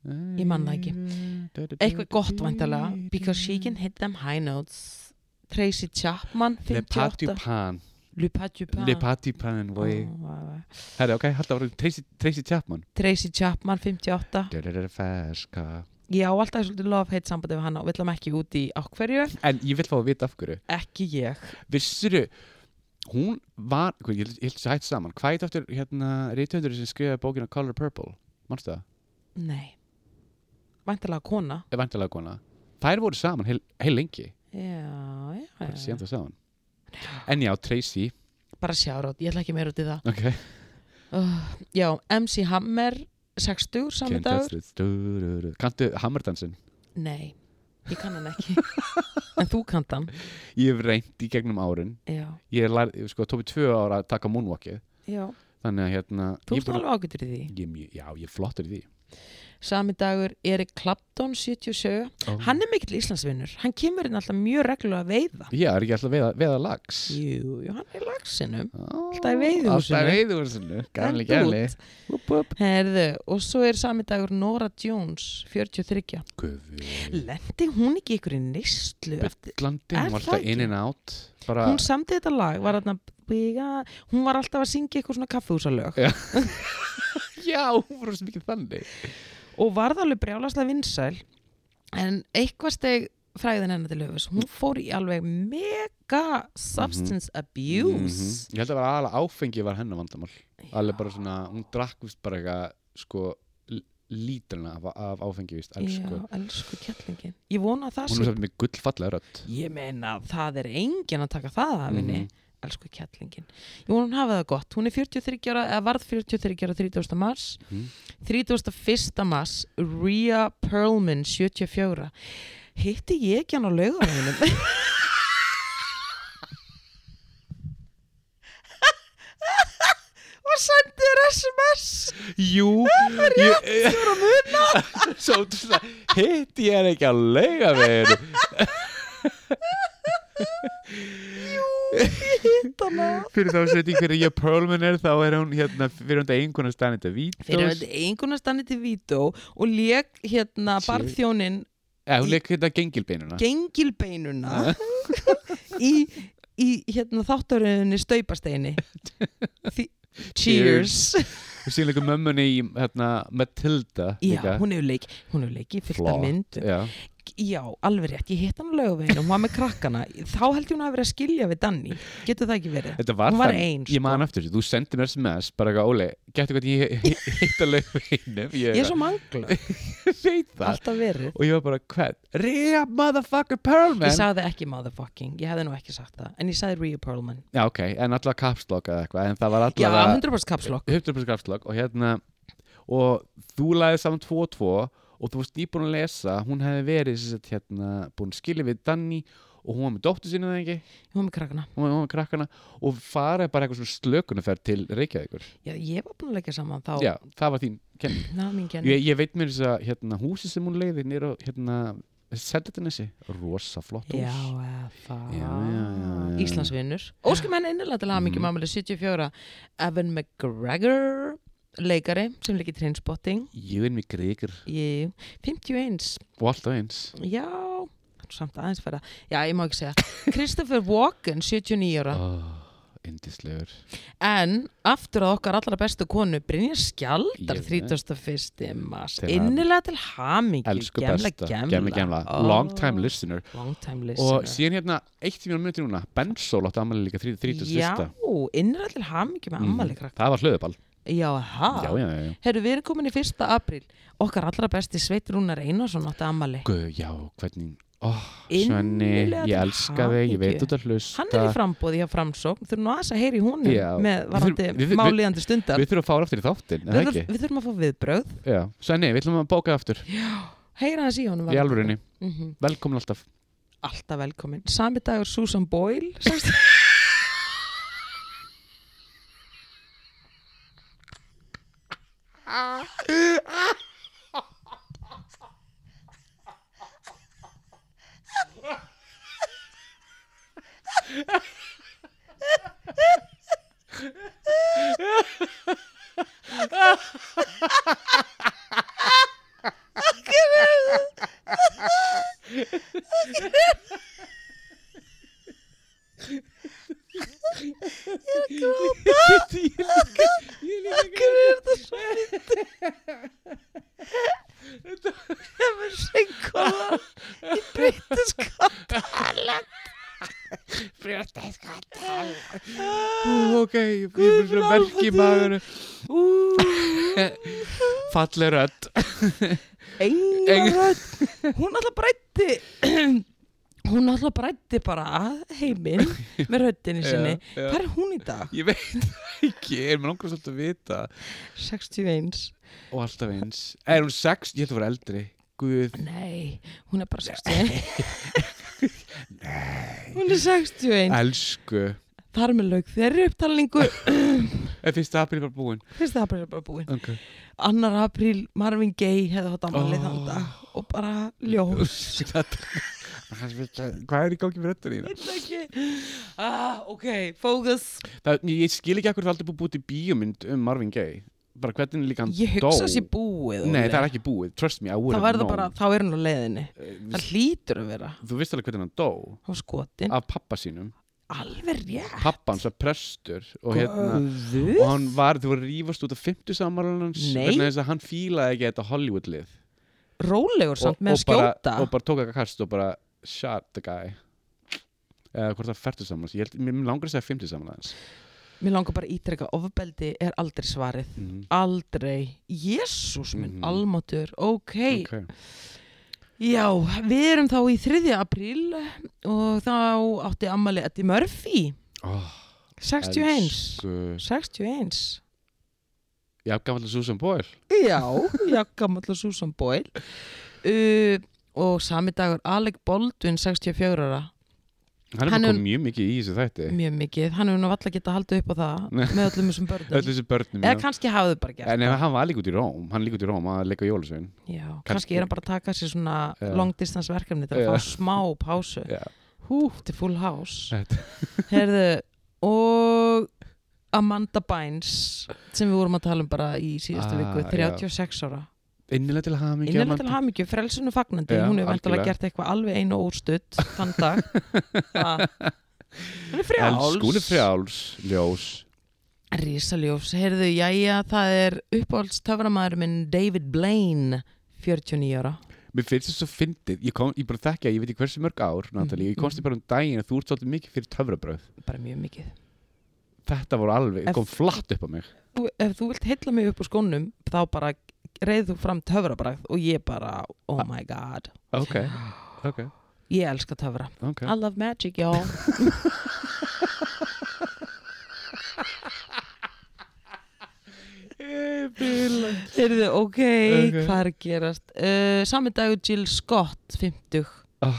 [SPEAKER 1] Ég man það ekki. Eitthvað gott væntalega, because she can hit them high notes. Tracy Chapman,
[SPEAKER 2] Le Pati
[SPEAKER 1] 58.
[SPEAKER 2] Pan
[SPEAKER 1] Le Patu Pan.
[SPEAKER 2] Le Pati Pan oh. herri, ok, held að það var Tracy, Tracy Chapman
[SPEAKER 1] Tracy Chapman, 58.
[SPEAKER 2] Dörrrrr, ferska.
[SPEAKER 1] Ég á alltaf svolítið love hate sambandi við hana og villum ekki út í ákverju.
[SPEAKER 2] en ég vil fá að vita af hverju
[SPEAKER 1] Ekki ég.
[SPEAKER 2] Vissirðu, hún var, hvað, ég held- ég held þess að hætt saman, hvað heit aftur hérna reytöndur sem skrifaði bókina Color Purple, mannstu það?
[SPEAKER 1] Nei. Væntalega kona.
[SPEAKER 2] Eða vantilega kona. Þær voru saman heil, heil lengi,
[SPEAKER 1] Já, já,
[SPEAKER 2] bara
[SPEAKER 1] já.
[SPEAKER 2] síðan það saman. En já, Tracy,
[SPEAKER 1] Bara sjárót, ég ætla ekki meira út í það.
[SPEAKER 2] ok.
[SPEAKER 1] Uh, já, MC Hammer 60 sami
[SPEAKER 2] Can't
[SPEAKER 1] dagur
[SPEAKER 2] touch this, du- du- du. Kanntu Hammerdansin?
[SPEAKER 1] Nei, ég kann hann ekki [LAUGHS] En þú kannt hann
[SPEAKER 2] Ég hef reynt í gegnum árin.
[SPEAKER 1] Já,
[SPEAKER 2] Ég lærði, sko, tók við tvö ára að taka moonwalkið.
[SPEAKER 1] já
[SPEAKER 2] Þannig að hérna...
[SPEAKER 1] Þú
[SPEAKER 2] ég
[SPEAKER 1] ert
[SPEAKER 2] búin að-
[SPEAKER 1] alveg ágættur í því
[SPEAKER 2] Ég, er mjög- já, ég er flottur í því.
[SPEAKER 1] Sami dagur Erik Clapton 77 Hann er mikill Íslandsvinnur Hann kemur inn alltaf mjög reglulega að veiða
[SPEAKER 2] Já, er ekki alltaf veða, veða lags?
[SPEAKER 1] Jú, jú, hann er í lagsinum
[SPEAKER 2] Alltaf
[SPEAKER 1] í veiðihúsinu.
[SPEAKER 2] Alltaf í veiðhúsinu, gamli
[SPEAKER 1] Hentu
[SPEAKER 2] gæli.
[SPEAKER 1] út.
[SPEAKER 2] Upp, upp.
[SPEAKER 1] Herðu, og svo er sami dagur Nora Jones 43
[SPEAKER 2] Guði
[SPEAKER 1] Lendi hún ekki ykkur í neyslu eftir
[SPEAKER 2] Íslandi,
[SPEAKER 1] Er
[SPEAKER 2] hún var
[SPEAKER 1] það
[SPEAKER 2] alltaf
[SPEAKER 1] ekki?
[SPEAKER 2] in and out bara,
[SPEAKER 1] Hún samdi þetta lag, var þarna "Bega-" Hún var alltaf að syngja eitthvað svona kaffehúsalög
[SPEAKER 2] já, hún var svo mikið þannig
[SPEAKER 1] og varð alveg brjálaslega vinsæl en eitthvað steg fræðin hennar til höfus hún fór í alveg mega substance abuse
[SPEAKER 2] Mhm. Ég held að vera aðalega áfengi var hennar vandamál Mhm. Alveg bara svona, hún drakk vist bara eitthvað sko l- lítilna af, af áfengi vist elsku.
[SPEAKER 1] Já, elsku kettlingin ég vona að það
[SPEAKER 2] Hún
[SPEAKER 1] sé
[SPEAKER 2] er samt með gullfallega rödd
[SPEAKER 1] ég meina það er engin að taka það af henni
[SPEAKER 2] Mhm.
[SPEAKER 1] elsku kettlingin ég vona hún hafa það gott, hún er 43 ára eða varð 43 ára 30. mars
[SPEAKER 2] Mhm.
[SPEAKER 1] 31. mars Rhea Perlman 74 hitti ég ekki hann á laugarveginum [LAUGHS] og sendi þér sms
[SPEAKER 2] Jú Rétt, ég var að muna [LAUGHS] Svo þú veist það, hitt ég er ekki að leiga við
[SPEAKER 1] ég hitt hana
[SPEAKER 2] Fyrir þá setjum hverju ég Perlman er þá er hún hérna fyrir hún einhvern stæðan þetta vít
[SPEAKER 1] fyrir einhvern stanni til Vító og lék hérna
[SPEAKER 2] Shit.
[SPEAKER 1] barþjónin
[SPEAKER 2] Eða hún leik hérna gengilbeinuna
[SPEAKER 1] gengilbeinuna [LAUGHS] í, í hérna þáttaröðinni
[SPEAKER 2] [LAUGHS]
[SPEAKER 1] staupasteini Því, Cheers
[SPEAKER 2] og síðan leikur mömmunni í hérna, Matilda
[SPEAKER 1] [LAUGHS] Já, hún hefur leik hún hefur leik í fylgta
[SPEAKER 2] Flott,
[SPEAKER 1] myndum
[SPEAKER 2] Já.
[SPEAKER 1] Já, alveg rétt, ég hitt hann á laugaveginu hún var með krakkana, þá held ég hún að vera að skilja við Danni, getur það ekki verið
[SPEAKER 2] Þetta var,
[SPEAKER 1] Hún var
[SPEAKER 2] þannig.
[SPEAKER 1] ein,
[SPEAKER 2] Ég
[SPEAKER 1] sko.
[SPEAKER 2] man eftir þessu, þú sendir mér sms bara eitthvað, Óli, getur hvað ég [LAUGHS] hitt að leiða einum
[SPEAKER 1] Ég er svo mangla,
[SPEAKER 2] veit [LAUGHS] það
[SPEAKER 1] alltaf verið
[SPEAKER 2] og ég var bara, hvern? Rhea motherfucker Perlman
[SPEAKER 1] Ég sagði ekki motherfucking, ég hefði nú ekki sagt það en ég sagði Rhea Perlman
[SPEAKER 2] Já, ok, en allavega kapslokk eða eitthvað en það var
[SPEAKER 1] Já,
[SPEAKER 2] allavega
[SPEAKER 1] 100% kapslokk
[SPEAKER 2] 100% kapslokk og hérna og þú lagði saman 2-2 og þú varst nýbúin að lesa hún hefði verið sem sagt, hérna, búin að skilja við Danny og hún var með dóttu sinni það ekki
[SPEAKER 1] Ég var með krakkana
[SPEAKER 2] hún var hún var með krakkana og faraði bara eitthvað svona slökunarferð til Reykjavíkur
[SPEAKER 1] Já, ég var búin að leggja saman þá
[SPEAKER 2] Já, það var þín kenning
[SPEAKER 1] Það var mín kenning.
[SPEAKER 2] ég, ég veit mér þess að hérna, húsi sem hún leiði nýra hérna, Seldatanesi, rosa flott hús
[SPEAKER 1] Já, eða það
[SPEAKER 2] Já, já, já, já. Mhm.
[SPEAKER 1] Íslandsvinnur Óskum henni innilega til aðmyggjum mm. ámæli 74 Evan McGregor leikari sem leikir Trainspotting
[SPEAKER 2] ég er mér greikur
[SPEAKER 1] Jú, 51
[SPEAKER 2] og alltaf eins
[SPEAKER 1] Já, samt aðeins færa Já, ég má ekki
[SPEAKER 2] [LAUGHS]
[SPEAKER 1] segja Christopher Walken, 79 ára
[SPEAKER 2] oh, Indislegur
[SPEAKER 1] En aftur að okkar allra bestu konu Brynja Skjaldar,
[SPEAKER 2] Ég veit.
[SPEAKER 1] 31. mars
[SPEAKER 2] Til ham-
[SPEAKER 1] Innilega til hamingju
[SPEAKER 2] Elsku
[SPEAKER 1] gemla,
[SPEAKER 2] besta,
[SPEAKER 1] gemla.
[SPEAKER 2] gemla, gemla
[SPEAKER 1] Ó,
[SPEAKER 2] Long time listener
[SPEAKER 1] long time
[SPEAKER 2] Og
[SPEAKER 1] listener
[SPEAKER 2] síðan hérna, eitt tíma minuti núna Bensól átti ammæli líka 31.
[SPEAKER 1] Já, innræð til hamingju
[SPEAKER 2] Mhm.
[SPEAKER 1] með ammali krakk
[SPEAKER 2] Mm. Það var hlöðuball
[SPEAKER 1] Já, ha?
[SPEAKER 2] Já, já, já, já
[SPEAKER 1] Herru, við erum komin í fyrsta april Okkar allra besti Sveit Rúnar Einarsson átti ammali
[SPEAKER 2] Guð, já, hvernig oh, Svenni,
[SPEAKER 1] Innilega
[SPEAKER 2] ég
[SPEAKER 1] til
[SPEAKER 2] elska þig, ég veit
[SPEAKER 1] hamingju.
[SPEAKER 2] út að hlusta
[SPEAKER 1] Hann er í frambóði hjá Framsókn Þurfum nú aðeins að heyri húnum
[SPEAKER 2] Já.
[SPEAKER 1] með varandi
[SPEAKER 2] Við þurfum- við- við-
[SPEAKER 1] máliðandi stundar
[SPEAKER 2] Við þurfum að fára aftur í þáttin,
[SPEAKER 1] við,
[SPEAKER 2] eða
[SPEAKER 1] þurf-
[SPEAKER 2] ekki?
[SPEAKER 1] við þurfum að fá viðbröð
[SPEAKER 2] Já, Svenni, við ætlum að bóka aftur
[SPEAKER 1] Heyra hans í honum
[SPEAKER 2] Í alvörinni,
[SPEAKER 1] mm
[SPEAKER 2] velkomin alltaf
[SPEAKER 1] Alltaf velkomin Sami dagur Susan
[SPEAKER 2] [LAUGHS]
[SPEAKER 1] Boyle sagðist-
[SPEAKER 2] Ég er líka Ég er líka
[SPEAKER 1] Hver er þetta svo
[SPEAKER 2] [LAUGHS]
[SPEAKER 1] fyndið? Þetta var
[SPEAKER 2] [LAUGHS]
[SPEAKER 1] sengkóla í breytiskap
[SPEAKER 2] Ok, ég er
[SPEAKER 1] minn
[SPEAKER 2] svona velk í
[SPEAKER 1] almáttugur.
[SPEAKER 2] maður
[SPEAKER 1] Úúúú
[SPEAKER 2] Falleg rödd
[SPEAKER 1] englaröð hún alltaf brætti [CLEARS THROAT] hún alltaf brætti bara að
[SPEAKER 2] [LAUGHS]
[SPEAKER 1] heiminn með röddinni sinni
[SPEAKER 2] Já, já.
[SPEAKER 1] hvað er hún í dag?
[SPEAKER 2] Ég veit það ekki, ég er mér langar svolítið að vita
[SPEAKER 1] 61
[SPEAKER 2] Og alltaf eins Eh, Er hún sex? Ég ætla að vera eldri Guð
[SPEAKER 1] nei, hún er bara 61 hún er 61
[SPEAKER 2] Elsku
[SPEAKER 1] þar með lauk þeirri upptalningu
[SPEAKER 2] Er fyrsta apríl bara búinn?
[SPEAKER 1] fyrst það er bara búin
[SPEAKER 2] [LAUGHS] Ok
[SPEAKER 1] annar apríl Marvin Gaye hefði hótt amalið
[SPEAKER 2] Oh.
[SPEAKER 1] oh. þann dag og bara ljós
[SPEAKER 2] Hvað er í gangi með röddina þína?
[SPEAKER 1] ah, ok, fókus
[SPEAKER 2] Það, ég- ég skil ekki akkur það er aldrei búið búið til bíómynd um Marvin Gaye Bara hvernig líka hann
[SPEAKER 1] ég
[SPEAKER 2] dó
[SPEAKER 1] hugsa þessi búið
[SPEAKER 2] Nei,
[SPEAKER 1] Óli.
[SPEAKER 2] það er ekki búið Trust me, I
[SPEAKER 1] það
[SPEAKER 2] would have
[SPEAKER 1] verður
[SPEAKER 2] known
[SPEAKER 1] bara, þá er hann á leiðinni
[SPEAKER 2] Eh,
[SPEAKER 1] það hlýtur að vera
[SPEAKER 2] Þú veist alveg hvernig hann dó
[SPEAKER 1] á skotin
[SPEAKER 2] Af pappa sínum
[SPEAKER 1] alveg rétt
[SPEAKER 2] pappans var prestur og hérna
[SPEAKER 1] Guð?
[SPEAKER 2] og hann var, þú voru að rífast út af 50 samaralans
[SPEAKER 1] Nei.
[SPEAKER 2] vegna þess að hann fílaði ekki þetta Hollywoodlið
[SPEAKER 1] rólegur
[SPEAKER 2] og,
[SPEAKER 1] samt með að
[SPEAKER 2] og, bara,
[SPEAKER 1] skjóta
[SPEAKER 2] og bara tók ekki kast og bara shot the guy eða hvort það færtur samanlans ég held, mér mér langar að segja 50 samanlans
[SPEAKER 1] mér langar bara að ítreka ofbeldi er aldrei svarið
[SPEAKER 2] mm.
[SPEAKER 1] aldrei, jésús minn
[SPEAKER 2] Mhm.
[SPEAKER 1] almatur, ok
[SPEAKER 2] okay.
[SPEAKER 1] já, við erum þá í 3. apríl og þá átti ammali Eddie Murphy
[SPEAKER 2] oh,
[SPEAKER 1] 61 61
[SPEAKER 2] já, gammal Susan Boyle
[SPEAKER 1] Já, já, gamalla Susan Boyle uh, og sami dagur Alec Baldwin, 64 ára
[SPEAKER 2] hann
[SPEAKER 1] Hann
[SPEAKER 2] er bara
[SPEAKER 1] er-
[SPEAKER 2] komið mjög mikið í þessu þætti
[SPEAKER 1] mjög mikið, hann hefur nú alltaf getað haldið upp á það
[SPEAKER 2] Nei.
[SPEAKER 1] með öllum þessum börnum
[SPEAKER 2] öll þessi börnum
[SPEAKER 1] eða
[SPEAKER 2] já.
[SPEAKER 1] kannski hafa þau bara gert
[SPEAKER 2] en
[SPEAKER 1] það
[SPEAKER 2] ef hann var líka út í Róm hann er líka út í Róm að leika Jólusvein
[SPEAKER 1] Já, kannski,
[SPEAKER 2] kannski-
[SPEAKER 1] er hann bara að taka sér svona
[SPEAKER 2] Já.
[SPEAKER 1] long distance verkefni til að
[SPEAKER 2] Já.
[SPEAKER 1] fá smá pásu
[SPEAKER 2] Já.
[SPEAKER 1] hú, þetta er full house
[SPEAKER 2] Þetta-
[SPEAKER 1] Herðu, og Amanda Bynes sem við vorum að tala um bara í síðustu
[SPEAKER 2] Ah,
[SPEAKER 1] viku 36 ára
[SPEAKER 2] innilega til hamingju
[SPEAKER 1] Innilega
[SPEAKER 2] Amanda.
[SPEAKER 1] til hamingju, frelsinu fagnandi
[SPEAKER 2] Já,
[SPEAKER 1] hún hefur vantilega
[SPEAKER 2] algjörlega.
[SPEAKER 1] gert eitthvað alveg einu óstutt þann
[SPEAKER 2] [LAUGHS]
[SPEAKER 1] dag Ha. hún er frjáls
[SPEAKER 2] Elsku, hún er frjáls, ljós
[SPEAKER 1] Rísaljós, heyrðu, jæja það er uppáhalds töframæður minn David Blaine 49 ára
[SPEAKER 2] Mér finnst þetta svo fyndið, ég, kom, ég bara þekki að ég veit ekki hversu mörg
[SPEAKER 1] Mm,
[SPEAKER 2] ár Natalie, ég komst þér bara um daginn að þú ert svolítið mikið fyrir töfrabröð
[SPEAKER 1] bara mjög mikið
[SPEAKER 2] Þetta voru alveg,
[SPEAKER 1] Ef-
[SPEAKER 2] kom flatt upp á mig
[SPEAKER 1] þú, ef þú vilt heilla mig upp úr skónum þá bara reyð þú fram töfrabragð og ég bara, oh my god
[SPEAKER 2] Ok, ok,
[SPEAKER 1] ég elska töfra,
[SPEAKER 2] ok
[SPEAKER 1] I love magic y'all heyrðu, ok,
[SPEAKER 2] Ok.
[SPEAKER 1] hvað er að gerast uh, sami dagur Jill Scott 50
[SPEAKER 2] Ah.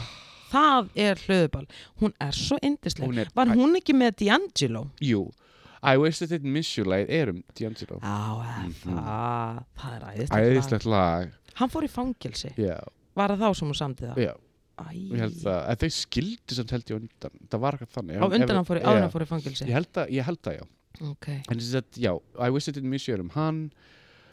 [SPEAKER 1] það er hlöðubal, hún er svo indisleg
[SPEAKER 2] Hún er,
[SPEAKER 1] var hún ekki með D'Angelo?
[SPEAKER 2] jú I wish that it miss you lagið er um D'Angelo
[SPEAKER 1] Já, mm
[SPEAKER 2] Mhm.
[SPEAKER 1] það, það er æðislegt lag.
[SPEAKER 2] Æðislegt lag,
[SPEAKER 1] Hann fór í fangelsi,
[SPEAKER 2] já,
[SPEAKER 1] var það þá sem hún samdi það?
[SPEAKER 2] já
[SPEAKER 1] Æ,
[SPEAKER 2] Ég held það, en þau skildi samt held ég á undan Það var eitthvað þannig
[SPEAKER 1] á undan hann fór í,
[SPEAKER 2] Já.
[SPEAKER 1] áður en hann fór í fangelsi
[SPEAKER 2] Ég held það, ég held það, já
[SPEAKER 1] Ok,
[SPEAKER 2] En þess að, já, I wish it didn't miss you er um hann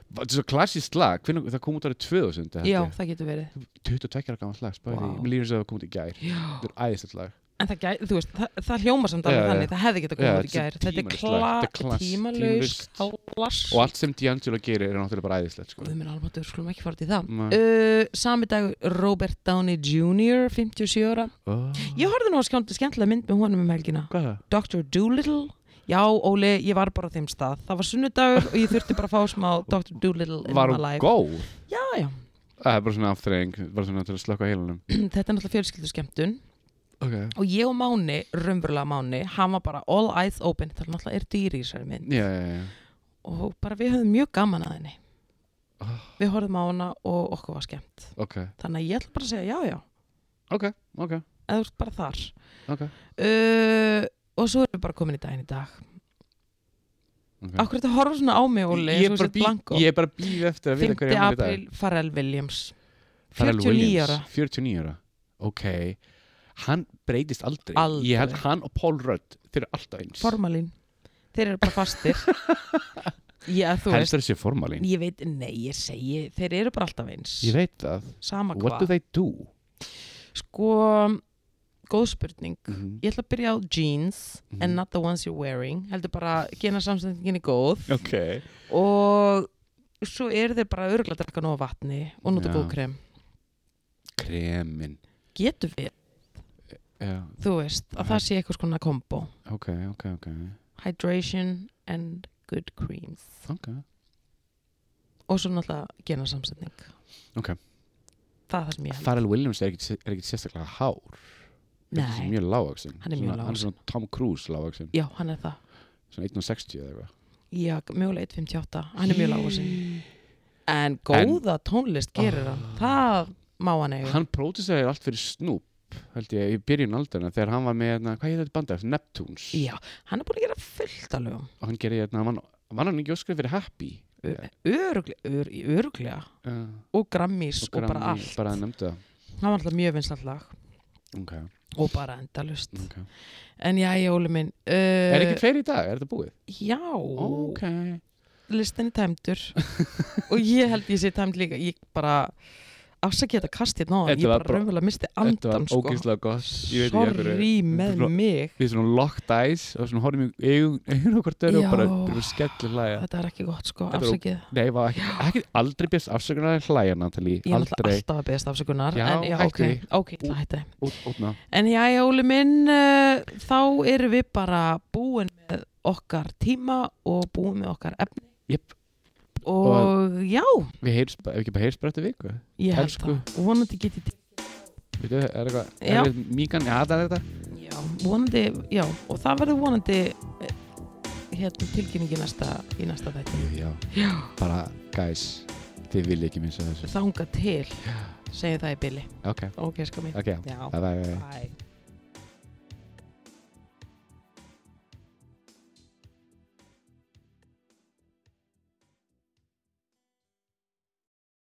[SPEAKER 2] Þetta er svo klassískt lag, hvernig, það kom út árið 2000 held
[SPEAKER 1] já,
[SPEAKER 2] ég.
[SPEAKER 1] það getur verið
[SPEAKER 2] 22 ára gammal lag, spæði wow.
[SPEAKER 1] Vá.
[SPEAKER 2] Mér líður svo að það kom út í gær
[SPEAKER 1] Já,
[SPEAKER 2] Þetta er æðislegt lag
[SPEAKER 1] en það, gæ, þú veist, það, það hljóma samt
[SPEAKER 2] Já,
[SPEAKER 1] alveg
[SPEAKER 2] já.
[SPEAKER 1] þannig, það hefði getað
[SPEAKER 2] Já,
[SPEAKER 1] komið út í
[SPEAKER 2] þetta er
[SPEAKER 1] gær Þetta er
[SPEAKER 2] tímalaust
[SPEAKER 1] kla,
[SPEAKER 2] lag, þetta er klass-
[SPEAKER 1] tímalaus, klálas
[SPEAKER 2] Og allt sem D'Angelo gerir er náttúrulega bara æðislegt sko.
[SPEAKER 1] Við minn almatur, skulum ekki fara út í það
[SPEAKER 2] Nei.
[SPEAKER 1] uh, Sami dag Robert Downey Jr. 57 ára
[SPEAKER 2] oh.
[SPEAKER 1] Ég horfði nú að skjóndi skemmtilega mynd með honum um helgina
[SPEAKER 2] Hvað er það?
[SPEAKER 1] Dr. Doolittle Já, Óli, ég var bara á þeim stað Það var sunnudagur og ég þurfti bara að fá smá Dr. Doolittle in
[SPEAKER 2] Var
[SPEAKER 1] my
[SPEAKER 2] hún
[SPEAKER 1] life
[SPEAKER 2] góð?
[SPEAKER 1] Já, já,
[SPEAKER 2] Það er bara svona aftreying, bara svona til að slökka á heilanum
[SPEAKER 1] [CLEARS THROAT] þetta er náttúrulega fjölskyldu
[SPEAKER 2] okay.
[SPEAKER 1] og ég og Máni, raunverulega Máni hann var bara all eyes open það er náttúrulega er dýri í þessari mynd
[SPEAKER 2] Já, já, já
[SPEAKER 1] og bara við höfum mjög gaman að henni
[SPEAKER 2] Ah.
[SPEAKER 1] við horfum á hana og okkur var skemmt
[SPEAKER 2] Ok,
[SPEAKER 1] þannig að ég ætla bara að segja já já
[SPEAKER 2] ok, ok,
[SPEAKER 1] eða þú ert bara þar
[SPEAKER 2] ok,
[SPEAKER 1] uh, og svo erum við bara komin í daginn í dag
[SPEAKER 2] okay.
[SPEAKER 1] Akkur þetta horfa svona á mig, Óli,
[SPEAKER 2] Mm.
[SPEAKER 1] eins
[SPEAKER 2] Ég er
[SPEAKER 1] og
[SPEAKER 2] bara
[SPEAKER 1] sett
[SPEAKER 2] bí-
[SPEAKER 1] blanko
[SPEAKER 2] Ég er bara býð eftir að vita
[SPEAKER 1] 5.
[SPEAKER 2] hverja hann er í dag
[SPEAKER 1] april, Pharrell Williams
[SPEAKER 2] Pharrell
[SPEAKER 1] 49
[SPEAKER 2] Williams,
[SPEAKER 1] ára
[SPEAKER 2] 49 ára ok hann breytist aldrei.
[SPEAKER 1] Aldrei.
[SPEAKER 2] ég held hann og Paul Rudd þeir eru alltaf eins
[SPEAKER 1] formalín, þeir eru bara
[SPEAKER 2] [LAUGHS]
[SPEAKER 1] fastir Já, þú veist
[SPEAKER 2] heldur þessi formalin
[SPEAKER 1] Ég veit, nei, ég segi, þeir eru bara alltaf eins
[SPEAKER 2] ég veit það,
[SPEAKER 1] Sama
[SPEAKER 2] what do
[SPEAKER 1] hvað
[SPEAKER 2] they do
[SPEAKER 1] Sko, góð spurning
[SPEAKER 2] Mhm.
[SPEAKER 1] Ég ætla að byrja á jeans
[SPEAKER 2] Mhm.
[SPEAKER 1] and not the ones you're wearing heldur bara, gena samsendingin er góð
[SPEAKER 2] ok,
[SPEAKER 1] og svo eru þeir bara örgulega að drekka nóg af vatni og nota
[SPEAKER 2] Já.
[SPEAKER 1] góð krem
[SPEAKER 2] kremin
[SPEAKER 1] Getur við,
[SPEAKER 2] já,
[SPEAKER 1] þú veist, að það sé eitthvað skona kombo
[SPEAKER 2] ok, ok, ok
[SPEAKER 1] hydration and good creams
[SPEAKER 2] ok,
[SPEAKER 1] og svo náttúrulega gena samsetning
[SPEAKER 2] Ok.
[SPEAKER 1] það er það sem ég held
[SPEAKER 2] Pharrell Williams er ekkit, er ekkit sérstaklega hár Þetta er
[SPEAKER 1] Nei.
[SPEAKER 2] mjög lágvaxin
[SPEAKER 1] Hann er mjög
[SPEAKER 2] Svona- hann er svona Tom Cruise lágvaxin
[SPEAKER 1] já, hann er það
[SPEAKER 2] svona 1.60 eða eitthvað
[SPEAKER 1] já, mjögulega 1.58, hann er mjög lágur sinn en góða tónlist gerir hann það má hann eiga
[SPEAKER 2] Ah. hann próduseraði allt fyrir Snoop held ég, í byrjun aldarna þegar hann var með, hérna, hvað heitir þetta bandið, Neptunes
[SPEAKER 1] já, hann er búin að gera fullt alveg
[SPEAKER 2] og hann gerði hérna, hann vann hann ekki óskrið fyrir Happy
[SPEAKER 1] öruglega, ör, öruglega
[SPEAKER 2] uh,
[SPEAKER 1] og Grammys og,
[SPEAKER 2] Grammy,
[SPEAKER 1] bara allt
[SPEAKER 2] bara nefndi það
[SPEAKER 1] hann var alltaf mjög vinsalt lag
[SPEAKER 2] ok,
[SPEAKER 1] og bara endalust
[SPEAKER 2] ok
[SPEAKER 1] en já, já, Óli minn uh,
[SPEAKER 2] er ekki fleiri í dag, er þetta búið?
[SPEAKER 1] já,
[SPEAKER 2] ok, [LAUGHS]
[SPEAKER 1] listin er tæmdur og ég held ég sé tæmd líka ég bara afsakið þetta kastið náðan,
[SPEAKER 2] Þetta
[SPEAKER 1] ég
[SPEAKER 2] var
[SPEAKER 1] bara
[SPEAKER 2] bara-
[SPEAKER 1] raunverulega misti
[SPEAKER 2] Þetta var
[SPEAKER 1] andan sko
[SPEAKER 2] ógeðslega gott Ég veit ekki af hverju.
[SPEAKER 1] sorry með
[SPEAKER 2] Þetta var-
[SPEAKER 1] mig
[SPEAKER 2] Við svona locked eyes og svona horfum í augun- augun okkur dörru og bara
[SPEAKER 1] Já.
[SPEAKER 2] byrjum að skella hlæja
[SPEAKER 1] þetta er ekki gott sko,
[SPEAKER 2] Þetta var-
[SPEAKER 1] afsakið
[SPEAKER 2] Nei, ég var ekki, ekki aldrei byrst afsökunar að hlæja Natalie,
[SPEAKER 1] ég er náttúrulega
[SPEAKER 2] aldrei
[SPEAKER 1] alltaf að beðast afsökunar
[SPEAKER 2] Já,
[SPEAKER 1] en já, ok,
[SPEAKER 2] hættu því.
[SPEAKER 1] ok, ég ætla að hætta því.
[SPEAKER 2] út, útna
[SPEAKER 1] en já, já, Óli minn uh, þá erum við bara búin með okkar tíma og búin með okkar efni
[SPEAKER 2] Jep,
[SPEAKER 1] og, já,
[SPEAKER 2] við heyrst, ef ekki bara heyrst bara eftir viku
[SPEAKER 1] ég held
[SPEAKER 2] Elsku.
[SPEAKER 1] það vonandi get ég
[SPEAKER 2] Veitu, er eitthvað,
[SPEAKER 1] Já.
[SPEAKER 2] er eitthvað míkan, já það er þetta
[SPEAKER 1] já, vonandi, já, og það verður vonandi eh, hérna tilkynningi næsta, í næsta þætti
[SPEAKER 2] Já,
[SPEAKER 1] já,
[SPEAKER 2] bara, guys, þið vilja ekki minnst þessu
[SPEAKER 1] þanga til segja það í bili,
[SPEAKER 2] Ok,
[SPEAKER 1] ok, sko mín
[SPEAKER 2] ok,
[SPEAKER 1] já,
[SPEAKER 2] bye bye, bye.
[SPEAKER 1] bye